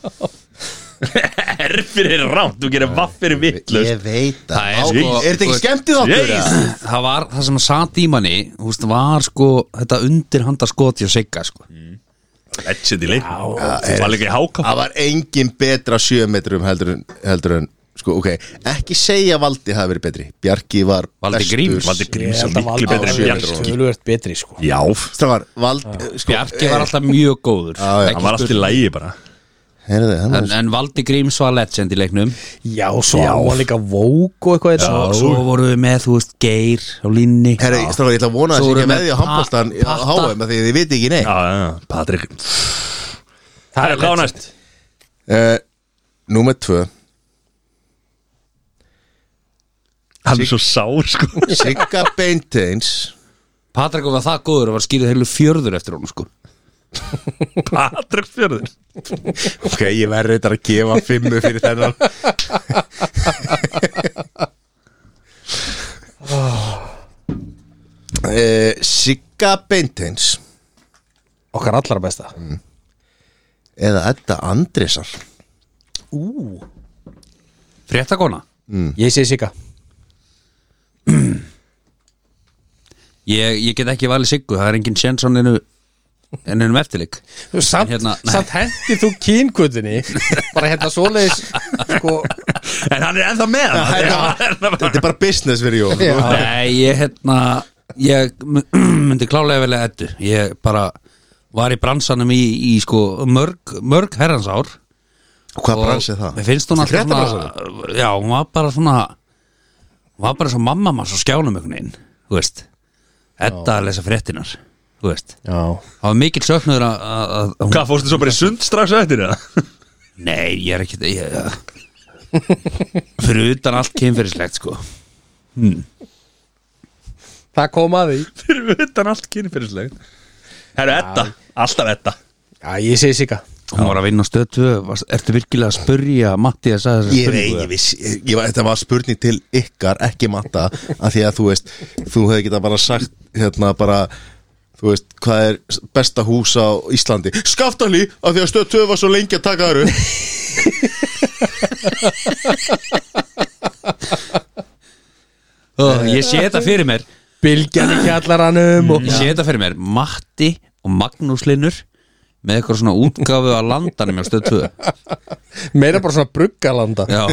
S2: R fyrir rátt Þú gerir vaff fyrir vittlust
S5: Ég veit
S4: Það er
S5: að
S4: sko-
S5: Er þetta ekki skemmt í þáttur?
S2: Jeez.
S5: eða?
S4: Það var það sem að sat í manni Þú veist, var sko þetta undir handa skoti og Sigga sko
S2: Legend í leiknum Það var líka í háká
S5: Það var engin betra á sjö metrum heldur en, heldur en sko, ok, ekki segja Valdi hafi verið betri, Bjarki var
S4: Valdi
S5: bestur.
S4: Gríms.
S2: Valdi
S3: Ég
S2: Gríms
S3: held að
S2: miklu
S3: valda
S2: betri en Bjarki
S3: Tölvöld betri sko
S2: Já
S5: Strafar, Valdi sko,
S4: Bjarki var alltaf mjög góður
S5: Já, já,
S4: Ekki
S2: Hann var alltaf í
S4: spurning.
S2: lægi bara
S5: heyrðu, hann
S4: en, en Valdi Gríms var legend í leiknum
S3: Já, svo hann var líka vók og eitthvað hérna,
S4: og
S3: eins og-
S4: svo voru við með, þú veist, Geir á línni
S5: Herri, strafar, ég ætla að vona að
S4: Svo
S5: þessi
S4: voru
S5: ekki
S4: með
S5: með því á
S4: pa-
S5: handbóltan á
S4: patta.
S5: HM, af því þið viti ekki neitt
S2: Já, já, já Patrik Það er hvað næst
S5: uh, Númer tvö
S2: Hann er svo sár sko
S5: Sigga Beinteins
S4: Patrik var það góður og var skýrið heilu fjörður eftir honum sko
S2: Patrik fjörður
S5: Ok, ég verði þetta að gefa fimmu fyrir þennan uh, Sigga Beinteins
S3: Okkar allar besta
S5: eða Edda Andrisar
S3: Ú,
S4: Fréttakona
S3: ég segi Sigga
S4: ég, ég get ekki valið Siggu, það er engin sjens hann einu ennum eftirleik
S3: Samt,
S4: En hérna-
S3: samt hendi þú kynkutinni Bara hérna svoleiðis Sko,
S2: En hann er ennþá með hann.
S5: Þetta er bara business fyrir Jón
S3: Já.
S4: Nei, ég hérna ég myndi klálega velja eddu ég bara var í bransanum í, í sko mörg, mörg herransár
S5: Hvað brans er það?
S4: Mér finnst hún alltaf
S5: Fréttabransanum?
S4: svona Já, hún var bara svona hún var bara svo mamma mann svo skjánum einhvern veginn þú veist Edda að lesa fréttinar þú veist
S3: já
S4: Það var mikil söknuður að- að að hún-
S2: Hvað fórstu svo bara í sund strax á eftir það?
S4: Nei, ég er ekki ég, Fyrir utan allt kynferðislegt sko
S3: Það kom að því
S2: Fyrir utan allt kynfyrirslegin Herru, Edda, alltaf Edda
S3: Já, ég segi Sigga
S4: Hún var að vinna á stöð 2 varst- Ertu virkilega að spurja Matti að sagði þessa
S5: Ég veit,
S4: spurningu?
S5: ég viss, ég, ég, var- þetta var spurning til ykkar, ekki matta að því að þú veist, þú hefði geta bara sagt hérna bara þú veist, hvað er besta hús á Íslandi Skaftalí, af því að stöð töf var svo lengi að taka þar upp
S4: Ó, Ég sé þetta fyrir mér
S3: Bylgjan í kjallaranum og
S4: Ég sé þetta fyrir mér Matti og Magnús Linur með eitthvað svona útgáfu að landanum á stöð 2
S3: meira bara svona bruggalanda
S4: Já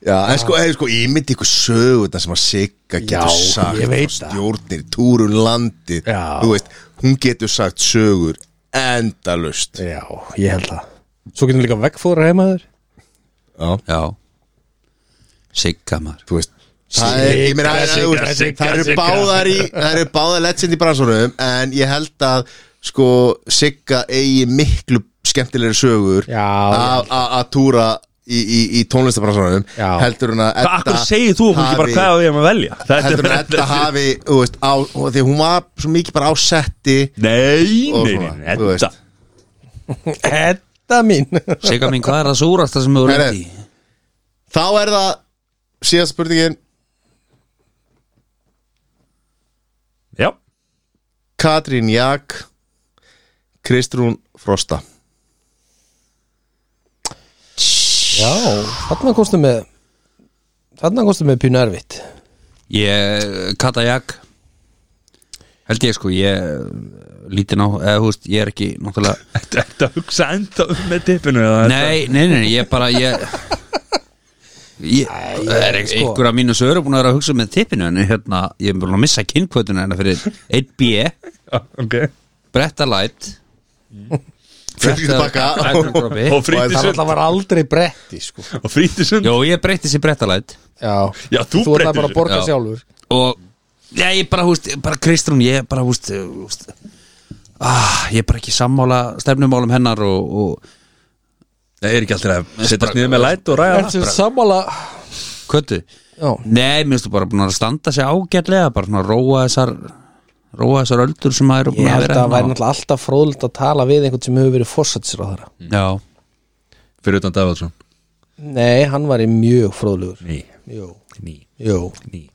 S5: Já, en sko, hei, sko, ég myndi ykkur söguna sem að Sigga getur
S2: Já,
S5: sagt
S2: ég veit
S5: og
S2: það.
S5: stjórnir, túrun landi
S2: Já.
S5: þú veist, hún getur sagt sögur endalust
S2: Já, ég held það
S3: Svo getum við líka vegfóra heimaður
S4: Já Sigga maður
S5: þú veist Það er, ég meina, það er- þú veist,
S2: Sigga,
S5: það eru
S2: Sigga.
S5: báðar í, það eru báðar legend í bransunum en ég held að sko Sigga eigi miklu skemmtilegri sögur
S3: Já,
S5: að- að að túra í, í, í tónlistabransunum
S3: Já.
S5: heldur hún að
S2: Hvað akkur segir þú okkur ekki bara
S5: hafi-
S2: hvað við erum að velja? Þetta
S5: heldur hún að Edda hafi þú veist, á, og því að hún var svo mikið bara á setti
S2: Nei,
S5: Og
S2: nei,
S5: svona,
S2: nei,
S5: þú veist.
S2: þetta
S3: Edda mín
S4: Sigga mín, hvað er það súrasta sem hefur
S5: Nei,
S4: lendi?
S5: þá er það síðast spurningin
S2: Já,
S5: Katrín Jak Kristrún Frosta
S3: Já, þarna komstu með Þarna komstu með pínu erfitt
S4: Ég, Kata Jak Held ég sko, ég lítið ná, eða þú veist, ég er ekki náttúrulega
S2: þetta þetta hugsa enda um með tippinu eða þetta-
S4: Nei, nei, nei, nei, ég bara, ég Ég, er sko. einhver af mínu sögur búin að vera að hugsa með tippinu en hérna, ég er búin að missa kynkvötuna hérna fyrir 1B,
S2: Já, ok
S4: Bretta Light
S5: Fjölskyldubakka
S2: Og
S4: Bretta-
S5: Það
S2: frítisund
S3: Það var aldrei bretti sko
S2: Og frítisund
S4: Jó, ég breytti sér Bretta Light
S3: Já,
S2: Já, þú
S3: þú ætlaði
S2: breytir
S3: bara að borga
S4: þessu. Já.
S3: sjálfur
S4: og já, ég bara, húst, bara Kristrún, ég bara, húst, húst ah, ég er bara ekki sammála stefnumálum hennar og, og
S2: Nei, er ekki alltaf að setjast niður með læt og ræða
S3: Ertu sammála
S4: köttu
S3: Já,
S4: nei, mér finnst þú bara búin að standa sig ágætlega bara svona róa þessar róa þessar öldur sem maður er
S3: ég
S4: búin að
S3: held að
S4: vera hérna.
S3: það væri náttúrulega alltaf fróðlegt að tala við einhvern sem hefur verið fórsættisra á þeirra
S4: náttúrulega já,
S6: Fyrir utan Davaldsson
S3: Nei, hann var í mjög fróðlegur
S6: Ný,
S3: Jú,
S6: ný,
S3: jú
S6: ný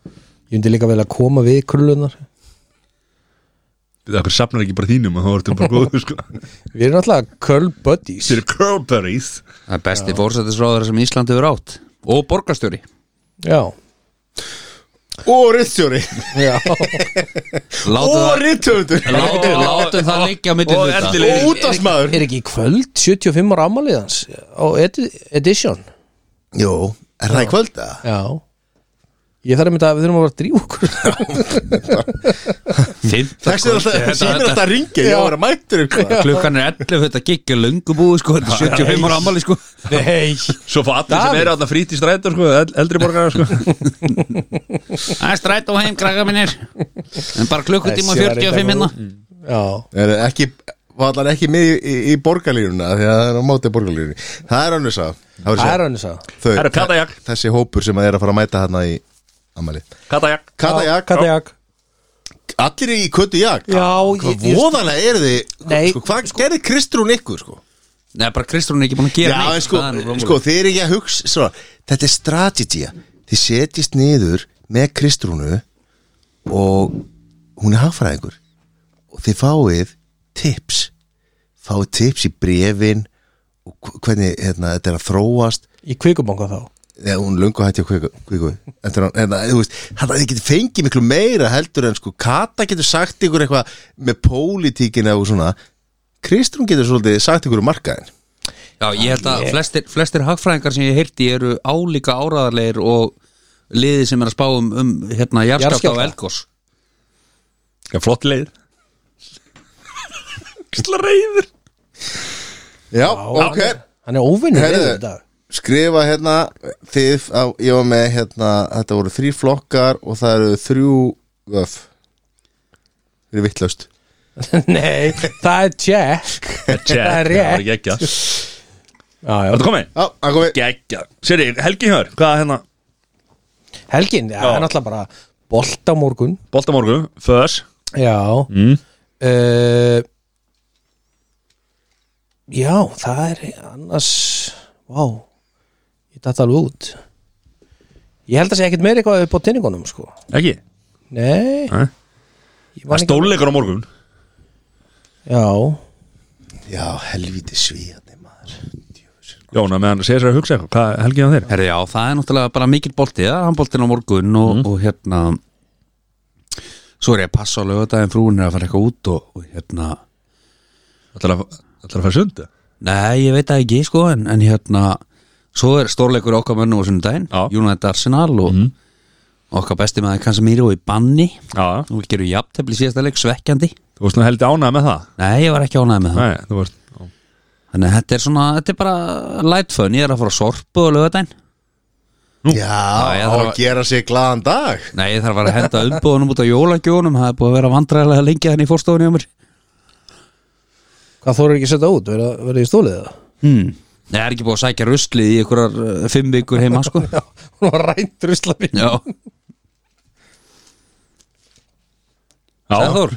S3: Ég myndi líka vel að koma við krullunar
S6: Það er safnar ekki bara þínum og þá ertu bara góður sko
S3: Við erum náttúrulega curl buddies
S6: Þeir eru curl buddies
S4: það er besti fórsættisráður sem Ísland hefur átt og borgarstjóri
S3: Já,
S5: og Rittjóri
S3: já
S4: látum
S5: og
S4: það
S5: Rittjóri
S4: látum, látum það liggja á milli
S2: Og
S4: hluta
S2: endilega-
S5: og útastmaður
S3: Er ekki í kvöld 75 ára afmælið hans á edi Edition
S5: Jó, er það í kvöld að?
S3: Já Ég þarf einmitt að við þurfum að vera að drífa okkur
S4: Fimmta
S5: Þessi er
S4: kvöld,
S5: alltaf, þessi er
S4: þetta-
S5: alltaf ringi, ég var að mættur eitthvað
S4: klukkan er 11 þetta gikk er löngu búið sko þetta er 75 ára ammali sko
S3: Nei
S2: Svo fá allir sem
S3: Davíð.
S2: eru alltaf frítistrætur sko, el- eldri borgarar sko
S4: Það er strætt og heim, krakka minnir En bara klukkutíma og hérna.
S3: Þessi var
S4: 45 minna
S3: Já
S5: Er ekki, var allan ekki með í, í, í borgarlýruna því að það er á móti borgarlýrunni Það er annars að
S3: Það er hann þess að
S5: þau,
S2: Það eru Katajak.
S5: þessi hópur sem er að fara að mæta hérna í Amali
S2: Katajak
S5: Katajak,
S3: Katajak
S5: allir í köttu jak
S3: Já, ég-
S5: Hvað voðalega eru þið
S3: Nei,
S5: sko, Hvað gerði Kristrún ykkur sko?
S4: Nei, bara Kristrún er ekki búin að
S5: Já,
S4: gera
S5: en sko,
S4: Það er nú
S5: sko
S4: rómulega.
S5: þið er ekki að hugsa svo, Þetta er strategía Þið setjist niður með Kristrúnu og hún er hagfræðingur og þið fáið tips fáið tips í brefin og hv- hvernig hérna, þetta er að þróast
S3: Í kvikubanga þá
S5: eða hún löngu hætti að kviku, kviku. Eftir, hann, hérna, þú veist, hann þið getur fengið miklu meira heldur en sko Kata getur sagt ykkur eitthvað með pólitíkin eða svona Kristrún getur svolítið sagt ykkur um markaðin
S4: Já, ég held að flestir, flestir hagfræðingar sem ég heyrti eru álíka áraðarleir og liði sem er að spá um, um hérna, jarðskjálta og
S3: Jarðskjálfta.
S4: elgos
S2: Já, flott leið Sla reyður
S5: Já,
S3: Hann er- Hann er óvinnur
S5: Herðu.
S3: við þetta
S5: skrifa hérna þið, á, ég var með hérna þetta voru þrý flokkar og það eru þrjú öf það er vittlöst
S3: Nei, það er tjekk Það er
S2: Það er
S3: rétt
S2: geggja
S3: Já, já.
S2: Þetta komið
S5: Já, það komið
S2: Geggja Seri, Helgi Hjör, hvað er hérna?
S3: Helgin, já, það er náttúrulega bara Bolt á morgun
S2: Boltamorgu, Föðs
S3: Já mm. Eh, Já, það er annars Vá Ég datt alveg út Ég held að segja ekkert meira eitthvað upp á tinningunum sko.
S2: Ekki?
S3: Nei
S2: Nei.
S3: Ég
S2: Það er
S3: man ekki-
S2: stóluleikur á morgun
S3: Já,
S5: Já, helvíti svíðandi maður
S2: Jóna, meðan að segja sér að hugsa eitthvað Hvað er Helgi Hjör þeir?
S4: Herri, já, það er náttúrulega bara mikill bolti Það er hann boltin á morgun og,
S3: Mhm.
S4: og hérna Svo er ég að passa á lögadaginn frúin er að fara eitthvað út og, og hérna
S2: Ætlar að ætlarðu að fara sunda?
S4: Nei, ég veit það ekki, sko, en, en hérna Svo er stórleikur okkar mönnum á sunnudaginn
S2: Já. Mhm.
S4: United Arsenal og okkar besti maður Casemiro í banni
S2: Já,
S4: Nú gerur jafntefli í síðasta leik svekkjandi
S2: þú varst nú heldur ánægð með það
S4: Nei, ég var ekki ánægð með það
S2: Nei, þú varst
S4: Þannig að þetta er svona, þetta er bara light fun Ég er að fara að sorpu á lögadaginn Já,
S5: Já,
S4: ég
S5: á
S4: þarf
S5: að
S4: að-
S5: gera sér glaðan dag
S4: Nei, ég þarf að fara að henda umbúðunum út á jólagjónum Það er búið að vera vandræðilega lengi þannig í fórstofunni á mér
S3: Hvað þóru ekki að setja út, verða verða í stólið það?
S4: hmm. Nei, það er ekki búið að sækja ruslið í einhverjar uh, fimm vikur heima sko
S3: Já, hún var rænt ruslafín
S4: Já,
S2: Já,
S4: Sæður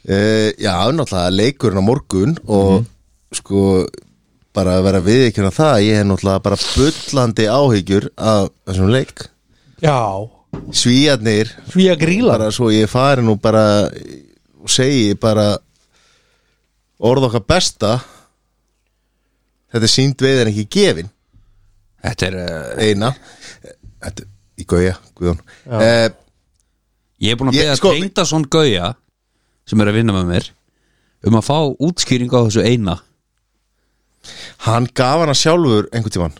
S5: Uh, já, náttúrulega leikurinn á morgun
S4: Mhm.
S5: og sko bara að vera við ekki hérna það ég hef náttúrulega bara bullandi áhyggjur af þessum leik
S3: Já,
S5: svíjarnir,
S3: því að gríla
S5: bara svo ég fari nú bara og segi bara orð okkar besta þetta er sínd veið er ekki gefin
S4: Þetta er, uh,
S5: eina þetta, í gauja, guðun uh,
S4: ég er búin að
S5: Ég-
S4: beða
S5: sko-
S4: sko, Tengdason Gauja sem er að vinna með mér um að fá útskýringu á þessu eina
S5: hann gaf hana sjálfur einhvern tíman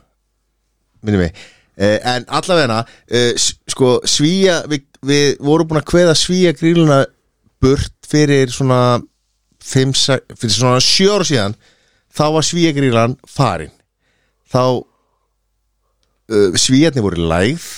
S5: minni mig uh, en allavegna uh, sko svíja við, við vorum búin að kveða svíja gríluna burt fyrir svona fimm, sex- fyrir svona sjóru síðan þá var svíja grílan farin þá uh, svíjarnir voru lægð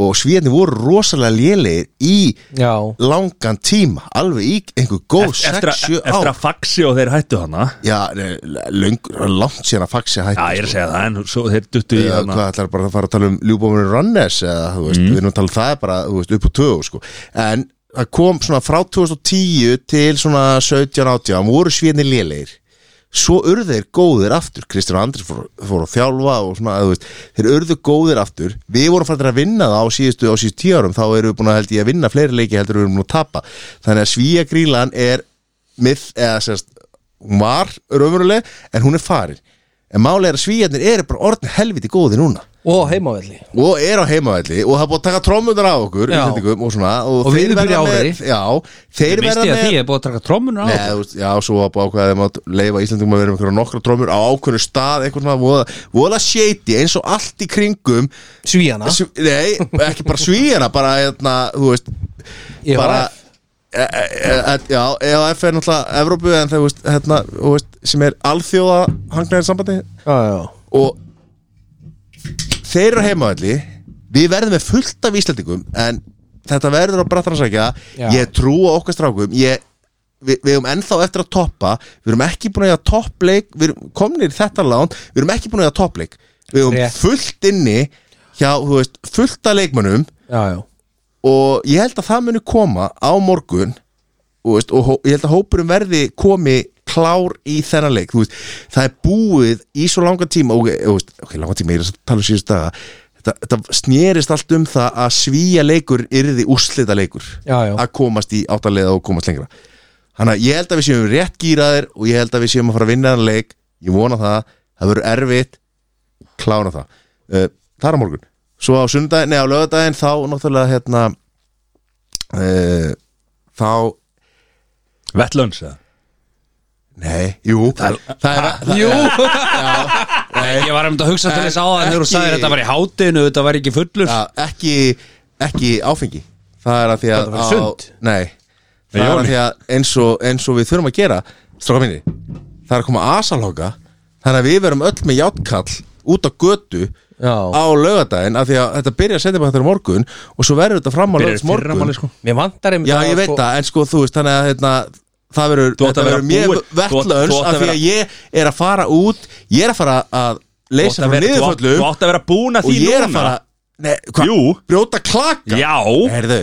S5: og svíjarnir voru rosalega lélegir í
S3: Já,
S5: langan tíma alveg í einhver góð
S2: eftir,
S5: 6-7
S2: að-
S5: ár
S2: eftir að faxi og þeir hættu hana
S5: Já, nei, löng, langt síðan að faxi hætti sko.
S2: Já, ég er að hérna. segja það, en svo þeir duttu í
S5: Eða
S2: hana
S5: hvað ætlar bara að fara að tala um Ljúbómurinn Rannes eða, þú veist,
S2: Mm.
S5: við erum að tala um það bara, þú veist, upp á tögu sko. en það kom svona frá 2010 til svona 17-18 voru svíðni lélegir svo urðu þeir góðir aftur Kristján Andris fór, fór að þjálfa og svona, þú veist, þeir urðu góðir aftur við vorum fannir að vinna það á síðustu á síðustu tíu árum, þá erum við búin að held ég að vinna fleiri leiki heldur en við erum búin að tapa þannig að svíja grílan er mið, eða sérst, hún var raunveruleg, en hún er farin en máli er að svíjarnir eru bara orðin helviti góði núna
S3: og heimavelli
S5: og er á heimavelli og það er búið að taka trómundar á okkur
S3: Já.
S5: Íslendingum og, svona, og,
S4: Og
S5: þeir
S4: við
S5: verða
S4: byrja
S5: með-
S4: árið.
S5: já, þeir
S4: Ég misti
S5: verða
S4: að
S5: með
S4: því ég er búið að taka trómmunur á
S5: Nei,
S4: þetta.
S5: þú veist, já, svo var bara ákveðið að leifa Íslandingum að vera með einhverja nokkra trómur á ákveðinu stað, eitthvað svona voða, voða shady eins og allt í kringum
S3: Svíjana
S5: sv, Nei, ekki bara svíjana bara, hérna, þú veist
S3: EHF.
S5: bara, e, e, e, Já, EHF er náttúrulega Evrópu en það, þú veist, hérna, þú veist sem er alþjóða hangnaðin sambandi
S3: Já, já,
S5: og þeir eru heimavalli við verðum með fullt af Íslandingum en þetta verður á brattaransækja
S3: Já.
S5: ég trú á okkar strákum ég, við, við erum ennþá eftir að toppa við erum ekki búin að eiga toppleik við erum komnir í þetta lán, við erum ekki búin að eiga toppleik við erum
S3: Rétt.
S5: fullt inni hjá, þú veist, fullt af leikmönnum
S3: já, já.
S5: og ég held að það muni koma á morgun og, veist, og hó, ég held að hópurum verði komi klár í þennan leik þú veist, það er búið í svo langan tíma ok, þú veist, ok, langan tíma, ég er að tala um síðust daga þetta, þetta snerist allt um það að svíja leikur yrði úrslita leikur
S3: Já, já.
S5: að komast í áttalega og komast lengra þannig að ég held að við séum rétt gýraðir og ég held að við séum að fara að vinna þennan leik ég vona það, það verður erfitt klána það uh, það er á morgun svo á sundaginn, nei á lögadaginn þá náttúrulega hérna uh, þá
S2: Vettlöns, eða?
S5: nei, jú það, það er það,
S3: Jú,
S4: Ég var um þetta að hugsa til þess á það þegar þú
S5: Ekki-
S4: sagðir þetta var í hátinu, þetta var ekki fullur
S5: ja, ekki, ekki áfengi það er að því að
S3: Það var sund.
S5: á, nei, það er að því að eins og, eins og við þurfum að gera stráka minni, það er að koma asalóka þannig að við verum öll með játkall út á götu
S3: Já.
S5: á lögadaginn af því að þetta byrja að setja bara þetta morgun og svo verður þetta fram á
S2: Byrjar í
S5: lögadags morgun
S2: fyrramálið, sko.
S3: mér vantar einmitt
S5: Já,
S3: að
S5: ég veit
S3: sko-
S5: það, en sko þú veist þannig að hérna, það verður
S2: Þú átt
S5: þetta
S2: að vera
S5: verður mjög
S2: búinn- þú átt-
S5: vettlöns
S2: þú átt að
S5: af því að
S2: vera-
S5: ég er að fara út ég er að fara
S2: Þú
S5: að
S2: átt
S5: leysa
S2: að
S5: frá
S2: vera- þú átt-
S5: niðurföllum
S2: Þú átt að vera búin að
S5: og
S2: því
S5: ég er að
S2: núna
S5: fara nei, hva,
S2: Jú.
S5: brjóta klaka
S2: Já,
S5: Herðu,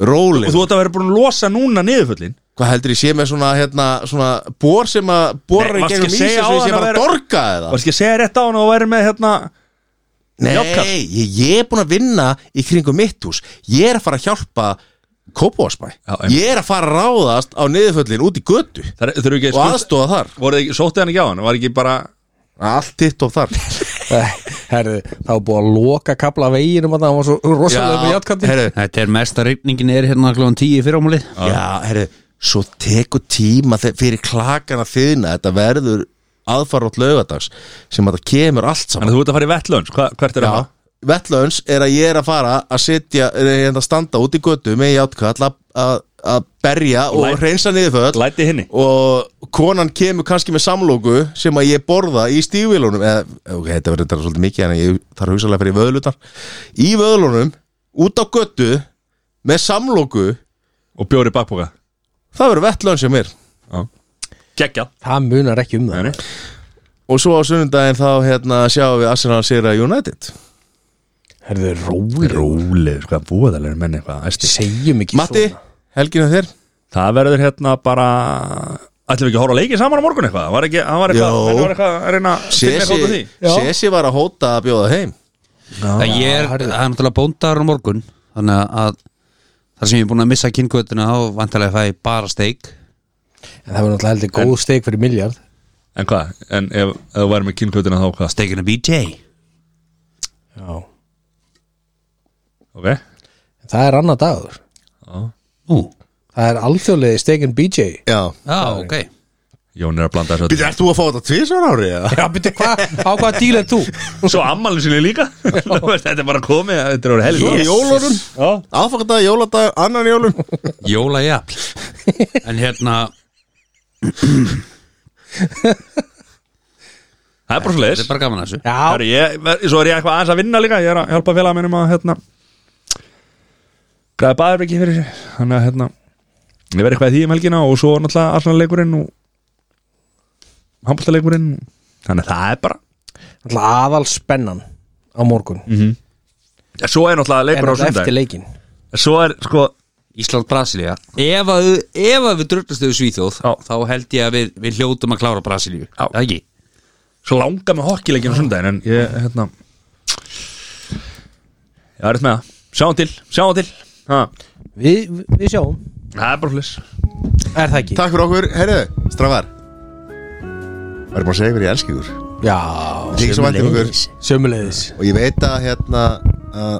S2: og
S5: róli
S2: þú átt að vera búin að losa núna niðurföllin
S5: Hvað heldur ég sé með svona, hérna, svona bor sem að borar
S2: Nei,
S5: í
S2: varstu
S5: gegnum
S2: ekki að
S5: ísa
S2: segja
S5: sem ég
S2: áðan
S5: sé
S2: að
S5: bara að
S2: vera-
S5: dorga eða
S2: Varst ekki að segja rétt á hann og væri með hérna
S5: Nei,
S2: Járnkall?
S5: ég, ég er búin að vinna í kringum mitt hús Ég er að fara að hjálpa Kópavásbæ
S2: einmitt.
S5: Ég er að fara að ráðast á niðurföllin út í götu
S2: Það þurfu ekki
S5: og aðstóða þar
S2: Voruð ekki, sóttið hann ekki á hann, var ekki bara
S5: Allt titt og þar
S3: Nei, Eh, Herðu, það var búið að loka kapla af veginum að það var svo rosalega með játkanti
S5: herru,
S4: Þetta er mesta regningin er hérna klóðan 10 fyrir ámúlið
S5: já, herru Svo tekur tíma þe- fyrir klakan að þyðna Þetta verður aðfarátt lögadags sem að það kemur allt saman
S2: Þannig að þú ert að fara í vettlöns, Hva, hvert er það?
S5: Vettlaunns er að ég er að fara að sitja, er hérna að standa út í götu með játkall að- að að berja og
S2: Læt-
S5: reynsa niður föll
S2: Læti hinni
S5: og konan kemur kannski með samlóku sem að ég borða í stígvílunum eða, ok, þetta verður þetta svolítið mikið en ég þarf hugsaðlega að fyrir vöðlutar í vöðlunum, út á götu með samlóku
S2: Og bjóri bakpoka
S5: það verður vettlögn sem er
S2: Gekja
S3: það munar ekki um það
S5: og svo á sunnundaginn þá hérna sjáum við Arsenal Sera United
S3: herðu rói,
S2: Rólegur, sko, búðalegur menn eitthvað æsti.
S3: segjum ekki
S5: Matti,
S3: svona.
S5: helginu þér
S2: Það verður hérna bara Ætlum við ekki að horfa á leiki saman á morgun eitthvað Það var ekki, það var eitthvað,
S5: Jó.
S2: það var eitthvað að reyna að finna eitthvað út úr
S5: Sesi,
S2: því
S5: Sesi var að hóta að bjóða heim
S4: Það ég er, það er náttúrulega bóndaður á morgun Þannig að þar sem ég er búin að missa kynkvötuna þá vantarlega fæ ég bara steik
S3: en það var náttúrulega heldur góð steik fyrir miljard
S2: En hvað, en ef, ef þú væri með kynkvötina þá hvað
S4: Steikina BJ
S3: já.
S2: Ok,
S3: það er annar dagur
S4: Ú,
S3: það er alþjóðlega steikin BJ
S5: Já
S4: já, ok
S2: Jón er að blanda þessu öllu.
S5: Býtti, ert þú að fá þetta tvisvar ári? eða?
S3: já, byrju, hvað, á hvaða díl er þú?
S2: Svo ammálinn sinni líka Þetta er bara komið, þetta er orðið helg
S5: Svo er jólunum,
S2: Já.
S5: aðfangadag, jóladag, annan jólum
S4: Jóla jafn En hérna,
S2: Það er bara svo
S4: þetta er bara gaman að þessu
S3: já,
S2: Herru, ég, ver- svo er ég eitthvað aðeins að vinna líka Ég er að hjálpa félaga minnum að hérna Græði baðarbyggi fyrir sér Þannig að hérna Ég verði eitthvað í því um helgina og svo náttúrulega Arsenal leikurinn og Hambolta leikurinn Þannig að það er bara
S3: náttúrulega aðal spennan á morgun
S2: ja, Svo er náttúrulega
S3: en
S2: leikur á
S3: náttúrulega
S2: sundag
S3: eftir leikin
S2: Svo er sko
S4: Ísland Brasilia Ef að, ef að við drullast yfir Svíþjóð
S2: Já.
S4: þá held ég að við, við hljótum að klára Brasilíu
S2: Já.
S4: Það ekki
S2: Svo langa með hokkileikin á sundaginn En ég hérna Ég verðist með það Sjáum til, sjáum til ha.
S3: við, við sjáum,
S2: Það er bara flis
S3: er það ekki?
S5: Takk fyrir okkur, heyrðu, strafar Varum að segja ykkur, ég elski ykkur
S3: já,
S5: Þykir svo vænt um ykkur.
S3: sömuleiðis. sömuleiðis
S5: Og ég veit að hérna að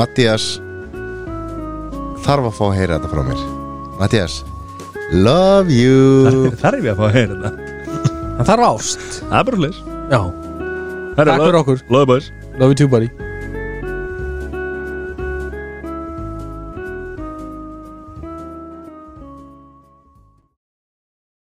S5: Mattias þarf að fá að heyra þetta frá mér Mattias Love you
S2: Þar er ég að fá að heyra þetta
S3: það þarf ást
S2: Það er bara flis
S3: já, Takk fyrir okkur.
S2: Lóðbæs
S3: love you too buddy